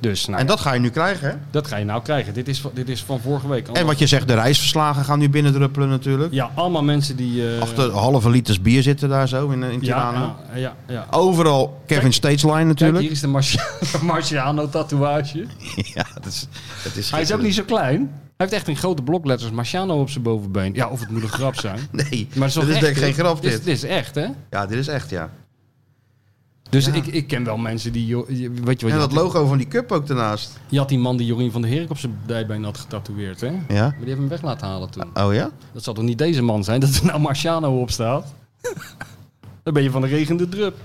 D: Dus, nou,
B: En
D: dat,
B: dat ga je nu krijgen, hè?
D: dat ga je nou krijgen. Dit is, van- dit is van vorige week.
B: En wat je zegt, de reisverslagen gaan nu binnendruppelen natuurlijk.
D: Ja, allemaal mensen die... eh,
B: Achter halve liters bier zitten daar zo in, in
D: ja,
B: Tirana.
D: ja, ja, ja.
B: Overal Kevin Stageline
D: Kijk,
B: natuurlijk.
D: hier is de Marcia- Marciano-tatoeage.
B: ja, dat is, dat is
D: Hij is ook niet zo klein. Hij heeft echt in grote blokletters Marciano op zijn bovenbeen. Ja, of het moet een grap zijn. Maar
B: Nee,
D: het
B: dat
D: toch
B: is
D: echt,
B: denk ik
D: hè?
B: geen grap
D: Dit
B: dit.
D: is, dit is echt, hè?
B: Ja, dit is echt, ja.
D: Dus ik, ik ken wel mensen die... joh, je- Weet je wat?
B: En
D: je,
B: dat
D: had,
B: logo van die cup ook daarnaast.
D: je had die man die Jorien van der Herik op zijn dijbeen had getatoeëerd, hè? Maar
B: Ja.
D: die heeft hem weg laten halen toen.
B: Oh ja?
D: Dat zal toch niet deze man zijn, dat er nou Marciano op staat? Dan ben je van de regende drup.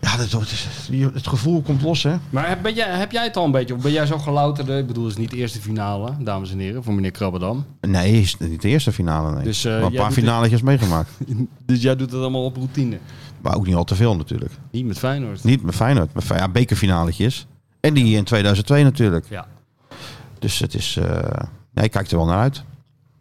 B: Ja, dat, dat is- je- het gevoel komt los, hè?
D: Maar heb, ben jij, heb jij het al een beetje? Of ben jij zo gelouterde? Ik bedoel, het is niet de eerste finale, dames en heren, voor meneer Krabbedam.
B: Nee, is niet de eerste finale, nee.
D: Dus, eh,
B: maar een
D: jij
B: paar
D: doet-
B: finaletjes meegemaakt.
D: Dus jij doet het allemaal op routine.
B: Maar ook niet al te veel natuurlijk.
D: Niet met Feyenoord.
B: Niet met Feyenoord, maar ja, bekerfinaletjes. En die in 2002 natuurlijk.
D: Ja.
B: Dus het is... eh nee, ik kijk er wel naar uit.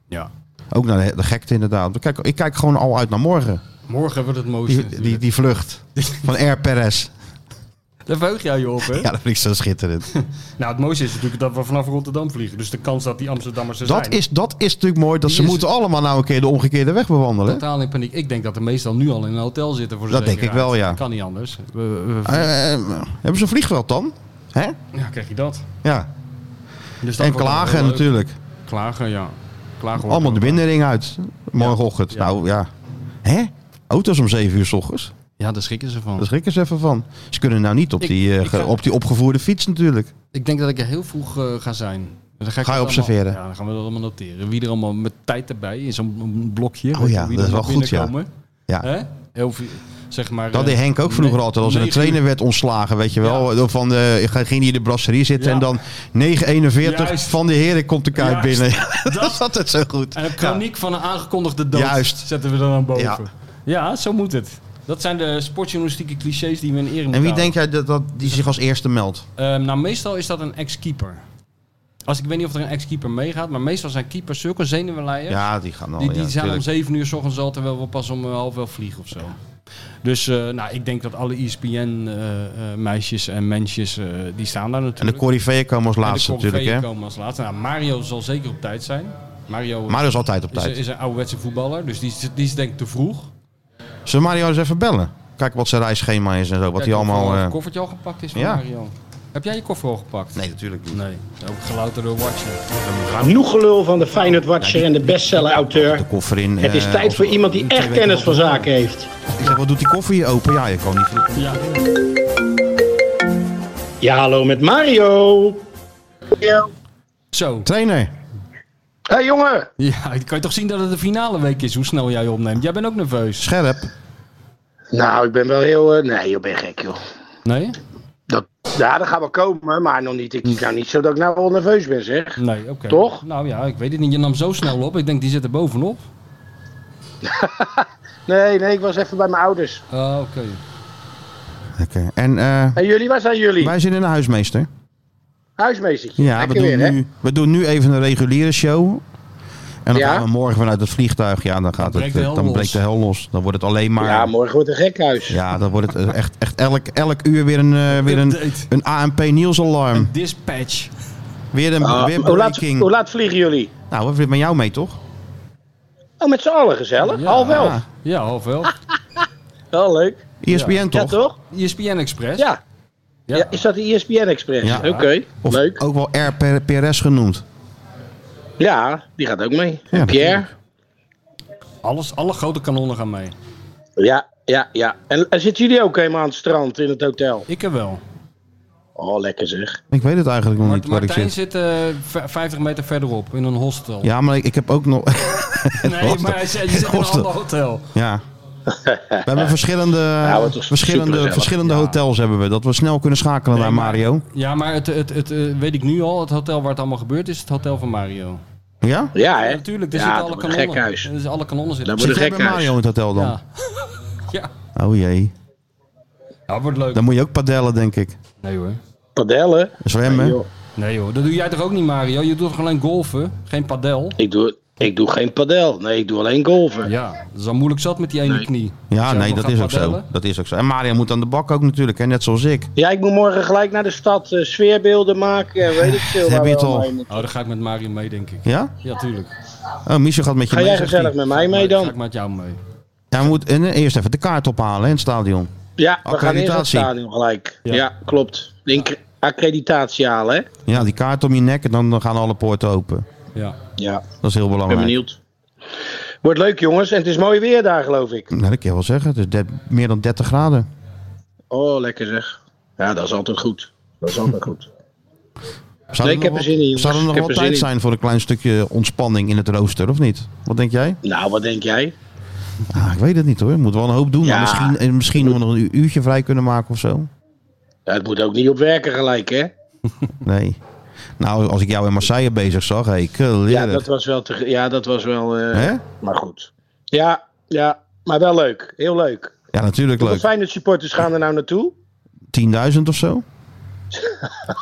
D: ja.
B: Ook naar de, de gekte inderdaad. Kijk, ik kijk gewoon al uit naar morgen.
D: Morgen wordt het mooiste.
B: Die, die, die vlucht van Air Perez.
D: Daar verheug jij je op, hè?
B: Ja, dat vind ik zo schitterend.
D: Nou, het mooiste is natuurlijk dat we vanaf Rotterdam vliegen. Dus de kans dat die Amsterdammers er
B: Dat
D: zijn.
B: is, dat is natuurlijk mooi. Dat
D: Die
B: ze
D: is-
B: moeten allemaal nou een keer de omgekeerde weg bewandelen. hè?
D: Totaal in paniek. Ik denk dat de meestal nu al in een hotel zitten. Voor de
B: Dat denk ik
D: zekerheid.
B: wel, ja.
D: Dat kan niet anders. We- we- we-
B: Eh, eh, hebben ze een vliegveld dan? Hè?
D: ja, krijg je dat.
B: Ja.
D: Dus dat
B: Ah. En
D: wordt wel
B: klagen
D: leuk.
B: natuurlijk.
D: Klagen, ja. Klagen wordt
B: Allemaal de
D: wel-
B: binnenring uit. Morgenochtend.
D: Ja.
B: Nou ja. Hè? Auto's om 7 uur s ochtends.
D: Ja, daar schrikken ze van.
B: Daar schrikken ze even van. Ze kunnen nou niet op,
D: Ik-
B: die, eh,
D: ik ga-
B: ge- op die opgevoerde fiets natuurlijk.
D: Ik denk dat ik er heel vroeg eh, ga zijn. En Dan
B: Ga je
D: dat allemaal-
B: observeren?
D: ja, dan gaan we dat allemaal noteren. Wie er allemaal met tijd erbij in zo'n blokje.
B: Oh
D: Weet je,
B: ja,
D: wie
B: dat
D: er
B: is wel
D: nog
B: goed, ja.
D: binnenkomen.
B: Ja.
D: Hè? Heel veel, zeg maar,
B: Dat
D: eh,
B: deed Henk ook vroeger
D: ne-
B: altijd. Als er een
D: negen
B: trainer werd ontslagen, weet je wel. Van de, ging hij in de brasserie zitten
D: Ja.
B: en dan 9.41
D: Juist.
B: van de heren komt de kuit
D: Juist.
B: binnen. dat
D: Dat-
B: is altijd zo goed.
D: En een chroniek van een aangekondigde dood
B: Juist.
D: zetten we dan aan boven.
B: Ja.
D: Ja. zo moet het. Dat zijn de sportjournalistieke clichés die we in ere moeten
B: En wie
D: houden.
B: denk jij dat, dat die zich als eerste meldt?
D: Ehm, nou, meestal is dat een ex-keeper. Als ik weet niet of er een ex-keeper meegaat, maar meestal zijn keepers zulke zenuwleiers.
B: Ja, die gaan al.
D: Die, die
B: ja,
D: zijn
B: tuurlijk.
D: om 7 uur s ochtends al, terwijl we pas om eh, half elf vliegen of zo. Dus eh, nou, ik denk dat alle ESPN-meisjes eh, en mensjes, eh, die staan daar
B: En de
D: natuurlijk.
B: Corriveeën komen als laatste
D: En de
B: natuurlijk.
D: corriveeën
B: Hè?
D: komen als laatste. Nou, Mario zal zeker op tijd zijn. Mario is-
B: Mario is altijd op
D: is,
B: tijd.
D: is een ouderwetse voetballer, dus die, is- die is denk ik te vroeg.
B: Zullen we Mario eens even bellen? Kijk wat zijn reisschema is en zo. Wat
D: Kijk
B: hij
D: of
B: allemaal...
D: al
B: eh,
D: Het koffertje al gepakt is van
B: ja.
D: Mario. Heb jij je koffer al gepakt?
B: Nee, natuurlijk niet.
D: Nee, ook gelouterde watcher.
F: Genoeg gelul van de Feyenoord Watcher en de bestseller-auteur.
B: De koffer in.
F: Het is
B: eh,
F: tijd
B: of-
F: voor iemand die echt kennis van zaken heeft.
B: Ik zeg, wat doet die koffer hier open? Ja, je kan niet vroeg.
D: Ja.
F: Ja, hallo met Mario.
D: Zo.
B: Trainer.
C: Hé hey, jongen!
D: Ja, dan kan je toch zien dat het de finale week is, hoe snel jij je opneemt. Jij bent ook nerveus.
B: Scherp.
C: Nou, ik ben wel heel... eh, nee, joh, ben je gek, joh.
D: Nee?
C: Dat, ja, dat gaat wel komen, maar nog niet. Ik is nou niet zo dat ik nou wel nerveus ben, zeg.
D: Nee, oké.
C: Toch?
D: Nou ja, ik weet het niet. Je nam zo snel op. Ik denk, die zit er bovenop.
C: Nee, nee, ik was even bij mijn ouders.
D: Ah, oké.
B: Lekker. En eh,
C: En jullie, waar zijn jullie?
B: wij zitten in de huismeester.
F: Huismeestertje.
B: Ja, we
F: Lekker
B: doen,
F: weer, hè?
B: nu, we doen nu even een reguliere show. En dan
F: Ja.
B: gaan we morgen vanuit het vliegtuig. Ja, dan, gaat
D: breekt
B: het, eh,
D: de hel
B: dan
D: los.
B: breekt de hel los. Dan wordt het alleen maar...
F: Ja, morgen wordt een gekhuis.
B: Ja, dan wordt het eh, echt, echt elk, elk uur weer een, eh, weer een,
D: Update.
B: een ANP Niels alarm.
D: Dispatch.
B: Weer een
F: Ah,
B: weer
F: hoe, laat,
B: breaking.
F: hoe laat vliegen jullie?
B: Nou, we met jou mee toch?
F: Oh, met z'n allen gezellig.
D: Ja.
F: Half elf.
D: Ja, half wel.
F: Ah. Wel leuk.
B: ESPN
F: Ja,
B: toch?
F: toch?
D: ESPN Express.
F: Ja. ja. Is dat de
C: E
F: ESPN Express?
B: Ja.
F: Oké,
B: Of
F: leuk.
B: ook wel RPRS genoemd.
F: Ja, die gaat ook mee.
B: Ja,
F: Pierre?
D: Alles, alle grote kanonnen gaan mee.
F: Ja, ja, ja. En, en zitten jullie ook helemaal aan het strand in het hotel?
D: Ik er wel.
F: Oh, lekker zeg.
B: Ik weet het eigenlijk nog
D: Maar
B: niet waar ik
D: Martijn
B: zit.
D: zit eh, v- 50 meter verderop in een hostel.
B: Ja, maar ik, ik heb ook nog...
D: nee, maar hij zit, je zit in een
B: Hostel.
D: ander hotel.
B: Ja. We hebben verschillende,
F: wat
B: verschillende,
F: is supergezellig.
B: verschillende hotels hebben we. Dat we snel kunnen schakelen naar
D: maar-
B: Mario.
D: Ja, maar het, het, het eh, weet ik nu al, het hotel waar het allemaal gebeurt is het hotel van Mario.
B: Ja?
F: Ja, hè?
D: Ja, natuurlijk, er
F: Ja,
D: zitten alle
F: dat wordt een
D: kanonnen.
F: gekhuis.
D: Er zitten alle kanonnen zitten.
F: Dat wordt
B: Zit jij
F: een
B: bij
F: gekhuis.
B: Mario in het hotel dan?
D: Ja. ja.
B: Oh jee.
D: Ja, het wordt leuk.
B: Dan moet je ook padellen, denk ik.
D: Nee hoor.
F: Padellen?
B: Zwemmen.
F: Joh,
D: Nee hoor, dat doe jij toch ook niet Mario? Je doet toch alleen golfen? Geen padel?
F: ik, doe, ik doe geen padel. Nee, ik doe alleen golven.
D: Ja, dat is al moeilijk zat met die ene knie.
B: ja,
D: Als jij
B: nee,
D: nog
B: dat
D: gaat
B: is ook zo.
D: padellen.
B: Dat is ook zo. En Mario moet aan de bak ook natuurlijk, hè? net zoals ik.
F: Ja, ik moet morgen gelijk naar de stad eh, sfeerbeelden maken. en Weet ik veel.
B: Dat heb
F: waar
B: je
F: we
B: toch.
F: allemaal in-
D: Oh, dan ga ik met Mario mee, denk ik.
B: Ja?
D: Ja, tuurlijk.
B: Oh, Michel gaat met je
F: Ga
B: mee.
F: jij
B: zegt
F: gezellig
B: hij.
F: met mij mee
D: Ga ik
F: dan?
D: met jou mee.
B: Ja, we moeten en, eh, eerst even de kaart ophalen hè, in het stadion.
F: Ja, we gaan eerst naar het
B: Accreditatie.
F: stadion gelijk.
D: Ja.
F: Ja, klopt. De inc- accreditatie halen, hè?
B: Ja, die kaart om je nek en dan dan gaan alle poorten open.
D: Ja.
F: Ja,
B: Dat is heel
F: ik ben
B: belangrijk.
F: benieuwd. Wordt leuk, jongens. En het is mooi weer daar, geloof ik.
B: Nou, dat kan je wel zeggen. Het is de- meer dan 30 graden.
F: Oh, lekker zeg. Ja, dat is altijd goed. Dat is altijd goed.
B: Zou
F: Nee, ik heb er
B: nog wel-
F: zin in, jongens.
B: Zou er
F: Ik
B: nog
F: heb
B: wel
F: er zin
B: tijd
F: in.
B: zijn voor een klein stukje ontspanning in het rooster, of niet? Wat denk jij?
F: Nou, wat denk jij?
B: Ah, ik weet het niet hoor. Moet wel een hoop doen.
F: Ja.
B: Maar misschien, eh, misschien nog een u- uurtje vrij kunnen maken of zo.
F: Ja, het moet ook niet op werken gelijk, hè?
B: Nee. Nou, als ik jou in Marseille bezig zag, hé, hey, kul,
F: Ja, dat was wel... Te, ja, dat was wel eh,
B: Hè?
F: maar goed. Ja, ja, maar wel leuk. Heel leuk.
B: Ja, natuurlijk
F: Hoeveel
B: leuk.
F: Feyenoord supporters gaan er nou naartoe?
B: 10.000 of zo?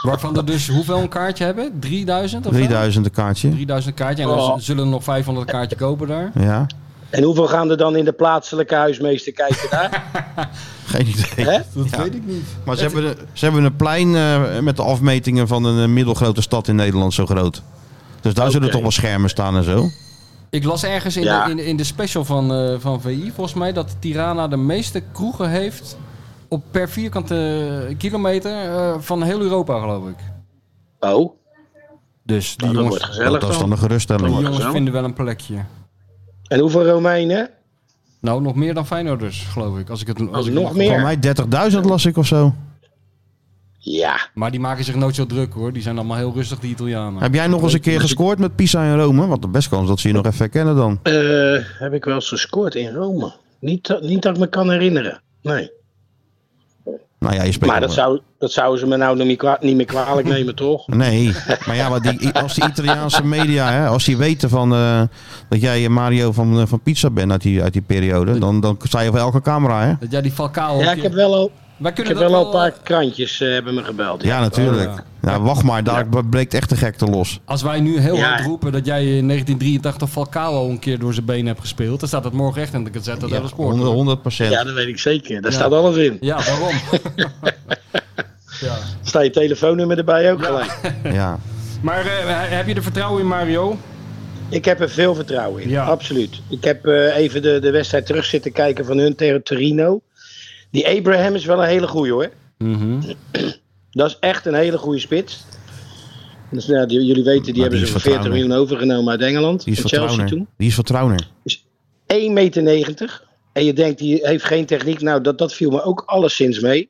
D: Waarvan er dus hoeveel een kaartje hebben? 3000 of zo?
B: 3000 een kaartje.
D: 3000 kaartje. En dan
F: Oh.
D: z- zullen er nog 500 kaartje kopen daar.
B: Ja,
F: En hoeveel gaan er dan in de plaatselijke huismeester kijken daar?
B: geen idee.
F: Hè?
D: Dat
B: Ja. weet
D: ik niet.
B: Maar ze hebben, een- ze hebben een plein eh, met de afmetingen van een eh, middelgrote stad in Nederland zo groot. Dus daar zullen
F: Oké.
B: toch wel schermen staan en zo.
D: Ik las ergens in,
F: Ja.
D: de, in, in de special van, eh, van VI volgens mij dat Tirana de meeste kroegen heeft op per vierkante kilometer eh, van heel Europa, geloof ik.
F: Oh,
D: Dus die
F: dat
D: jongens,
F: wordt gezellig
B: dat is dan
F: dan.
B: een geruststelling.
D: die
F: wordt
D: jongens
F: gezellig.
D: vinden wel een plekje.
F: En hoeveel Romeinen?
D: Nou, nog meer dan Feyenoorders, geloof ik. Als ik het, als ik het
F: nog
D: mag-
F: meer?
B: Voor mij 30.000 las ik of zo.
F: Ja.
D: Maar die maken zich nooit zo druk hoor. Die zijn allemaal heel rustig, die Italianen.
B: Heb jij nog eens een keer gescoord met Pisa en Rome? Want de best kans dat ze je nog even herkennen dan.
F: Eh, heb ik wel eens gescoord in Rome? Niet, dat- niet dat ik me kan herinneren. Nee.
B: Nou ja, je spreekt
F: Maar dat,
B: nog
F: zou, dat zouden ze me nou nog niet, kwa- niet meer kwalijk nemen, toch?
B: Nee, maar ja, maar die, als die Italiaanse media, hè, als die weten van, eh, dat jij Mario van, eh, van Pizza bent uit die, uit die periode, dan, dan sta je voor elke camera, hè?
D: Dat jij die Falcao...
F: Ja, ik heb wel al,
D: Wij
F: ik
D: kunnen
F: heb
D: dat
F: wel al een
D: wel,
F: paar krantjes eh, hebben me gebeld.
B: Ja, natuurlijk. Ja, wacht maar, daar breekt echt de gekte los.
D: Als wij nu heel
F: Ja.
D: hard roepen dat jij in 1983 Falcao al een keer door zijn benen hebt gespeeld, dan staat het morgen echt in de gazette dat
B: Ja,
D: hele sport.
B: 100, 100 procent.
F: Ja, dat weet ik zeker. Daar staat alles in.
D: Ja, waarom? ja.
F: Staat je telefoonnummer erbij ook gelijk.
B: Ja.
D: Maar eh, heb je er vertrouwen in, Mario?
F: Ik heb er veel vertrouwen in,
D: Ja.
F: absoluut. Ik heb eh, even de, de wedstrijd terug zitten kijken van hun tegen Torino. Die Abraham is wel een hele goeie hoor. Mhm. Dat is echt een hele goede spits. Dus, nou, die- jullie weten, die
B: die
F: hebben
B: is
F: ze voor 40
B: vertrouwen.
F: miljoen overgenomen uit Engeland.
B: Die is
F: van
B: van
F: Chelsea
B: Trauner.
F: toen.
B: Die is van Trauner.
F: 1,90 meter. En je denkt, die heeft geen techniek. Nou, dat, dat viel me ook alleszins mee.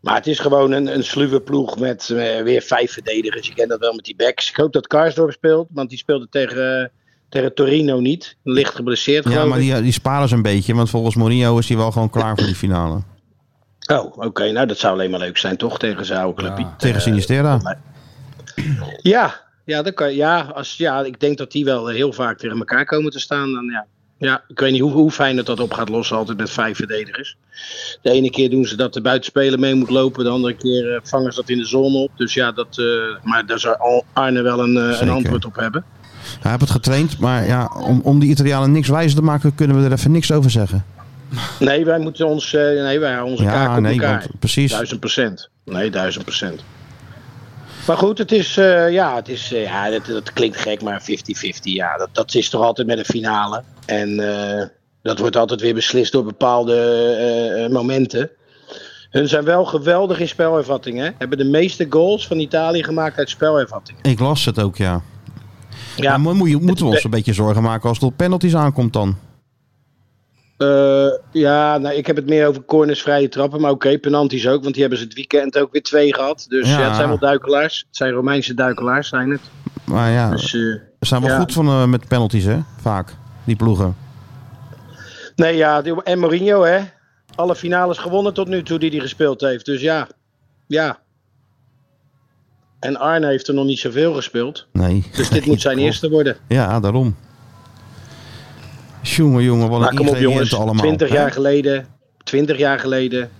F: Maar het is gewoon een, een sluwe ploeg met eh, weer vijf verdedigers. Je kent dat wel met die backs. Ik hoop dat Karsdorp speelt, want die speelde tegen, eh, tegen Torino niet. Licht geblesseerd
B: Ja,
F: geloof
B: maar
F: ik.
B: die, die sparen ze een beetje, want volgens Mourinho is hij wel gewoon klaar voor die finale.
F: Oh, oké. Nou, dat zou alleen maar leuk zijn, toch? Tegen zijn oude clubje.
D: Ja.
B: Tegen Sinistera.
F: eh, Ja, ja, dat kan, ja, als, ja, ik denk dat die wel heel vaak tegen elkaar komen te staan. Dan, ja. Ja, ik weet niet hoe, hoe fijn dat dat op gaat lossen altijd met vijf verdedigers. De ene keer doen ze dat de buitenspeler mee moet lopen, de andere keer eh, vangen ze dat in de zone op. Dus ja, dat, eh, maar daar zou Al- Arne wel een, eh, een
B: Zeker.
F: antwoord op hebben.
B: Hij heeft het getraind, maar ja, om, om die Italianen niks wijzer te maken, kunnen we er even niks over zeggen.
F: Nee, wij moeten ons, eh, nee, wij houden onze kaak
B: Ja,
F: op
B: nee,
F: elkaar.
B: want precies.
F: Duizend procent. Nee, duizend procent. Maar goed, het is, eh, ja, het is, eh, ja, dat, dat klinkt gek, maar 50-50, ja, dat, dat is toch altijd met een finale. En eh, dat wordt altijd weer beslist door bepaalde eh, eh, momenten. Hun zijn wel geweldig in spelervatting, hè? Hebben de meeste goals van Italië gemaakt uit spelervatting.
B: Ik las het ook, ja.
F: Ja,
B: maar moet je, moeten we ons
F: Het-
B: een beetje zorgen maken als het op penalties aankomt dan?
F: Eh, ja, nou, ik heb het meer over corners, vrije trappen. Maar oké, penalties ook, want die hebben ze het weekend ook weer twee gehad. Dus
B: Ja.
F: ja, het zijn wel duikelaars. Het zijn Romeinse duikelaars, zijn het.
B: Maar ja,
F: Dus, eh,
B: ze zijn wel
F: ja.
B: goed van, eh, met penalties, hè? Vaak, die ploegen.
F: nee, ja, die- en Mourinho, hè. Alle finales gewonnen tot nu toe die hij gespeeld heeft. Dus ja, ja. En Arne heeft er nog niet zoveel gespeeld.
B: Nee.
F: Dus dit moet zijn
B: Klopt.
F: eerste worden.
B: Ja, daarom. Jongen, jongen, wat
F: Maar
B: een
F: Nou, kom op jongens,
B: ingrediënten allemaal.
F: 20
B: hè?
F: jaar geleden. 20 jaar geleden.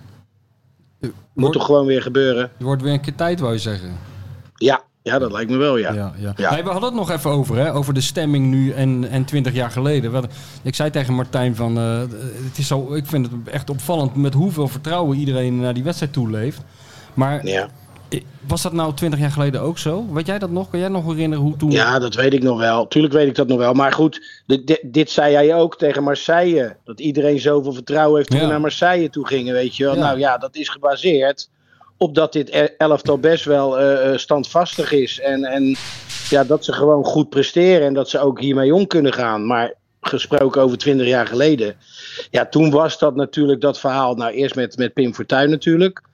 F: Moet
D: Wordt,
F: toch gewoon weer gebeuren?
D: je wordt weer een keer tijd, wou je zeggen.
F: Ja, ja dat lijkt me wel, ja.
D: Ja, ja.
F: Ja.
D: Hey, we hadden het nog even over, hè? over de stemming nu en, en 20 jaar geleden. Wat- Ik zei tegen Martijn van, eh, het is zo, ik vind het echt opvallend met hoeveel vertrouwen iedereen naar die wedstrijd toe leeft. Maar
F: ja.
D: eh, was dat nou 20 jaar geleden ook zo? Weet jij dat nog? Kan jij nog herinneren hoe toen?
F: Ja, dat weet ik nog wel. Tuurlijk weet ik dat nog wel. Maar goed, dit, dit- dit zei jij ook tegen Marseille. Dat iedereen zoveel vertrouwen heeft toen
D: Ja.
F: we naar Marseille toe gingen, weet je wel.
D: Ja.
F: Nou ja, dat is gebaseerd op dat dit e- elftal best wel eh, eh, standvastig is. En, en ja, dat ze gewoon goed presteren en dat ze ook hiermee om kunnen gaan. Maar gesproken over 20 jaar geleden. Ja, toen was dat natuurlijk dat verhaal. Nou, eerst met, met Pim Fortuyn natuurlijk. Eh,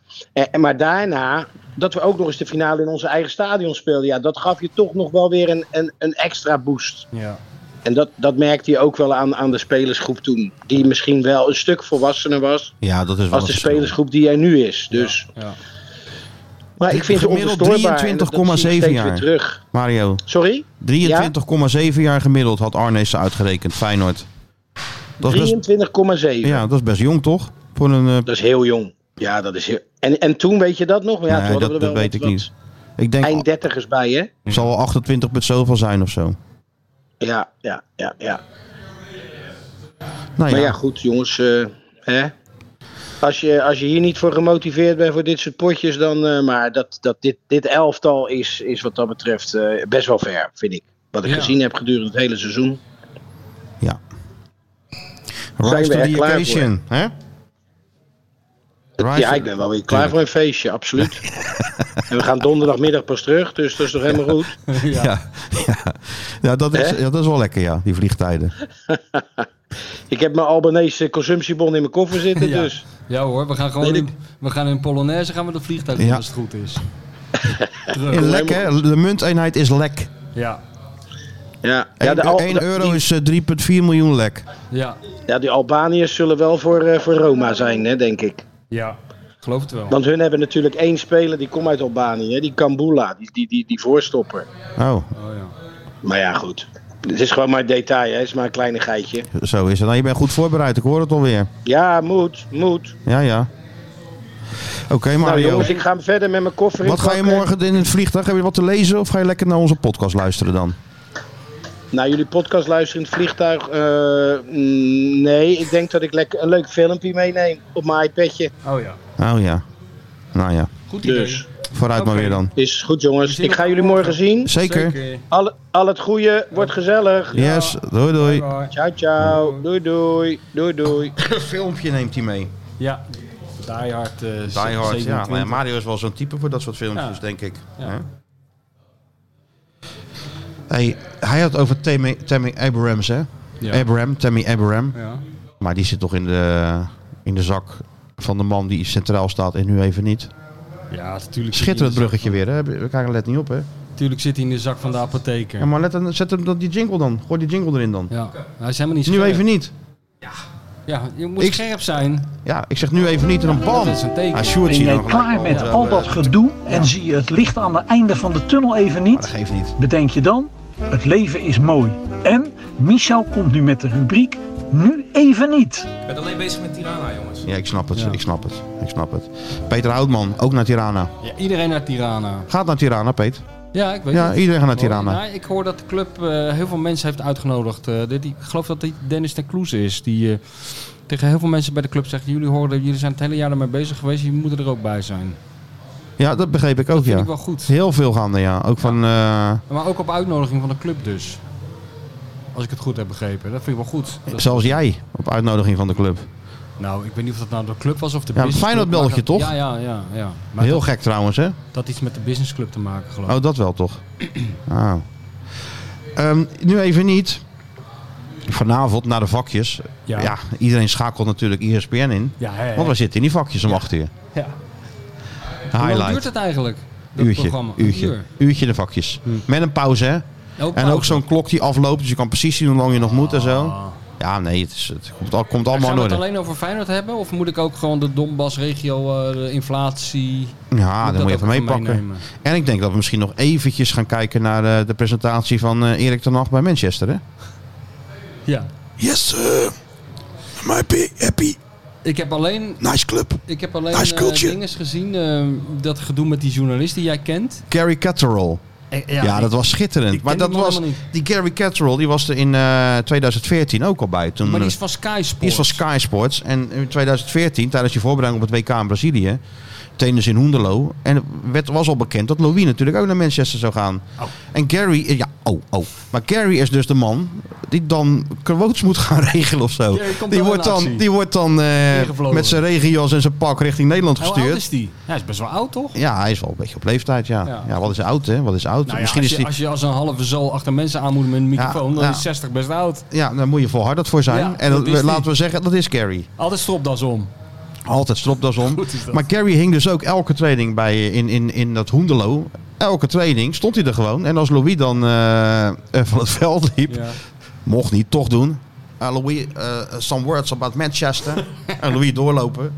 F: En, en maar daarna, dat we ook nog eens de finale in onze eigen stadion speelden. Ja, dat gaf je toch nog wel weer een, een, een extra boost.
D: Ja.
F: En dat, dat merkte je ook wel aan, aan de spelersgroep toen. Die misschien wel een stuk volwassener was.
B: Ja, dat is wel
F: Als de
B: een verschil.
F: spelersgroep die er nu is. Dus,
D: Ja.
F: Maar ik vind ze
B: Gemiddeld
F: onverstoorbaar. en dat- dat zie ik
B: 23,7
F: steeds weer
B: jaar.
F: terug.
B: Mario,
F: Sorry?
B: 23,7 jaar gemiddeld had Arnees uitgerekend, Feyenoord. Dat is best,
F: 23,7.
B: ja, dat is best jong, toch? Voor een, eh,
F: Dat is heel jong. Ja, dat is heel... En, en toen weet je dat nog? Maar ja,
B: Nee,
F: toen hadden
B: dat-
F: we er wel
B: dat weet
F: wat-
B: ik
F: wat
B: ik denk,
F: Eind dertigers bij, hè?
B: het zal wel 28 met zoveel zijn of zo.
F: Ja, ja, ja, ja.
B: Nou
F: Maar ja,
B: ja,
F: goed, jongens. eh, hè? Als, je, als je hier niet voor gemotiveerd bent voor dit soort potjes, dan. eh, maar dat, dat dit, dit elftal is, is wat dat betreft eh, best wel ver, vind ik. Wat ik
D: Ja.
F: gezien heb gedurende het hele seizoen.
B: rise
F: zijn we
B: to
F: er
B: the
F: klaar
B: occasion. Hè? Rise
F: ja,
B: to-
F: ik ben wel weer klaar voor een feestje, absoluut. en we gaan donderdagmiddag pas terug, dus dat is toch helemaal goed.
B: Ja, ja. Ja, dat is,
F: Hè?
B: ja, dat is wel lekker, ja, die vliegtijden.
F: Ik heb mijn Albanese consumptiebon in mijn koffer zitten,
D: Ja.
F: dus.
D: Ja hoor, we gaan gewoon
F: Weet ik.
D: in, we gaan in Polonaise gaan we de vliegtuig doen
B: Ja.
D: als het goed is.
B: En
D: Terug.
B: lek, hè? De munteenheid is lek.
D: Ja,
F: Ja, ja,
B: Ja,
F: de Al-
B: 1 e- euro
F: die-
B: is eh, 3,4 miljoen lek.
D: ja,
F: Ja, die Albaniërs zullen wel voor, eh, voor Roma zijn, hè, denk ik.
D: ja. Geloof het wel.
F: Want hun hebben natuurlijk één speler die komt uit Albanië, hè, die Kambula, die, die, die, die voorstopper.
B: Oh,
D: Oh, ja.
F: Maar ja, goed. Het is gewoon maar detail, hè. Het is maar een kleinigheidje.
B: zo is het. Nou, je bent goed voorbereid, ik hoor het alweer.
F: Ja, moet, moet.
B: Ja, ja. Oké,
F: Nou
B: Mario.
F: jongens, ik eh, ga verder met mijn koffer
B: wat ga je
F: inpakken.
B: morgen in het vliegtuig? Heb je wat te lezen of ga je lekker naar onze podcast luisteren dan?
F: Nou, jullie podcast luisteren in het vliegtuig. Eh, mm, nee, ik denk dat ik lekker een leuk filmpje meeneem op mijn iPadje.
D: oh ja,
B: Oh ja. Nou ja,
D: goed idee.
F: Dus,
B: vooruit maar
D: Oké.
B: weer dan.
F: is goed
D: We
F: jongens.
D: zien
F: Ik ga
D: elkaar
F: jullie morgen zien.
B: Zeker.
F: Al, al het goede, wordt gezellig.
B: Yes, doei doei.
D: Bye.
F: Ciao, ciao. Doei, doei. Doei, doei.
B: Een filmpje neemt hij mee.
D: Ja, Die Hard. eh,
B: Die Hard, ja. Nou ja.
D: 27.
B: Mario is wel zo'n type voor dat soort filmpjes,
D: Ja.
B: denk ik.
D: Ja.
B: Hè? Hey, hij had over Tammy, Tammy Abrams, hè?
D: Ja.
B: Abram, Tammy Abram.
D: Ja.
B: Maar die zit toch in de, in de zak van de man die centraal staat en nu even niet.
D: Ja, natuurlijk. zit hij in
B: Schitterend
D: de zak
B: bruggetje weer, hè? We kijken, let niet op, hè?
D: van- Natuurlijk zit hij in de zak van de apotheker.
B: Ja,
D: Ja,
B: maar let, dan- zet hem dan die jingle dan. Gooi die jingle erin dan.
D: Hij is helemaal niet
B: Nu
D: scherp.
B: even niet.
D: Ja, je moet
B: Ik-
D: scherp zijn.
B: Ja, ik zeg nu even niet en dan bam.
D: Dat is een teken.
B: Hij shoot
G: Ben
B: je
G: jij
B: dan.
G: klaar met al
B: eh,
G: dat gedoe en zie je het licht aan het einde van de tunnel even
B: Dat
G: niet?
B: geeft niet.
G: Bedenk je dan, het leven is mooi. En Michel komt nu met de rubriek Nu even niet.
E: Ik ben alleen bezig met Tirana, jongens.
B: Ja, ik snap het.
D: Ja.
B: Ik snap het. Ik snap het. Peter Houtman, ook naar Tirana.
D: Ja, iedereen naar Tirana.
B: Gaat naar Tirana, Peter.
D: Ja, ik weet
B: Ja,
D: het.
B: iedereen gaat naar
D: Hoor je?
B: Tirana.
D: Nou, ik hoor dat de club eh, heel veel mensen heeft uitgenodigd. Eh, dit- ik geloof dat dit Dennis ten Kloeze is. Die eh, tegen heel veel mensen bij de club zegt... jullie, horen, jullie zijn het hele jaar ermee bezig geweest. Jullie moeten er ook bij zijn.
B: Ja, dat begreep ik ook,
D: Vind
B: ja.
D: ik wel goed.
B: Heel veel gaande, ja. Ook van... eh,
D: Maar ook op uitnodiging van de club dus. Als ik het goed heb begrepen. Dat vind ik wel goed. Dat-
B: zelfs jij, op uitnodiging van de club.
D: nou, ik weet niet of dat nou de club was of de
B: Ja, een
D: business
B: Feyenoord
D: club, maar
B: belletje,
D: dat-
B: toch?
D: Ja, ja, ja. ja. Maar
B: Heel
D: dat,
B: gek trouwens, hè?
D: dat had iets met de businessclub te maken geloof ik.
B: Oh, dat wel toch? Ah. Ehm, nu even niet. Vanavond naar de vakjes. Ja.
D: Ja.
B: iedereen schakelt natuurlijk E ESPN in.
D: Ja, hè, hè.
B: Want we zitten in die vakjes om acht uur.
D: Ja. Hoe lang duurt
B: Highlight.
D: het eigenlijk? Dat
B: Uurtje,
D: programma? Een
B: uurtje,
D: uur.
B: uurtje de vakjes. Met een pauze, hè?
D: Ook
B: En
D: pauze.
B: ook zo'n klok die afloopt, dus je kan precies zien hoe lang je nog moet en zo. Ja, nee, het, is, het komt, al- komt allemaal
D: Gaan
B: in
D: we het
B: orde.
D: alleen over Feyenoord hebben? Of moet ik ook gewoon de Donbass-regio, eh, de inflatie...
B: Ja,
D: dat
B: dan moet je
D: ook
B: even
D: even
B: meepakken.
D: meenemen?
B: En ik denk dat we misschien nog eventjes gaan kijken naar eh, de presentatie van eh, Erik ten Hag bij Manchester, hè?
D: Ja.
H: Yes, sir. I'm happy, happy.
D: Ik heb alleen,
H: Nice club.
D: ik heb alleen
H: Nice
D: eh,
H: cultje.
D: dingen gezien, eh, dat gedoe met die journalist die jij kent.
B: Gary Catterall.
D: Eh,
B: Ja, dat was schitterend.
D: ik
B: Maar
D: ken
B: dat
D: die man
B: was,
D: helemaal
B: die Gary Catterall, die was er in eh, 2014 ook al bij. Toen,
D: Maar die is van Sky Sports.
B: die is van Sky Sports. En in 2014, tijdens je voorbereiding op het WK in Brazilië, tennis in Hoenderloo. En het werd, was al bekend dat Louis natuurlijk ook naar Manchester zou gaan.
D: Oh.
B: En Gary, eh, ja, oh, oh. Maar Gary is dus de man die dan quotes moet gaan regelen of zo.
D: Gary komt
B: Die
D: wel
B: wordt
D: in
B: dan,
D: actie.
B: die wordt dan eh,
D: Ingevlogen.
B: met zijn regenjas en zijn pak richting Nederland
D: Hoe oud
B: gestuurd.
D: is die? Hij dus is best wel oud, toch?
B: Ja, hij is wel een beetje op leeftijd, ja. Ja,
D: Ja.
B: wat is oud, hè? Wat is oud?
D: Nou ja,
B: Misschien
D: als,
B: is
D: je,
B: die...
D: als je als een halve zool achter mensen aanmoedigt met een microfoon, dan
B: ja.
D: is 60 best oud.
B: Ja, daar moet je volhardend voor zijn.
D: Ja,
B: en
D: dat
B: dat-
D: is die.
B: laten we zeggen, dat is Gary.
D: Altijd stropdas om.
B: Altijd stropdas om.
D: Goed is dat.
B: Maar Gary hing dus ook elke training bij eh, in, in, in dat Hoendelo. Elke training stond hij er gewoon. En als Louis dan eh, eh, van het veld liep,
D: Ja.
B: mocht niet, toch doen. Ah, Louis, eh, some words about Manchester. en Louis doorlopen.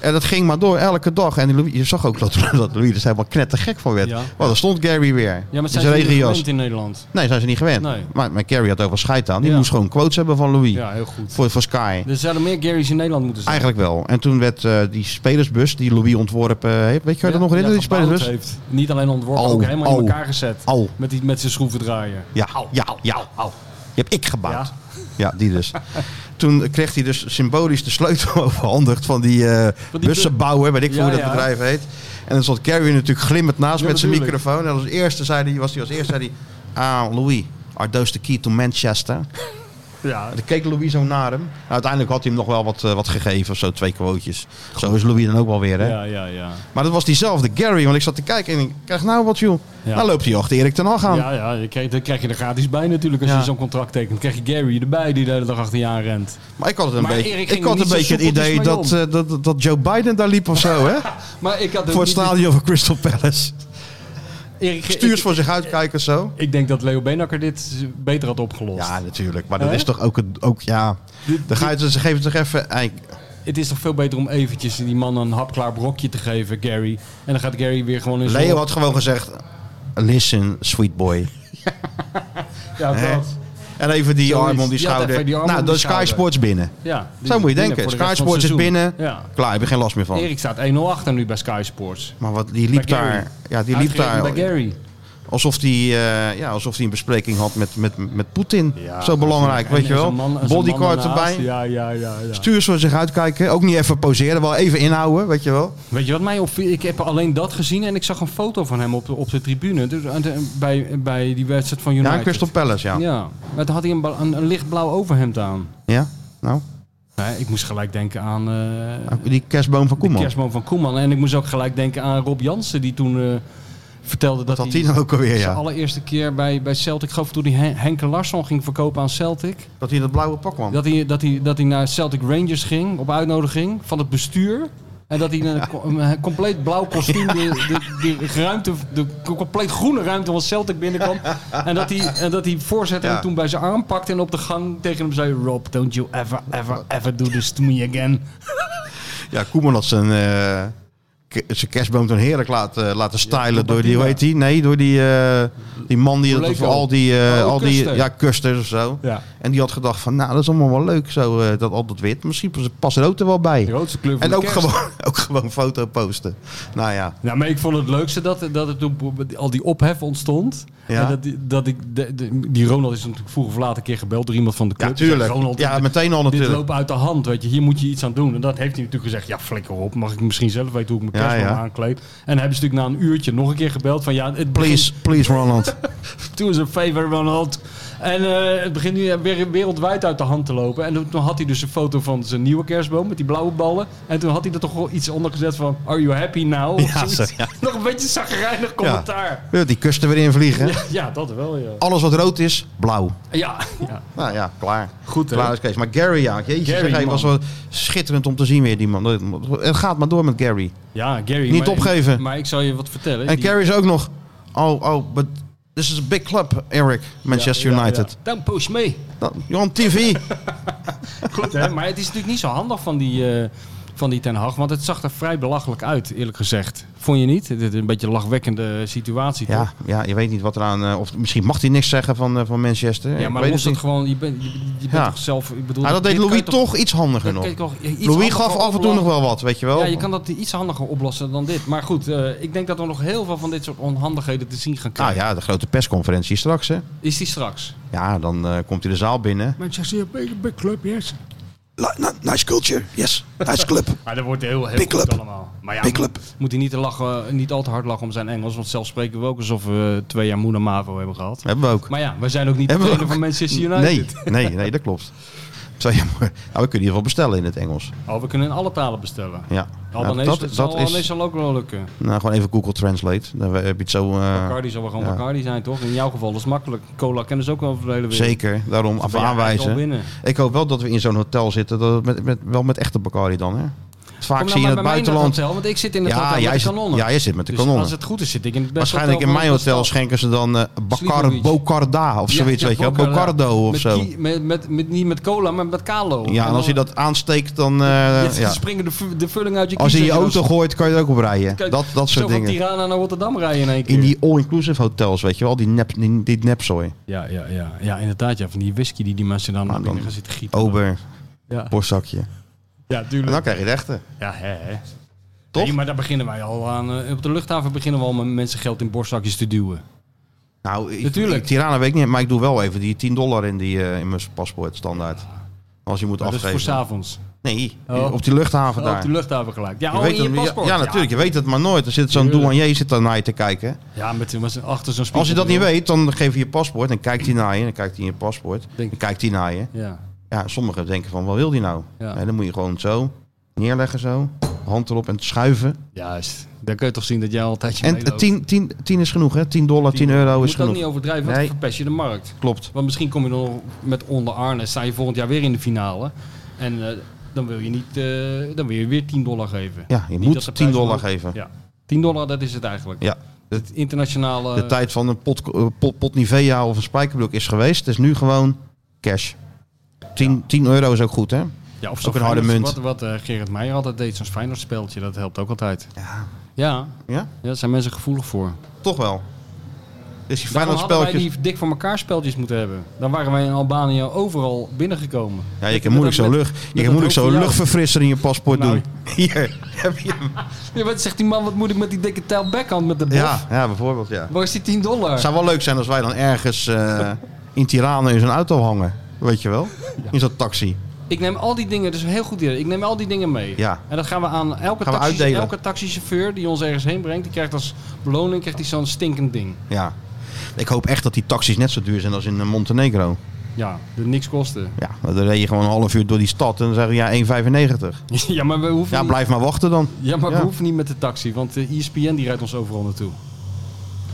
B: En dat ging maar door elke dag. En Louis, je zag ook dat, dat Louis er helemaal knettergek van werd.
D: Ja.
B: Want daar stond Gary weer.
D: Ja, maar
B: In
D: zijn ze niet
B: regenjas.
D: gewend in Nederland?
B: Nee, zijn ze niet gewend.
D: Nee.
B: Maar, maar Gary had overal scheid aan. Die
D: Ja.
B: moest gewoon quotes hebben van Louis.
D: Ja, heel goed.
B: Voor, voor Sky.
D: Er zouden meer Gary's in Nederland moeten zijn.
B: Eigenlijk wel. En toen werd eh, die spelersbus die Louis ontworpen heeft. Weet je waar dat nog
D: Ja,
B: in? die
D: gebouwd
B: spelersbus?
D: heeft. Niet alleen ontworpen,
B: Au,
D: ook helemaal
B: au,
D: in elkaar gezet.
B: au.
D: Met, die, met zijn schroevendraaier.
B: Ja, ja, ja. Die heb ik gebouwd. Ja, die dus. toen kreeg hij dus symbolisch de sleutel overhandigd van die, eh
D: Van die
B: bussenbouwer, weet ik veel
D: Ja,
B: hoe dat
D: ja.
B: bedrijf heet. En dan stond Carrie natuurlijk glimmend naast
D: Ja,
B: met zijn
D: natuurlijk.
B: microfoon. En als eerste zei hij, was hij als eerste zei hij, ah Louis, are those the key to Manchester?
D: Ja,
B: En dan keek Louis zo naar hem. Nou, uiteindelijk had hij hem nog wel wat, eh, wat gegeven of zo, twee quotejes. Zo is Louis dan ook wel weer, hè?
D: ja, ja. ja.
B: Maar dat was diezelfde Gary, want ik zat te kijken en ik krijg nou wat, joh.
D: Ja.
B: Nou loopt hij achter Erik ten Hag aan.
D: Ja, ja je krijg, dan krijg je er gratis bij natuurlijk als
B: Ja.
D: je zo'n contract tekent. Dan krijg je Gary erbij die de hele dag achter je aan rent.
B: Maar ik had het een
D: Maar
B: beetje,
D: Erik ging
B: ik had
D: er
B: een
D: niet zo
B: beetje het
D: soepeltjes
B: idee
D: mee
B: dat, eh, dat, dat Joe Biden daar liep of zo, hè?
D: Maar ik had ook
B: Voor het
D: niet-
B: stadion van Crystal Palace.
D: Erik,
B: Stuurs
D: ik,
B: voor zich uitkijken zo.
D: ik denk dat Leo Benakker dit beter had opgelost.
B: Ja, natuurlijk. Maar dat
D: Hè?
B: is toch ook, een, ook ja...
D: Dit-
B: Dan ga je, ze geven toch even... ei,
D: Het is toch veel beter om eventjes die man een hapklaar brokje te geven, Gary. En dan gaat Gary weer gewoon in zijn...
B: Leo had gewoon gezegd... Listen, sweet boy.
D: Ja,
B: Hè?
D: dat.
B: En even die
D: Zoiets.
B: arm om die
D: Ja,
B: schouder.
D: even die arm
B: nou,
D: om
B: dan
D: die
B: is Sky
D: schouder.
B: Sports binnen.
D: Ja, die
B: Zo
D: is
B: moet je
D: binnen
B: denken.
D: voor de
B: Sky
D: rest van het
B: Sports is binnen.
D: seizoen.
B: Oh.
D: Ja.
B: Klaar, heb je geen last meer van.
D: Erik staat 1-0 achter nu bij Sky Sports.
B: Maar wat, die liep
D: Bij Gary.
B: daar... Ja, die liep
D: Uitgerekend
B: daar...
D: bij Gary.
B: Alsof hij ja, alsof die een bespreking had met, met, met Poetin. Zo belangrijk,
D: En-
B: weet je
D: en
B: wel.
D: zo'n man- en zo'n man
B: Bodyguard
D: daarnaast.
B: erbij.
D: Ja, ja, ja, ja.
B: Stuur zo zich uitkijken. Ook niet even poseren, wel even inhouden, weet je wel.
D: Weet je wat mij opviel? Ik heb alleen dat gezien en ik zag een foto van hem op de, op de tribune. Dus, aan de- bij, bij die wedstrijd van United.
B: Ja, Crystal Palace, ja. ja.
D: Ja, maar toen had hij een, ba- een, een lichtblauw overhemd aan.
B: Nou,
D: Nee, ik moest gelijk denken aan eh,
B: die kerstboom van
D: de
B: Koeman.
D: kerstman van Koeman. En ik moest ook gelijk denken aan Rob Jansen, die toen eh, vertelde dat,
B: Dat had
D: hij
B: hij dan ook alweer,
D: zijn
B: ja.
D: allereerste keer bij, bij Celtic, ik geloof toen hij Hen- Henke Larsson ging verkopen aan Celtic,
B: Dat hij in dat blauwe pak kwam.
D: dat hij, dat, hij, dat hij naar Celtic Rangers ging op uitnodiging van het bestuur. En dat hij een, co- een compleet blauw kostuum, de, de, de ruimte, de compleet groene ruimte van Celtic binnenkwam. En dat hij, en dat hij voorzet
B: Ja.
D: hem toen bij zijn arm pakte en op de gang tegen hem zei... Rob, don't you ever, ever, ever do this to me again.
B: Ja, Koeman had zijn eh ke- zijn kerstboom toen heerlijk laten, laten stylen door die, hoe heet die? Nee, door die, eh, die man die dat
D: Coleco.
B: voor al die, eh,
D: Oh,
B: al die
D: Custer.
B: ja, kusters of zo.
D: Ja.
B: En die had gedacht van, nou, dat is allemaal wel leuk, zo, eh, dat al dat wit. Misschien pas- past rood er wel bij.
D: De grootste kleur van
B: En
D: de
B: ook
D: kerst.
B: gewoon, ook gewoon foto posten. Nou ja,
D: Nou, maar ik vond het leukste dat, dat er toen al die ophef ontstond.
B: Ja.
D: En dat, die- dat ik, de- de- die Ronald is natuurlijk vroeg of laat een keer gebeld door iemand van de club.
B: ja
D: Die zei,
B: tuurlijk.
D: Ronald,
B: Ja, meteen al
D: dit
B: natuurlijk.
D: loopt uit de hand, weet je. Hier moet je iets aan doen. En dat heeft hij natuurlijk gezegd. Ja, flikker op. Mag ik misschien zelf weten hoe ik mijn
B: Ja,
D: kerstboom
B: ja.
D: aankleed? En hebben ze natuurlijk na een uurtje nog een keer gebeld van... Ja, het
B: Please, please Ronald.
D: Toen is een favor Ronald. En eh, het begint nu weer wereldwijd uit de hand te lopen. En toen had hij dus een foto van zijn nieuwe kerstboom met die blauwe ballen. En toen had hij er toch wel iets onder gezet van... Are you happy now? Of
B: Ja,
D: zoiets.
B: zo, ja.
D: Nog een beetje zagrijnig commentaar.
B: Ja, Die kusten weer invliegen.
D: Ja. dat wel, ja.
B: Alles wat rood is, blauw.
D: Ja, ja.
B: Nou ja, klaar.
D: Goed, hè?
B: Klaar is Kees. Maar Gary, ja. Jeetje,
D: Gary,
B: zeg, hij
D: man.
B: was wel schitterend om te zien weer, die man. Het gaat maar door met Gary.
D: ja Gary.
B: Niet
D: maar-
B: opgeven.
D: Maar ik zal je wat vertellen.
B: En
D: Die-
B: Gary is ook nog... Oh, oh, but this is a big club, Eric. Manchester
D: Ja, ja,
B: United. Nou,
D: ja. Dan push mee.
B: Dan- You're on TV.
D: Goed, hè? Maar het is natuurlijk niet zo handig van die, eh, van die Ten Hag. Want het zag er vrij belachelijk uit, eerlijk gezegd. Vond je niet? Dit is een beetje een lachwekkende situatie, toch?
B: ja, ja, je weet niet wat eraan... eh, of misschien mag hij niks zeggen van, eh, van Manchester.
D: Ja, maar
B: ik weet het
D: los dat
B: niet.
D: gewoon, je bent, je, je bent
B: Ja.
D: toch zelf... Ik bedoel,
B: Ah, dat deed
D: dit
B: Louis
D: kan je
B: toch, iets handiger
D: dit
B: nog.
D: kan je toch
B: Louis
D: iets handiger
B: gaf af en toe nog
D: oplossen.
B: wel wat, weet je wel.
D: Ja, je kan dat iets handiger oplossen dan dit. Maar goed, eh, ik denk dat we nog heel veel van dit soort onhandigheden te zien gaan
B: Ah
D: krijgen.
B: ja, de grote persconferentie straks, hè.
D: Is die straks?
B: Ja, dan eh, komt hij de zaal binnen.
D: Manchester big, big club, yes.
H: Li- ni- nice culture, yes. Nice club.
D: Maar dat wordt heel, heel
H: Big
D: goed
H: club.
D: allemaal. Maar ja,
H: Big
D: moet,
H: club.
D: moet hij niet, te lachen, eh, niet al te hard lachen om zijn Engels. Want zelf spreken we ook alsof we twee jaar Moena Mavo hebben gehad.
B: Hebben we ook.
D: Maar ja, wij zijn ook niet de
B: Hebben we
D: trainer
B: ook-
D: van Manchester United.
B: Nee, nee, nee, dat klopt. Zou je maar- nou, we kunnen in ieder geval bestellen in het Engels.
D: Oh, we kunnen in alle talen bestellen.
B: Ja. Nou,
D: Albanese,
B: dat,
D: zal,
B: dat
D: Albanese
B: is...
D: zal ook wel lukken.
B: Nou, gewoon even Google Translate. Dan heb je het zo... eh,
D: Bacardi zal wel gewoon
B: ja.
D: Bacardi zijn, toch? In jouw geval, dat is makkelijk. Cola kennen ze ook wel over de hele wereld.
B: zeker. Daarom af
D: ben je eigenlijk al
B: aanwijzen.
D: binnen.
B: Ik hoop wel dat we in zo'n hotel zitten. Dat het met, met, wel met echte Bacardi dan, hè? Vaak
D: Kom nou
B: zie je
D: maar
B: in
D: bij
B: het
D: mij in
B: buitenland...
D: hotel, want ik zit in het
B: ja,
D: hotel
B: jij
D: met de
B: zit,
D: kanonnen.
B: ja, jij zit met de
D: Dus
B: kanonnen.
D: als het goed is, zit ik in het beste
B: Waarschijnlijk in
D: hotel
B: mijn
D: van de
B: hotel
D: stad.
B: schenken ze dan eh Bacar,
D: Sleepy Beach.
B: Bocarda of
D: Ja,
B: zoiets,
D: ja,
B: weet je wel.
D: Bocarda.
B: Bocardo of
D: Met
B: zo.
D: ki- met, met, met, niet met cola, maar met kalo.
B: Ja, en als je
D: dan-
B: dat aansteekt, dan... eh,
D: Ja,
B: ja.
D: dan springen de, vu- de vulling uit je
B: Als je in je
D: kiezen.
B: auto gooit, kan je er ook op rijden.
D: Kijk,
B: Dat, dat soort dingen.
D: Zo van Tirana naar Rotterdam rijden in één keer.
B: In die all-inclusive hotels, weet je wel, die, nep, die, die nepzooi.
D: Ja, ja, ja. ja, inderdaad. Ja. Van die whisky die die mensen dan
B: Maar
D: naar binnen
B: Ah, dan-
D: gaan zitten gieten.
B: Ober,
D: Ja,
B: borstzakje.
D: ja
B: En
D: tuurlijk.
B: dan krijg je de echte.
D: Ja, hè, hè.
B: Toch?
D: Nee, maar daar beginnen wij al aan. eh, Op de luchthaven beginnen we al met mensen geld in borstzakjes te duwen.
B: Nou, ik,
D: Natuurlijk.
B: ik- Tirana weet ik niet, maar ik doe wel even die 10 dollar in, die, eh, in mijn paspoort standaard. Als je moet
D: Dat is
B: afgeven.
D: voor s'avonds.
B: nee,
D: Oh.
B: op die luchthaven
D: Oh,
B: daar.
D: op de luchthaven gelijk. Ja,
B: Je
D: oh,
B: weet
D: in je
B: het- ja-
D: paspoort.
B: Ja, natuurlijk. Je weet het maar nooit. Er zit zo'n
D: Tuurlijk.
B: douanier zit daar naar je te kijken.
D: Ja, met, met z'n- achter zo'n spiegel.
B: Als je dat niet weet, dan geef je je paspoort. Dan kijkt hij naar je. Dan kijkt hij in je paspoort.
D: Denk-
B: Dan kijkt hij naar je.
D: Ja.
B: Ja, sommigen denken van, wat wil die nou?
D: Ja.
B: Nee, dan moet je gewoon zo neerleggen zo. Hand erop en schuiven.
D: Juist. Dan kun je toch zien dat jij altijd je
B: En eh, 10 10 10 is genoeg, hè? 10 dollar, 10
D: Je
B: euro
D: moet
B: is
D: het ook niet
B: genoeg.
D: overdrijven, want
B: Nee.
D: dan verpest je de markt.
B: Klopt.
D: Want misschien kom je dan nog met onder Arne, sta je volgend jaar weer in de finale. En eh, dan wil je niet, eh, dan wil je weer 10 dollar geven.
B: Ja, je
D: Niet dat de
B: moet
D: prijs
B: 10 dollar
D: omhoog-
B: geven.
D: Ja. 10 dollar, dat is het eigenlijk.
B: Ja. De,
D: Het internationale...
B: de tijd van een pot, eh, pot, pot Nivea of een spijkerbroek is geweest. Het is nu gewoon cash. 10, 10 euro is ook goed, hè?
D: ja, of
B: ook een harde
D: Feyenoord-
B: munt.
D: Wat, wat eh, Gerrit Meijer altijd deed, zo'n Feyenoord speeltje, dat helpt ook altijd. Ja. Ja,
B: Ja?
D: daar zijn mensen gevoelig voor.
B: Toch wel. Dus die
D: Daarom
B: Feyenoord
D: hadden wij
B: spelletjes...
D: die dik voor elkaar speltjes moeten hebben. Dan waren wij in Albanië overal binnengekomen.
B: Ja, je
D: Met-
B: kan moeilijk
D: met-
B: zo'n
D: met-
B: lucht...
D: met
B: Je
D: dat
B: kan moeilijk
D: hoofd
B: zo'n
D: van jou.
B: luchtverfrisser in je paspoort
D: Nou.
B: doen. Hier, heb je hem.
D: Ja, wat zegt die man, wat moet ik met die dikke tail backhand met de bof?
B: Ja, ja, bijvoorbeeld, ja.
D: Waar is die 10 dollar?
B: Het zou wel leuk zijn als wij dan ergens eh, in Tirana in zo'n auto hangen. Weet je wel? In zo'n taxi.
D: Ik neem al die dingen, dus een heel goed idee. Ik neem al die dingen mee.
B: Ja.
D: En dat gaan we aan elke,
B: Gaan we
D: taxi-
B: uitdelen.
D: elke taxichauffeur die ons ergens heen brengt. Die krijgt als beloning krijgt die zo'n stinkend ding.
B: Ja. Ik hoop echt dat die taxis net zo duur zijn als in eh, Montenegro.
D: Ja, dat niks kosten.
B: Ja, dan reed je gewoon een half uur door die stad en dan zeggen we ja 1,95.
D: ja, maar we hoeven,
B: Ja,
D: niet,
B: blijf maar wachten dan.
D: ja, maar
B: Ja.
D: we hoeven niet met de taxi, want de E ESPN die rijdt ons overal naartoe.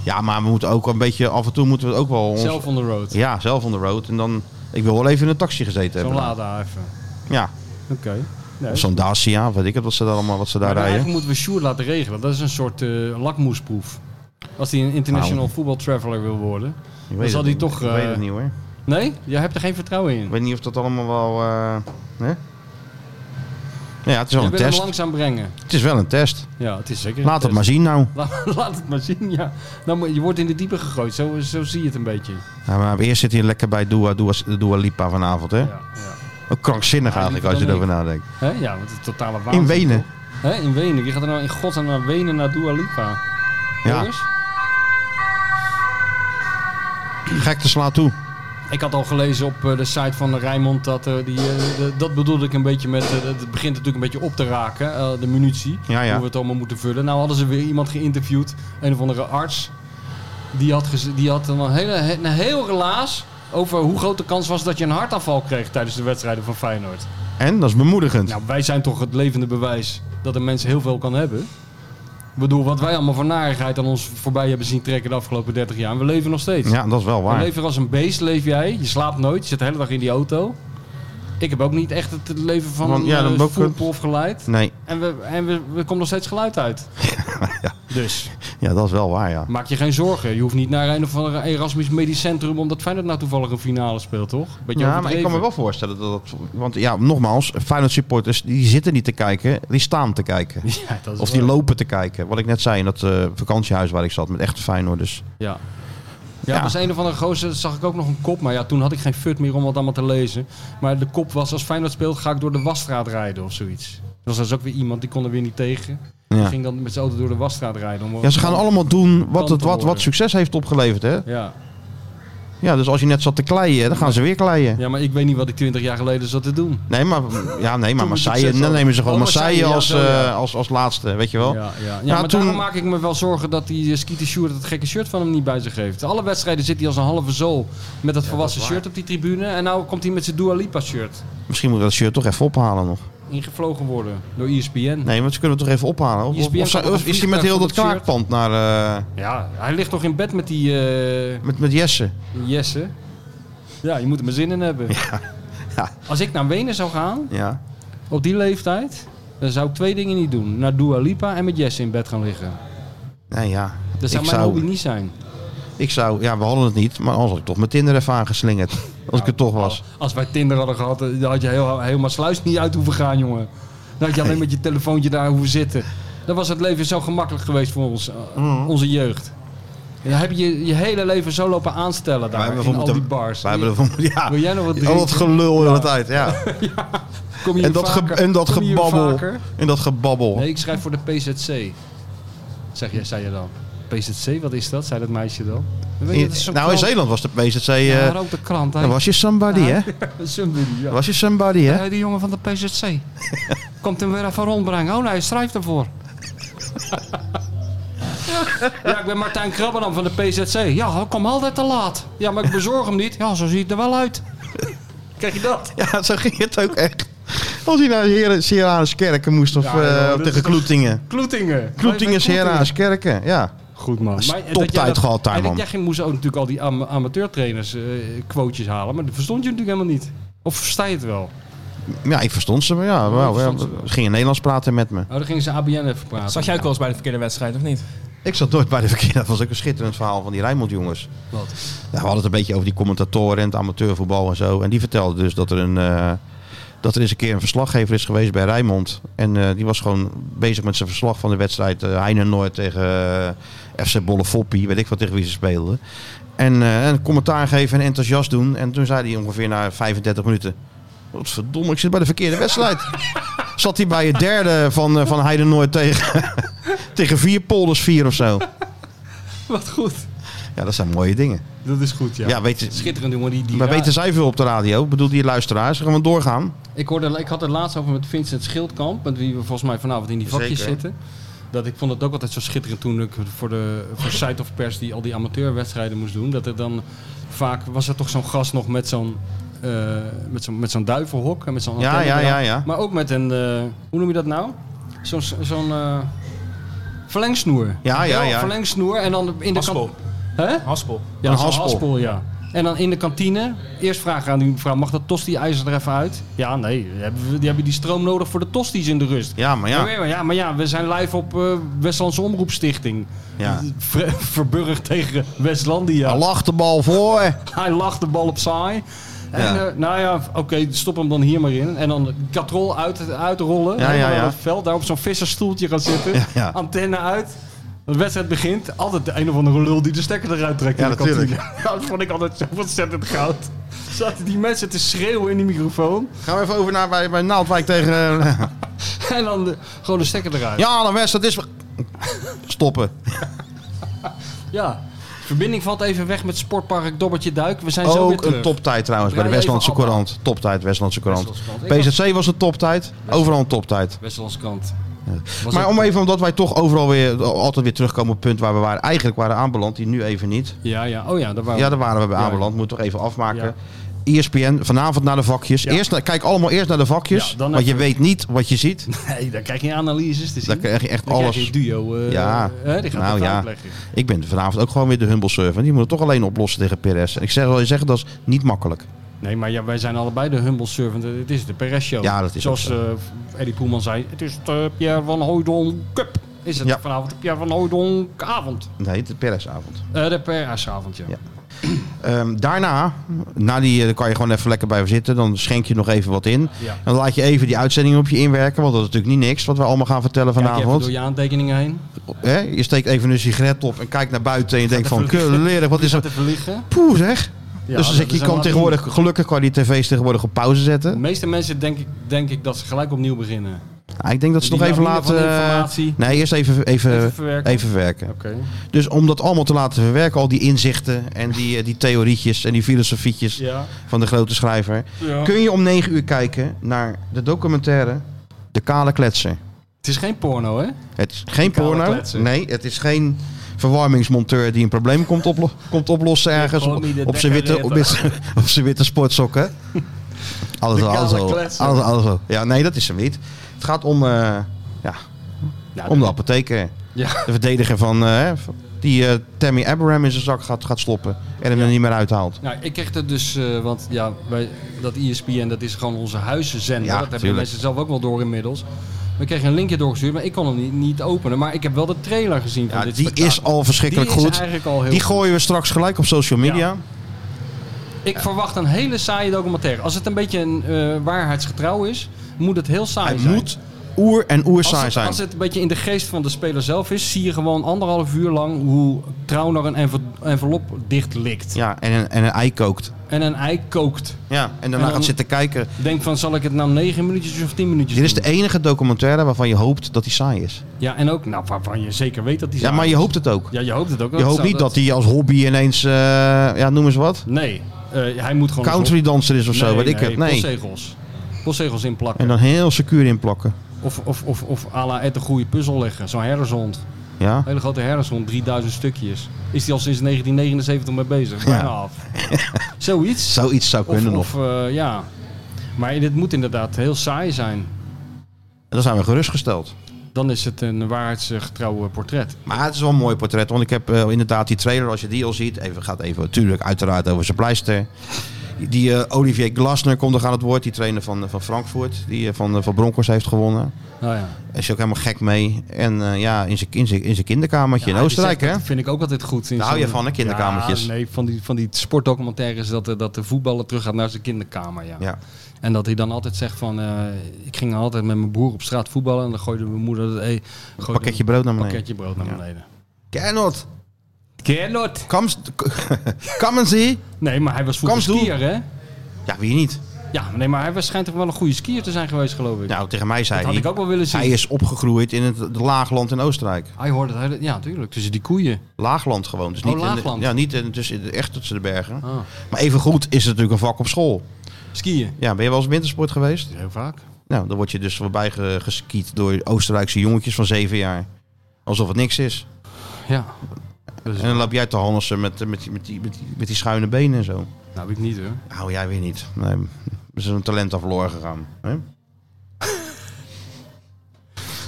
B: Ja, maar we moeten ook een beetje, af en toe moeten we het ook wel... Ons,
D: Zelf on the road.
B: Ja, zelf on the road. En dan, ik wil wel even in een taxi gezeten
D: Zo'n
B: hebben.
D: Lada even.
B: Ja,
D: Oké. Nee.
B: of zo'n Dacia, of weet ik het wat ze daar allemaal, wat ze daar
D: Maar dan
B: rijden.
D: eigenlijk moeten we Sjoerd laten regelen. Dat is een soort eh, lakmoesproef. Als hij een international
B: Nou.
D: voetbal traveler wil worden.
B: Ik
D: dan
B: weet
D: zal
B: het niet.
D: hij toch,
B: Ik weet
D: eh,
B: het niet hoor.
D: Nee? Jij hebt er geen vertrouwen in.
B: Ik weet niet of dat allemaal wel... eh, hè? Nou ja, het is wel
D: Je
B: een
D: wil hem
B: test.
D: langzaam brengen.
B: Het is wel een test.
D: Ja, het is zeker. een
B: Laat het
D: test.
B: maar zien nou.
D: Laat, laat het maar zien, ja. Nou, maar je wordt in de diepe gegooid, zo, zo zie je het een beetje.
B: Ja, maar eerst zit hij lekker bij Dua, Dua, Dua Lipa vanavond, hè?
D: Ja, ja.
B: Ook krankzinnig
D: Ja,
B: eigenlijk,
D: liever
B: als je
D: dan
B: erover nadenkt.
D: Hè? ja want het is totale waanzin.
B: In Wenen.
D: toch? Hè? In Wenen. Wie gaat er nou in godsnaam naar Wenen naar Dua Lipa?
B: Ja,
D: Jongens?
B: gek te slaan toe.
D: Ik had al gelezen op eh, de site van Rijnmond dat eh, die, eh, de- dat bedoelde ik een beetje met. eh, het begint natuurlijk een beetje op te raken, eh, de munitie.
B: Ja, ja.
D: Hoe we het allemaal moeten vullen. Nou hadden ze weer iemand geïnterviewd, een of andere arts. Die had, gez- die had een, hele, een heel relaas over hoe groot de kans was dat je een hartaanval kreeg tijdens de wedstrijden van Feyenoord.
B: En, dat is bemoedigend.
D: Nou, wij zijn toch het levende bewijs dat een mens heel veel kan hebben. Ik bedoel, wat wij allemaal voor narigheid aan ons voorbij hebben zien trekken de afgelopen 30 jaar. En we leven nog steeds.
B: ja, dat is wel
D: Je
B: waar.
D: leeft er als een beest, leef jij. Je slaapt nooit, je zit de hele dag in die auto. Ik heb ook niet echt het leven van
B: Want,
D: een
B: ja, dan
D: eh,
B: ook-
D: voetbalprof geleid.
B: Nee,
D: En, we, en we, we komen nog steeds geluid uit. Dus
B: ja, dat is wel waar, ja.
D: maak je geen zorgen. Je hoeft niet naar een of andere Erasmus Medisch Centrum... omdat Feyenoord nou toevallig een finale speelt, toch? Beetje
B: Ja, maar ik kan me
D: overdreven.
B: wel voorstellen dat dat... Want ja, nogmaals, Feyenoord supporters, die zitten niet te kijken, die staan te kijken.
D: Ja, dat is
B: Of die
D: wel-
B: lopen te kijken. Wat ik net zei in dat eh, vakantiehuis waar ik zat met echte Feyenoorders.
D: Ja. Ja,
B: Ja.
D: dat was een of andere gozer, dat zag ik ook nog een kop. Maar ja, toen had ik geen fut meer om wat allemaal te lezen. Maar de kop was, als Feyenoord speelt, ga ik door de wasstraat rijden of zoiets. Dat was dus ook weer iemand, die kon er weer niet tegen. Die
B: Ja.
D: ging dan met zijn auto door de wasstraat rijden. om-
B: ja, ze gaan allemaal doen wat,
D: Kanten
B: het, wat, wat
D: worden.
B: succes heeft opgeleverd, hè?
D: Ja.
B: Ja, dus als je net zat te kleien, dan gaan ze weer kleien.
D: ja, maar ik weet niet wat ik twintig jaar geleden zat te doen.
B: Nee, maar, ja, nee, maar
D: Toen
B: Marseille,
D: succes
B: dan
D: had.
B: nemen ze gewoon
D: Oh, Marseille,
B: Marseille
D: ja,
B: als,
D: zo, ja.
B: eh, als, als laatste, weet je wel.
D: Ja, ja. ja,
B: Oh. Ja,
D: maar
B: toen-
D: daarom maak ik me wel zorgen dat die eh, Skeeter Sjoerd dat gekke shirt van hem niet bij zich heeft. Alle wedstrijden zit hij als een halve zool met dat volwassen shirt op die tribune. En nou komt hij met zijn Dua Lipa shirt.
B: Misschien moet ik dat shirt toch even ophalen nog.
D: Ingevlogen worden door E ESPN.
B: Nee, maar ze kunnen het toch even ophalen. Of, of,
D: ESPN
B: of-
D: kan toch
B: of
D: een
B: is hij met
D: vliegtuig
B: heel
D: van
B: dat
D: dat shirt?
B: kraakpand naar... eh,
D: Ja, hij ligt toch in bed met die... eh,
B: met, met Jesse.
D: Jesse. Ja, je moet er maar zin in hebben.
B: ja.
D: Als ik naar Wenen zou gaan,
B: Ja.
D: op die leeftijd, dan zou ik twee dingen niet doen. Naar Dua Lipa en met Jesse in bed gaan liggen.
B: Nee, ja.
D: Dat zou
B: ik,
D: mijn hobby
B: zou,
D: niet zijn.
B: ik zou... Ja, we hadden het niet, maar anders had ik toch mijn Tinder even aangeslingerd. Als ik er toch was.
D: Als wij Tinder hadden gehad, dan had je heel, helemaal sluis niet uit hoeven gaan, jongen. Dan had je alleen met je telefoontje daar hoeven zitten. Dan was het leven zo gemakkelijk geweest voor ons, eh,
B: Mhm.
D: onze jeugd. Dan heb je je hele leven zo lopen aanstellen daar in al die bars.
B: Wij hebben ervoor- ja.
D: Wil jij nog wat
B: Al dat
D: drinken?
B: gelul de hele tijd, ja.
D: Kom je
B: En
D: hier
B: dat, ge-
D: vaker?
B: en dat
D: Kom je hier
B: gebabbel.
D: vaker?
B: En dat gebabbel.
D: Nee, ik schrijf voor de PZC. Zeg jij, zei je dan. PZC, wat is dat? Zei dat meisje dan. Weet je,
B: In-
D: dat is zo'n
B: nou, in
D: krant.
B: Zeeland was de PZC...
D: Ja,
B: eh
D: een rode krant. hè.
B: dan was je somebody, hè?
D: Somebody, ja.
B: Was je somebody, hè?
D: Eh, die jongen van de PZC. Komt hem weer even rondbrengen. Oh nee, hij schrijft ervoor. ja, ik ben Martijn Krabbenam van de PZC. Ja, hij komt altijd te laat. Ja, maar ik bezorg hem niet. Ja, zo ziet het er wel uit. Krijg je dat?
B: Ja, zo ging het ook echt. Als hij naar Heren- Sierraenskerken moest of
D: Ja,
B: eh,
D: ja, dat is
B: tegen
D: toch-
B: Kloetingen.
D: Kloetingen.
B: Kloetingen, Sierraenskerken, ja.
D: Goed man.
B: is
D: eh, dat
B: toptijd
D: jij dat-
B: gehad daar,
D: en dat
B: man.
D: Jij ging- moest ook natuurlijk al die am- amateurtrainers eh quotejes halen, maar dat verstond je natuurlijk helemaal niet. Of versta je het wel?
B: Ja, ik verstond ze, maar ja, wel, ja,
D: verstond ze wel.
B: ze gingen Nederlands praten met me.
D: Nou, dan gingen ze ABN even praten.
E: Zag jij ook wel eens bij de verkeerde wedstrijd, of niet?
B: Ik zat nooit bij de verkeerde. Dat was ook een schitterend verhaal van die Rijnmond jongens.
D: Wat?
B: Ja, we hadden het een beetje over die commentatoren en het amateurvoetbal en zo. En die vertelde dus dat er een... eh, dat er eens een keer een verslaggever is geweest bij Rijnmond. En eh, die was gewoon bezig met zijn verslag van de wedstrijd eh Heine Noord tegen eh, FC Bollefoppie. Weet ik wat tegen wie ze speelden. En eh, een commentaar geven en enthousiast doen. En toen zei hij ongeveer na 35 minuten... Wat verdomme, ik zit bij de verkeerde wedstrijd. Zat hij bij het derde van, eh, van Heine Noord tegen, tegen vier polders vier of zo.
D: Wat goed.
B: Ja, dat zijn mooie dingen.
D: Dat is goed, ja.
B: Ja, weten,
D: Schitterend jongen. Die, die
B: maar
D: ra-
B: weten zij veel op de radio? Ik bedoel, die luisteraars. Gaan we doorgaan?
D: ik, hoorde, ik had het laatst over met Vincent Schildkamp, met wie we volgens mij vanavond in die vakjes
B: Zeker.
D: zitten. Dat ik vond het ook altijd zo schitterend toen ik voor de voor Site of Pers die al die amateurwedstrijden moest doen. Dat er dan vaak was er toch zo'n gast nog met zo'n eh, met zo'n met zo'n duivelhok en met zo'n
B: Ja,
D: antenne
B: ja,
D: eraan.
B: ja, ja.
D: Maar ook met een eh, hoe noem je dat nou? Zo'n zo'n eh, verlengsnoer.
B: Ja, ja, ja.
D: Verlengsnoer en dan in de
E: Haspel.
D: kant. Hè?
E: Haspel.
D: Ja,
B: Een
D: zo'n
B: haspel.
D: haspel, ja. En dan in de kantine, eerst vragen aan die mevrouw, mag dat tosti-ijzer er even uit? Ja, nee, die hebben, we- die hebben die stroom nodig voor de tosti's in de rust. Oh,
B: Ja, maar
D: Ja,
B: ja.
D: maar ja, maar ja, we zijn live op eh, Westlandse Omroepstichting.
B: Ja.
D: Ver- Verburg tegen Westlandia.
B: Hij lag de bal voor.
D: Hij lacht de bal op saai. En,
B: Ja.
D: eh, nou ja, oké, stop hem dan hier maar in. En dan katrol uit, uitrollen.
B: Ja, ja,
D: helemaal naar
B: ja.
D: het veld. Daar op zo'n vissersstoeltje gaan zitten.
B: Ja, ja.
D: Antenne uit. De wedstrijd begint. Altijd de een of andere lul die de stekker eruit trekt.
B: Ja,
D: in de kantine.
B: natuurlijk.
D: dat vond ik altijd zo ontzettend goud. Zaten die mensen te schreeuwen in die microfoon.
B: Gaan we even over naar bij, bij Naaldwijk tegen... eh,
D: En dan de- gewoon de stekker eruit.
B: ja, dan West, dat is... Stoppen.
D: Ja. Verbinding valt even weg met Sportpark Dobbertje Duik. We zijn zo weer
B: Ook
D: terug.
B: een toptijd trouwens bij de
D: Draai even
B: Westlandse
D: af.
B: Courant. Toptijd, Westlandse Courant.
D: Westlandse Courant. Ik
B: PZC was een toptijd. Overal een toptijd.
D: Westlandse kant. Was
B: Maar
D: ook-
B: om even, omdat wij toch overal weer, altijd weer terugkomen op het punt waar we waren, eigenlijk waren aanbeland, die nu even niet.
D: Ja, ja. Oh ja, daar waren
B: Ja, E daar waren we bij
D: Ja, ja.
B: aanbeland. Moet toch even afmaken.
D: Ja.
B: ESPN, vanavond naar de vakjes.
D: Ja.
B: Eerst, naar- kijk allemaal eerst naar de vakjes,
D: Ja, dan
B: want je
D: even-
B: weet niet wat je ziet.
D: Nee, dan krijg je analyses te zien.
B: Dan krijg je echt alles.
D: krijg je duo. eh,
B: Ja.
D: hè, die gaat
B: Nou
D: het
B: ja.
D: uitleggen.
B: Ik ben vanavond ook gewoon weer de humble server. Die moet het toch alleen oplossen tegen Perez. En ik zeg wel je zeggen, dat is niet makkelijk.
D: Nee, maar ja, wij zijn allebei de humble servant. Het is de Perez show.
B: Ja, dat is
D: Zoals
B: ook
D: eh, Eddie Poelman zei, het is de Pierre van Hooydonk Cup. Is het
B: Ja.
D: vanavond de Pierre van Hooydonk avond.
B: Nee, de Perez-avond.
D: Eh, de Perez avond, ja.
B: Ja. Ehm, daarna, na die, eh, daar kan je gewoon even lekker bij zitten. Dan schenk je nog even wat in.
D: Ja.
B: Dan laat je even die uitzending op je inwerken. Want dat is natuurlijk niet niks wat we allemaal gaan vertellen
D: Kijk je even door
B: vanavond.
D: je aantekeningen heen.
B: Hè? Je steekt even een sigaret op en kijkt naar buiten. En je denkt van, leren, wat is er?
D: Te Dus verlichten.
B: Poeh zeg. dus
D: Ja, dat
B: dan zeg
D: is
B: je, je kan
D: een
B: tegenwoordig, gelukkig kan je die tv's tegenwoordig op pauze
D: De
B: zetten.
D: meeste mensen denk ik, denk ik dat ze gelijk opnieuw beginnen.
B: Nou, ik denk dat ze
D: Die
B: nog even
D: lawine van
B: laten...
D: informatie.
B: Nee, eerst even, even,
D: Even verwerken.
B: Even verwerken.
D: Oké.
B: Dus om dat allemaal te laten verwerken, al die inzichten en die, eh, die theorietjes en die filosofietjes
D: Ja.
B: van de grote schrijver.
D: Ja.
B: Kun je om 9 uur kijken naar de documentaire De Kale Kletser.
D: Het is geen porno, hè?
B: Het is geen
D: Kale
B: porno.
D: Kletser.
B: Nee, het is geen verwarmingsmonteur die een probleem komt, oplo- komt oplossen ergens
D: gewoon
B: op,
D: niet de
B: op zijn witte, op,
D: decorator.
B: zijn- op zijn witte sportsokken. Alles,
D: De Kale
B: alles, al, alles,
D: Kletser.
B: alles al. Ja, nee, dat is hem niet. Het gaat om, eh, ja,
D: Nou,
B: om de apotheker.
D: Ja.
B: De verdediger van, eh, van- die eh, Tammy Abraham in zijn zak gaat, gaat stoppen en hem er niet meer uithaalt.
D: Nou, ik kreeg dat dus, eh, want ja, wij, dat E ESPN dat is gewoon onze huiszender.
B: Ja,
D: dat hebben de
B: tuurlijk.
D: mensen zelf ook wel door inmiddels. We kregen een linkje doorgestuurd, maar ik kon hem niet, niet openen. Maar ik heb wel de trailer gezien van
B: Ja,
D: dit
B: die is
D: spektakel.
B: al verschrikkelijk
D: Die is
B: goed.
D: eigenlijk al heel
B: die
D: goed.
B: gooien we straks gelijk op social media.
D: Ik verwacht een hele saaie documentaire. Als het een beetje een eh, waarheidsgetrouw is, moet het heel saai
B: Hij
D: zijn.
B: moet oer en oer
D: als
B: saai
D: het,
B: zijn.
D: als het een beetje in de geest van de speler zelf is, zie je gewoon anderhalf uur lang hoe trouw naar een enve- envelop dicht likt.
B: Ja, en een, en een ei kookt.
D: En een ei kookt.
B: Ja, en daarna
D: dan-
B: gaat zitten kijken.
D: Denk van, zal ik het nou negen minuutjes of tien minuutjes
B: Dit is
D: doen?
B: de enige documentaire waarvan je hoopt dat hij saai is.
D: Ja, en ook, nou, waarvan je zeker weet dat die
B: Ja,
D: saai
B: maar je
D: is.
B: hoopt het ook.
D: Ja, je hoopt het ook.
B: Je hoopt niet dat hij als hobby ineens, eh, ja, noem eens wat,
D: Nee, eh, hij moet gewoon...
B: country danser is of zo. Wat
D: nee,
B: ik het, nee.
D: postzegels. Postzegels inplakken.
B: En dan heel secuur inplakken.
D: Of, of, of, of à la Ed de goede puzzel leggen. Zo'n herdershond.
B: Ja.
D: Hele grote herdershond, 3000 stukjes. Is die al sinds 1979 mee bezig. Bijna af. Zoiets.
B: Zoiets zou
D: Of,
B: kunnen nog.
D: of eh, ja. Maar dit moet inderdaad heel saai zijn.
B: En dan zijn we gerustgesteld.
D: Dan is het een waarheidsgetrouw portret.
B: Maar het is wel een mooi portret. Want ik heb eh, inderdaad die trailer, als je die al ziet. Even gaat even natuurlijk uiteraard over zijn pleister. Die eh, Olivier Glasner komt nog aan het woord. Die trainer van, eh, van Frankfurt. Die eh, van, eh, van Broncos heeft gewonnen.
D: Nou ja.
B: Hij is ook helemaal gek mee. En eh, ja, in zijn- in zijn in zijn kinderkamertje
D: Ja,
B: in Oostenrijk,
D: die
B: hè?
D: zegt, dat vind ik ook altijd goed. In
B: Daar hou je
D: zo'n-
B: van, hè, kinderkamertjes.
D: Ja, nee, van die, van die sportdocumentaires dat, de- dat de voetballer terug gaat naar zijn kinderkamer. Ja.
B: Ja.
D: En dat hij dan altijd zegt van... eh, ik ging altijd met mijn broer op straat voetballen... en dan gooide mijn moeder dat... Hey, gooide
B: Pakketje brood naar
D: een
B: beneden.
D: pakketje brood naar beneden.
B: Gernot,
D: Gernot!
B: kom, kom en zie.
D: Nee, maar hij was vroeger
B: Kamsdoel.
D: skier, hè?
B: Ja, wie niet?
D: Ja, nee, maar hij was, schijnt toch wel een goede skier te zijn geweest, geloof ik.
B: Nou, tegen mij zei
D: dat had ik
B: hij.
D: ook wel willen zien.
B: Hij
D: Hij,
B: is opgegroeid in het het laagland in Oostenrijk.
D: hoorde het... hele- Ja, natuurlijk, tussen die koeien.
B: Laagland gewoon. Dus
D: Oh,
B: niet In
D: laagland.
B: de, ja, niet in, tussen, echt tussen de bergen.
D: Ah,
B: Maar even goed is het natuurlijk een vak op school.
D: skiën.
B: Ja, ben je wel eens wintersport geweest?
D: Heel vaak.
B: Nou, dan word je dus voorbij ge- geskiet door Oostenrijkse jongetjes van zeven jaar. Alsof het niks is.
D: Ja.
B: En dan loop jij te hannissen met, eh, met, die- met, die, met, die, met die schuine benen en zo.
D: Nou, heb ik niet, hoor.
B: Hou jij weer niet. Nee, we zijn een talent aan verloren gegaan. Hè?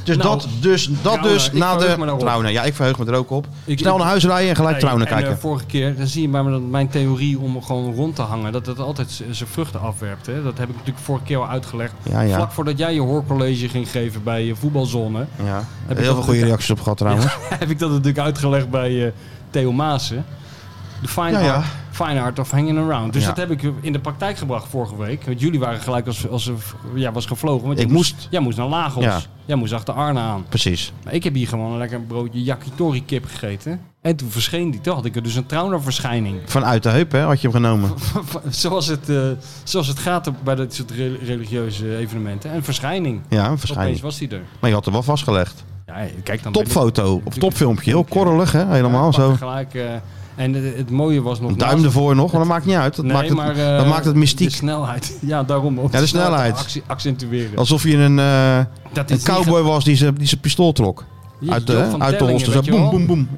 B: Dus
D: Nou,
B: dat dus, dat
D: Trouwen,
B: dus
D: ik
B: na
D: verheug me
B: de
D: daarop.
B: trouwen. Ja, ik verheug me er ook op.
D: Ik-
B: Snel
D: ik-
B: naar huis rijden en gelijk
D: Nee,
B: trouwen
D: en,
B: kijken.
D: eh, vorige keer dan zie je maar dat mijn theorie om gewoon rond te hangen, dat het altijd z- zijn vruchten afwerpt. Hè? Dat heb ik natuurlijk vorige keer al uitgelegd.
B: Ja, ja.
D: Vlak voordat jij je hoorcollege ging geven bij eh, voetbalzone,
B: ja.
D: ik
B: Heel
D: dat
B: veel goede
D: ook- eh,
B: reacties op gehad trouwens.
D: heb ik dat natuurlijk uitgelegd bij eh Theo Maassen. De fine
B: Ja, ja.
D: art Fine art of hanging around. Dus
B: Ja.
D: dat heb ik in de praktijk gebracht vorige week. Want jullie waren gelijk als, als ja, was gevlogen. Want
B: Ik
D: jij
B: moest.
D: Jij moest naar Lagos.
B: Ja.
D: Jij moest achter Arne aan.
B: Precies.
D: Maar ik heb hier gewoon een lekker broodje yakitori kip gegeten. En toen verscheen die. Toen had ik er dus een traumaverschijning.
B: Vanuit de heup hè, had je hem genomen.
D: zoals, het, eh, zoals het gaat op- bij dit soort re- religieuze evenementen. En verschijning.
B: Ja, een
D: Opeens
B: verschijning.
D: was hij er.
B: Maar je had hem wel vastgelegd.
D: Ja, kijk dan ben ik-
B: Topfoto of topfilmpje. Heel korrelig hè,
D: Ja,
B: helemaal
D: pak
B: zo.
D: er Gelijk, eh, en eh, het mooie was nog...
B: Een duim
D: naast-
B: ervoor nog, maar dat maakt niet uit. Dat,
D: Nee,
B: maakt, het,
D: maar, eh,
B: dat maakt het
D: De
B: mystiek.
D: snelheid. Ja, daarom. ook.
B: Ja, de snelheid.
D: actie- accentueren.
B: Alsof je een, eh,
D: dat
B: een cowboy was die zijn die zijn pistool trok. Uit de, uit de holster. Zo, boem, boem, boem.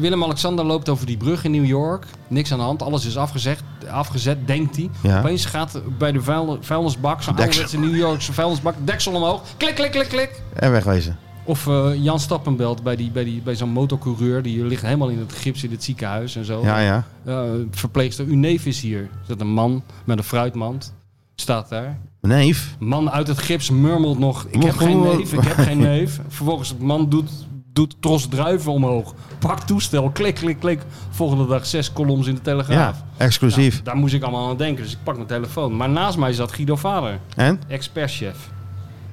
D: Willem-Alexander loopt over die brug in New York. Niks aan de hand. Alles is afgezet, afgezet denkt hij.
B: Ja.
D: Opeens gaat bij de vuil, vuilnisbak, zo'n
B: Deksel.
D: ouderwetse New Yorkse vuilnisbak, deksel omhoog. Klik, klik, klik, klik.
B: En wegwezen.
D: Of eh, Jan Stappenbelt bij, die, bij, die, bij zo'n motorcoureur. Die ligt helemaal in het gips in het ziekenhuis en zo.
B: Ja, ja.
D: Eh, verpleegster, uw neef is hier. Er zit een man met een fruitmand. Staat daar.
B: Neef.
D: Man uit het gips murmelt nog: Ik heb geen neef, ik heb geen neef. Vervolgens, de man doet, doet tros druiven omhoog. Pak toestel, klik, klik, klik. Volgende dag zes columns in de Telegraaf.
B: Ja, exclusief.
D: Daar moest ik allemaal aan denken, dus ik pak mijn telefoon. Maar naast mij zat Guido Vader,
B: En?
D: ex-perschef.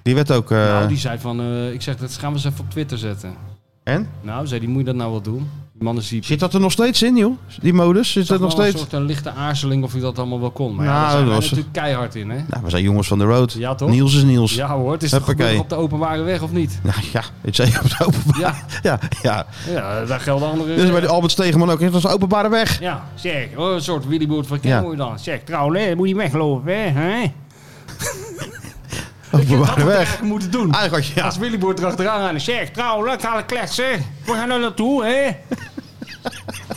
B: Die werd ook... eh,
D: Nou, die zei van: eh, Ik zeg, dat gaan we eens even op Twitter zetten.
B: En?
D: Nou, zei die: Moet je dat nou wel doen? Die man is die.
B: Zit dat er nog steeds in, joh? Die modus? Zit
D: zag
B: dat nog
D: wel
B: steeds?
D: Een soort een lichte aarzeling of hij dat allemaal wel kon. Maar ja,
B: Nou,
D: daar zijn
B: dat
D: wij
B: was-
D: natuurlijk keihard in, hè?
B: Nou, we zijn jongens van de road.
D: Ja, toch?
B: Niels is Niels. Ja,
D: Ja hoor, het is toch
B: Huppakee.
D: gebeurd op de openbare weg of niet?
B: nou, ja het zei je op de openbaar. Ja,
D: Ja,
B: ja.
D: ja daar gelden andere...
B: Dus bij de Albert Stegeman ook. Dat is een openbare weg.
D: Ja, zeg, oh, een soort Willyboot van
B: Ja.
D: Ken moet je dan. Zeg, trouwens, hè, moet je weglopen, hè? hè? Dat had
B: Openbare
D: ik
B: weg.
D: eigenlijk moeten doen.
B: Eigenlijk had je... Ja.
D: Als Willyboot erachteraan gaat, zeg, trouwens, ik ga het kletsen. We gaan er naartoe, hè?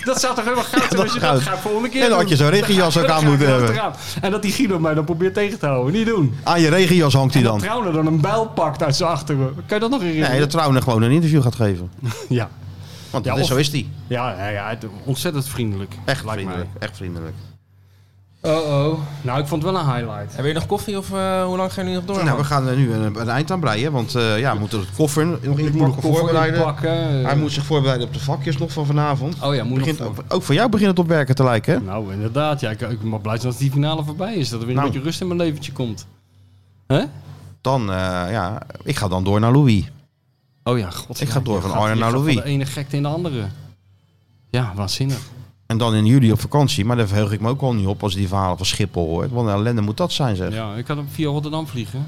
D: Dat zou toch helemaal goud zijn
B: dat
D: als je
B: goud.
D: dat gaat volgende keer
B: En dan had je
D: doen.
B: zo'n regenjas ook
D: Dan ga
B: aan
D: ik
B: moeten hebben.
D: erachteraan. En dat die Guido mij dan probeert tegen te houden. Niet doen.
B: Aan je regenjas hangt hij
D: Dat
B: dan.
D: Trouwner dan een bijl pakt uit zijn achteren. Kan je dat nog herinneren?
B: Nee, dat Trouwen gewoon een interview gaat geven.
D: Ja.
B: Want
D: Ja,
B: dat is,
D: of-
B: zo is die.
D: Ja, ja, ja, het- ontzettend vriendelijk.
B: Echt
D: lijkt
B: vriendelijk. Echt vriendelijk.
D: mij. Oh-oh. Nou, ik vond het wel een highlight.
E: Hebben jullie nog koffie of eh, hoe lang gaan jullie nog door?
B: Nou, we gaan er nu een, een eind aan breien. Want eh, ja, we moeten het koffer nog in
D: Ik
B: de
D: moet
B: bakken
D: koffer
B: voorbereiden.
D: inpakken.
B: Hij moet zich voorbereiden op de vakjes nog van vanavond.
D: Oh ja, moet
B: Begint
D: nog...
B: ook, ook voor jou begint het op werken te lijken, hè?
D: Nou, inderdaad. Ja, ik, ik mag blij zijn als die finale voorbij is. Dat er weer een
B: Nou.
D: beetje rust in mijn leventje komt. Hè?
B: Dan, eh, ja, ik ga dan door naar Louis.
D: Oh ja, god.
B: Ik
D: ja,
B: ga door
D: je
B: van
D: gaat-
B: Arne
D: je
B: naar
D: gaat
B: Louis.
D: Van de ene gekte in de andere. Ja, waanzinnig.
B: En dan in juli op vakantie. Maar daar verheug ik me ook al niet op als je die verhalen van Schiphol hoort. Wat een ellende moet dat zijn, zeg.
D: Ja, ik had hem via Rotterdam vliegen.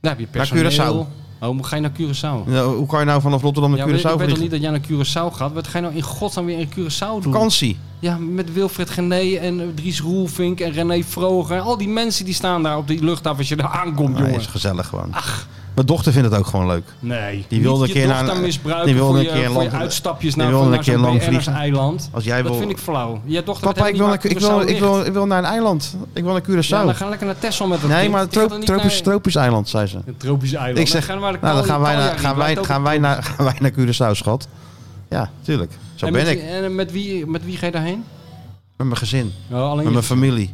D: Daar heb je
B: Naar
D: personeel. Oh, moet- ga je naar Curaçao?
B: Nou, hoe kan je nou vanaf Rotterdam
D: Ja,
B: naar
D: weet-
B: Curaçao
D: ik weet toch
B: vliegen?
D: niet dat jij naar Curaçao gaat. Wat ga je nou in godsnaam weer in Curaçao doen?
B: Vakantie.
D: Ja, met Wilfred Gené en eh, Dries Roelvink en René Vroger. Al die mensen die staan daar op die luchthaven als je daar aankomt,
B: Nee,
D: jongen.
B: is gezellig gewoon. Mijn dochter vindt het ook gewoon leuk.
D: Nee.
B: Die wilde
D: Niet
B: een keer
D: je
B: naar-
D: dochter misbruiken
B: die wilde
D: voor,
B: een
D: je,
B: keer
D: voor je
B: land-
D: uitstapjes
B: die
D: naar,
B: wilde
D: naar
B: een keer
D: zo'n
B: lang
D: BN'ers
B: vliegen.
D: eiland.
B: Als jij
D: dat
B: wil-
D: vind ik flauw. Je dochter
B: Papa, ik wil, naar, ik, wil, ik, wil, ik wil naar een eiland. Ik wil naar Curaçao.
D: Ja, dan gaan we lekker naar Texel met dat
B: nee,
D: kind.
B: maar
D: Ik wil er
B: tro-
D: niet
B: tropisch,
D: naar-
B: tropisch eiland, zei ze.
D: Een tropisch eiland.
B: Ik zeg,
D: dan gaan
B: nou,
D: we
B: dan gaan wij, naar, gaan, wij, gaan,
D: gaan
B: wij naar, gaan wij naar Curaçao, schat. Ja, tuurlijk. Zo
D: en
B: ben
D: met,
B: ik.
D: wie- En met wie, met wie ga je daarheen?
B: Met mijn gezin.
D: Oh, alleen
B: Met
D: je-
B: mijn familie.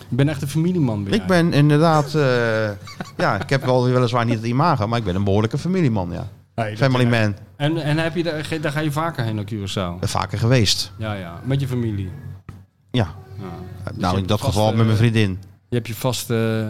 D: Ik ben echt een familieman.
B: Ik
D: jij.
B: ben inderdaad... eh, ja, ik heb wel weliswaar niet het imago, maar ik ben een behoorlijke familieman, ja.
D: Nee, dat-
B: Family man. eh,
D: En, en heb je daar, ge- daar ga je vaker heen naar Curaçao?
B: Vaker geweest.
D: Ja, ja. Met je familie.
B: Ja.
D: Ja.
B: Nou, in dat
D: vast,
B: geval
D: eh,
B: met mijn vriendin.
D: Je hebt je vaste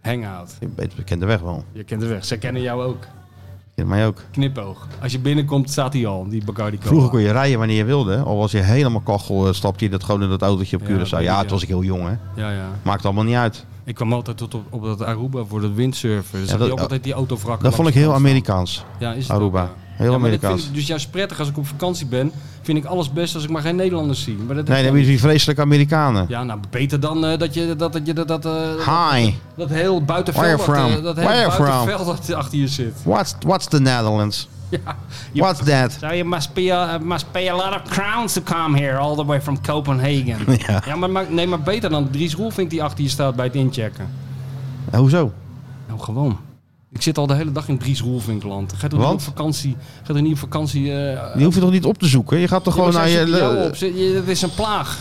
D: eh, hangout.
B: Ik weet- Ik ken de weg wel.
D: Je kent de weg. Zij kennen jou ook.
B: Ik ken mij ook.
D: Knipoog. Als je binnenkomt, staat hij al, die Bacardi Cola.
B: Vroeger kon je rijden wanneer je wilde. Al was je helemaal kachel, eh, stapte je dat gewoon in dat autootje op
D: Ja,
B: Curaçao.
D: weet ik,
B: Ja,
D: ja.
B: toen was ik heel jong, hè.
D: Ja, ja.
B: Maakt allemaal niet uit.
D: Ik kwam altijd tot op, op dat Aruba voor dat windsurfen. Dus
B: Ja,
D: ja,
B: dat-
D: ook altijd die autovrakken.
B: Dat vond ik
D: langs de
B: heel
D: kant
B: Amerikaans,
D: staan. Ja, is het
B: Aruba.
D: ook, ja.
B: Heel
D: Ja, maar dat
B: Amerikaans.
D: vind ik dus juist prettig als ik op vakantie ben. Vind ik alles best als ik maar geen Nederlanders zie. Maar dat
B: Nee, dan heb je die vreselijke Amerikanen.
D: Ja, nou beter dan eh, dat je dat, dat, je, dat, dat, eh,
B: Hi,
D: dat heel
B: Where
D: buitenveld,
B: you
D: dat,
B: from?
D: eh, dat hele
B: Where you from?
D: buitenveld dat achter je zit.
B: what's, what's the Netherlands?
D: Ja. Je-
B: What's that?
D: So you must be a, must pay a lot of crowns to come here all the way from Copenhagen.
B: Ja.
D: maar, maar nee, maar beter dan Dries Roelvink die achter je staat bij het inchecken.
B: Eh, hoezo?
D: Nou, gewoon. Ik zit al de hele dag in Dries Roelvinkland. Ga je toch niet op
B: Want?
D: vakantie? Ga je toch niet op vakantie? eh,
B: Die hoef je toch niet op te zoeken? Je gaat toch gewoon
D: ja,
B: naar
D: maar
B: je...
D: zij
B: eh,
D: zitten jou op. Ze- je- Dat is een plaag.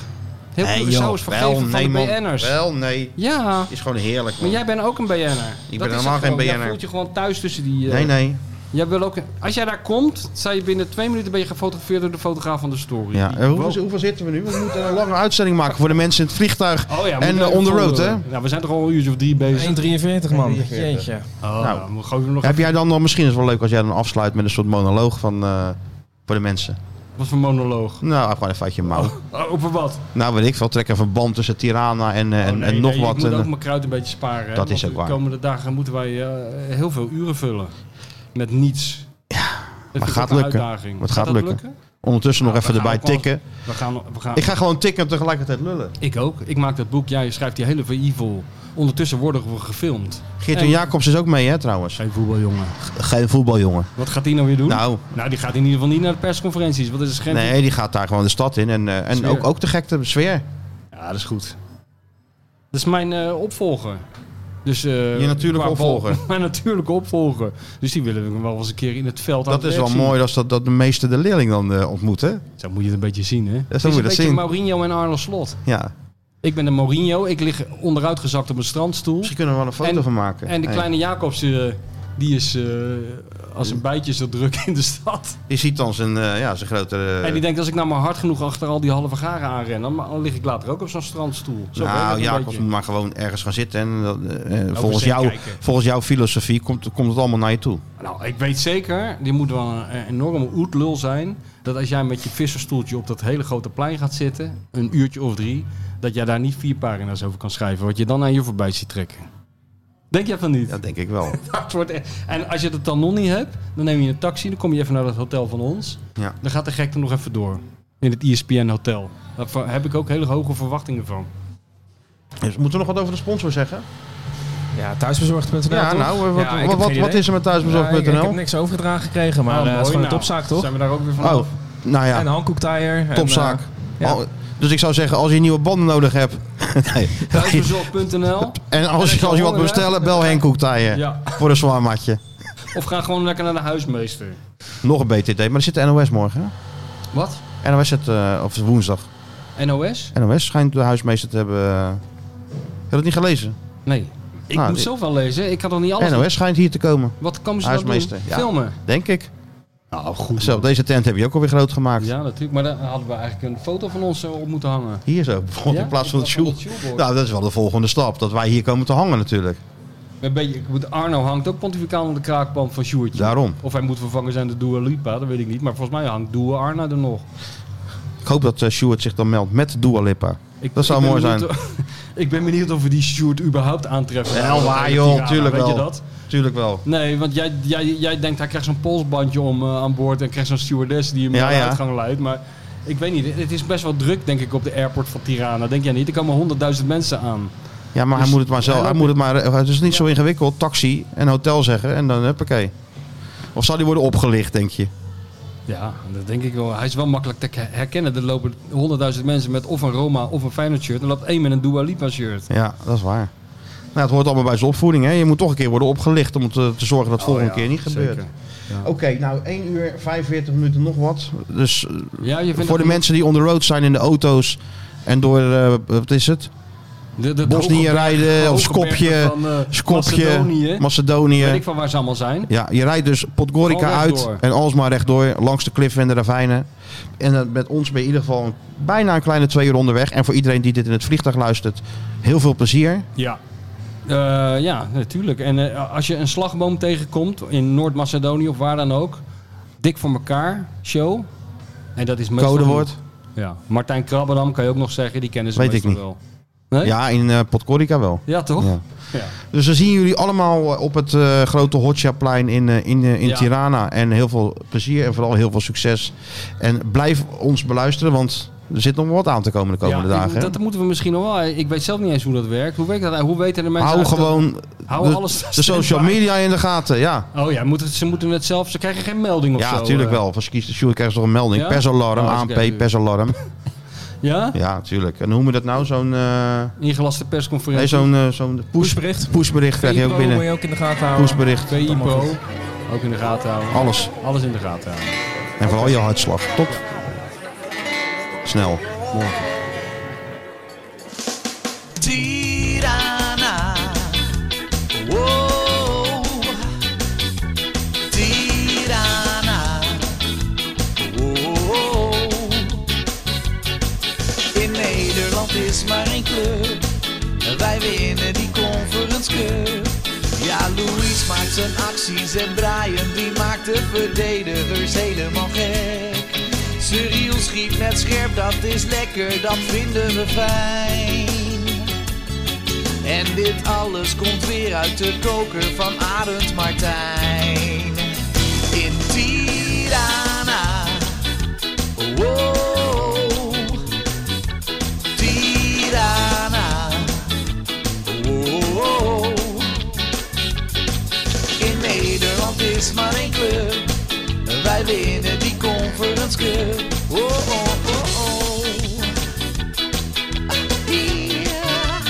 D: Heel
B: Nee,
D: veel
B: joh,
D: Curaçao is vergeven
B: wel,
D: van
B: nee,
D: de
B: man.
D: BN'ers.
B: Wel, nee.
D: Ja,
B: Is gewoon heerlijk,
D: maar
B: man.
D: jij bent ook een BN'er.
B: ben
D: Dat is
B: helemaal
D: het gewoon.
B: geen
D: Jij
B: BN'er.
D: voelt je gewoon thuis tussen die... eh,
B: Nee, nee.
D: Jij wil ook, als jij daar komt, zei je binnen twee minuten ben je gefotografeerd door de fotograaf van de story.
B: Ja. Eh, hoeveel,
D: Wow.
B: hoeveel zitten we nu? We moeten een lange uitzending maken voor de mensen in het vliegtuig
D: Oh ja,
B: en
D: moeten we
B: eh, on the
D: even
B: road, hè?
D: volgen. Nou, we zijn toch al een uurtje of drie bezig.
E: 1,43 man. Jeetje.
D: Oh, nou, we gooien hem nog
B: Heb jij dan nog, misschien is het wel leuk als jij dan afsluit met een soort monoloog van, eh, voor de mensen.
D: even- Wat voor monoloog.
B: Nou, gewoon even uit je mouw.
D: Oh, over wat?
B: Nou, weet ik veel, trek een verband tussen Tirana en, eh, en,
D: Oh, nee,
B: en nog
D: nee,
B: wat.
D: Ik moet
B: En,
D: ook mijn kruid een beetje sparen. hè,
B: Dat is
D: want
B: ook waar.
D: De komende dagen moeten wij eh, heel veel uren vullen. Met niets. Ja,
B: maar gaat lukken.
D: Uitdaging.
B: Het gaat
D: dat
B: lukken. ondertussen nog
D: Nou,
B: even
D: we gaan
B: erbij
D: ook wel-
B: tikken.
D: We gaan, we gaan,
B: Ik ga gewoon tikken en tegelijkertijd lullen.
D: Ik ook. Ik maak dat boek. Jij schrijft die hele Evil. Ondertussen worden we gefilmd.
B: Geert
D: En-
B: Jacobs is ook mee, hè, trouwens.
D: Geen voetbaljongen.
B: Geen voetbaljongen.
D: Wat gaat die nou weer doen?
B: Nou,
D: Nou, die gaat in ieder geval niet naar de persconferenties. Wat is het schijn?
B: nee, die gaat daar gewoon de stad in. En, eh, en
D: Sfeer.
B: ook, ook de gekte sfeer.
D: Ja, dat is goed. Dat is mijn eh, opvolger. Dus, eh,
B: Je natuurlijke
D: qua bal-
B: opvolger.
D: Mijn natuurlijke opvolger. Dus die willen we wel eens een keer in het veld aan
B: Dat
D: het
B: is
D: werk
B: wel
D: zien.
B: mooi als dat, dat de meeste de leerling dan eh, ontmoet, hè?
D: Zo moet je het een beetje zien, hè?
B: moet je
D: een
B: dat
D: beetje
B: zien.
D: Mourinho en Arno Slot.
B: Ja.
D: Ik ben de Mourinho. Ik lig onderuitgezakt op een strandstoel.
B: Misschien kunnen we wel een foto
D: En-
B: van maken.
D: En die
B: Hey.
D: kleine Jacobs, eh, die is eh, als een bijtje zo druk in de stad.
B: Die ziet dan zijn, eh, ja, zijn grote... eh,
D: en die denkt, als ik nou maar hard genoeg achter al die halve garen aanren, dan ma- dan lig ik later ook op zo'n strandstoel. Zo werkt het
B: nou,
D: een
B: Jacobs
D: beetje.
B: moet maar gewoon ergens gaan zitten. En dat, eh, eh, volgens,
D: zee
B: jou,
D: kijken.
B: volgens jouw filosofie komt, komt het allemaal naar je toe.
D: Nou, ik weet zeker, die moet wel een, een enorme oetlul zijn, dat als jij met je visserstoeltje op dat hele grote plein gaat zitten, een uurtje of drie, dat jij daar niet vier pagina's over kan schrijven, wat je dan aan je voorbij ziet trekken. Denk jij van niet?
B: Dat denk ik wel.
D: Het wordt e- En als je het dan nog niet hebt, dan neem je een taxi, dan kom je even naar dat hotel van ons.
B: Ja.
D: Dan gaat de gekte nog even door. In het E ESPN Hotel. Daar va- heb ik ook hele hoge verwachtingen van.
B: Dus moeten we nog wat over de sponsor zeggen?
E: Ja, thuisbezorgd.nl.
B: Ja,
E: toch?
B: nou, eh, wat,
E: Ja, ik heb
B: wat, wat,
E: geen
B: wat
E: idee.
B: is er met
E: Ja, ik, ik
B: thuisbezorgd.nl?
E: heb niks overgedragen gekregen, maar
B: Ah,
E: eh,
D: mooi,
E: het is gewoon
D: nou.
E: een topzaak, toch?
D: Zijn we daar ook weer van?
B: oh, nou ja,
E: En Hankook Tire.
B: topzaak.
E: ja.
B: Al- Dus ik zou zeggen, als je nieuwe banden nodig hebt... Nee.
D: Thuisbezorgd.nl
B: En als,
D: heb
B: je-
D: je
B: als je wat wil
D: honger, hè?
B: bestellen, bel Henk Koektijen.
D: Ja.
B: Voor een zwaar matje.
D: Of ga gewoon lekker naar de huismeester.
B: Nog een BTT, maar er zit de NOS morgen.
D: Wat?
B: hè? NOS zit, eh, of woensdag.
D: NOS?
B: NOS schijnt de huismeester te hebben... eh, Heb je dat niet gelezen?
D: Nee. Ik
B: Nou,
D: moet
B: dit-
D: zelf wel lezen. Ik had nog niet alles.
B: NOS schijnt hier te komen,
D: Wat komen ze
B: Huismeester,
D: dan doen?
B: ja.
D: Filmen.
B: denk ik.
D: Nou, goed.
B: Zo, deze tent heb je ook alweer groot gemaakt.
D: Ja, natuurlijk. Maar daar hadden we eigenlijk een foto van ons eh, op moeten hangen.
B: Hier zo, bijvoorbeeld
D: Ja,
B: in plaats van het shoe.
D: shoeboard.
B: Nou, dat is wel de volgende stap. Dat wij hier komen te hangen natuurlijk.
D: Een beetje, ik moet- Arno hangt ook pontificaal aan de kraakband van Sjoertje.
B: Daarom.
D: Of hij moet vervangen zijn door Dua Lipa, dat weet ik niet. Maar volgens mij hangt Dua Arna er nog.
B: Ik hoop dat eh Stuart zich dan meldt met Dua Lipa.
D: Ik,
B: Dat zou
D: ik ben
B: mooi
D: benieuwd of- ik ben benieuwd of we die Sjoerd überhaupt aantreffen.
B: Wel
D: Ja,
B: waar,
D: dat-
B: joh,
D: ja,
B: tuurlijk
D: weet
B: wel.
D: je dat?
B: Tuurlijk wel.
D: Nee, want jij, jij, jij denkt hij krijgt zo'n polsbandje om eh, aan boord... en krijgt zo'n stewardess die hem
B: Ja,
D: naar de
B: ja.
D: uitgang leidt. Maar ik weet niet, het is best wel druk denk ik op de airport van Tirana. Denk jij niet? Er komen honderdduizend mensen aan.
B: Ja, maar hij moet het maar zelf. Hij moet het, maar, het is niet zo ingewikkeld. Taxi en hotel zeggen en dan huppakee. Of zal die worden opgelicht, denk je?
D: Ja, dat denk ik wel. Hij is wel makkelijk te herkennen. Er lopen honderdduizend mensen met of een Roma of een Feyenoord shirt. Er loopt één met een Dua Lipa shirt.
B: Ja, dat is waar. Nou, het hoort allemaal bij zijn opvoeding. Hè? Je moet toch een keer worden opgelicht om te, te zorgen dat het volgende keer niet gebeurt. Oké, nou 1 uur 45 minuten nog wat. Dus eh,
D: Ja, je vindt
B: voor de
D: dat-
B: mensen die on the road zijn in de auto's en door, eh, wat is het?
D: de- de-
B: Bosnië
D: hoge-
B: rijden
D: hoge
B: of Skopje.
D: bergen van, eh,
B: Skopje,
D: Macedonië.
B: Macedonië.
D: Weet ik van waar ze allemaal zijn.
B: Ja, je rijdt dus Podgorica
D: Gewoon
B: uit
D: rechtdoor.
B: en alsmaar rechtdoor langs de kliffen en de ravijnen. En eh, met ons ben je in ieder geval een- bijna een kleine twee uur onderweg. En voor iedereen die dit in het vliegtuig luistert, heel veel plezier.
D: Ja. Eh, ja, natuurlijk. En eh, als je een slagboom tegenkomt in Noord-Macedonië of waar dan ook. Dik voor elkaar, show. En dat is meestal...
B: Codewoord.
D: Ja. Martijn Krabberdam kan je ook nog zeggen. Die kennen ze
B: Weet ik
D: meestal
B: niet.
D: wel. Nee?
B: Ja, in eh Podgorica wel.
D: Ja, toch?
B: Ja.
D: Ja.
B: Dus dan zien jullie allemaal eh, op het eh, grote Hotjaplein in, eh, in, eh, in
D: Ja.
B: Tirana. En heel veel plezier en vooral heel veel succes. En blijf ons beluisteren, want er zit nog wat aan te komen de komende
D: Ja, ik-
B: dagen. hè?
D: Dat moeten we misschien nog wel. Ik weet zelf niet eens hoe dat werkt. Hoe, werkt dat, hoe weten de mensen...
B: Hou
D: uit-
B: gewoon
D: Hou
B: de,
D: alles
B: de social
D: standby.
B: media in de gaten, ja.
D: Oh ja, moeten, ze moeten het zelf... Ze krijgen geen melding of zo.
B: Ja, natuurlijk
D: eh.
B: wel. Van Skies de Sjoerd krijgen ze toch een melding.
D: Ja?
B: Persalarm,
D: Oh, dat is oké.
B: ANP, persalarm.
D: Ja?
B: Ja, natuurlijk. En hoe noemen we dat nou? Zo'n eh,
D: Ingelaste
B: nee,
D: persconferentie.
B: zo'n eh, zo'n push,
E: Pushbericht.
B: pushbericht krijg je ook
E: Moet
B: binnen.
E: je ook in de gaten houden.
B: Pushbericht,
D: VIPO. Ook in de gaten houden.
B: alles.
D: Alles in de gaten houden.
B: En vooral je hartslag. Top. Snel.
A: Tirana. Whoa. Tirana. in Nederland is maar één club. Wij winnen die Conference Cup. Ja, Louis maakt zijn acties en Brian die maakt de verdedigers helemaal gek. Cyril schiet net scherp, dat is lekker, dat vinden we fijn. En dit alles komt weer uit de koker van Arend Martijn. In Tirana. Wow. Tirana. Wow. In Nederland is maar één club. Wij winnen die Conference Cup. Oh, oh, oh, oh. Ah, yeah.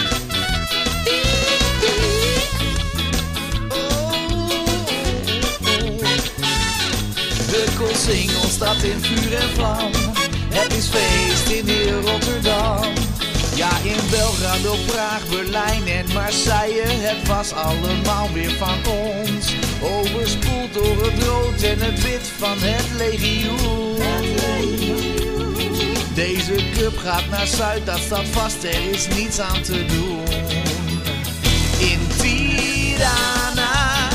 A: De Koolsingel staat in vuur en vlam. Het is feest in heel Rotterdam. Ja, in Belgrado, Praag, Berlijn en Marseille. Het was allemaal weer van ons. Overspoeld door het rood en het wit van het legioen. Deze cup gaat naar Zuid, dat staat vast. Er is niets aan te doen in Tirana.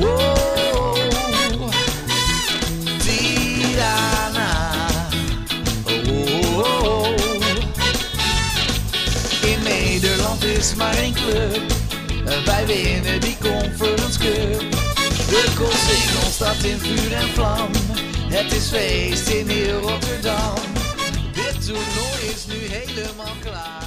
A: Oh, Wow. Tirana. Wow. In Nederland is maar één club. Wij winnen die Conference Cup. De Koolsingel staat in vuur en vlam. Het is feest in heel Rotterdam. Dit toernooi is nu helemaal klaar.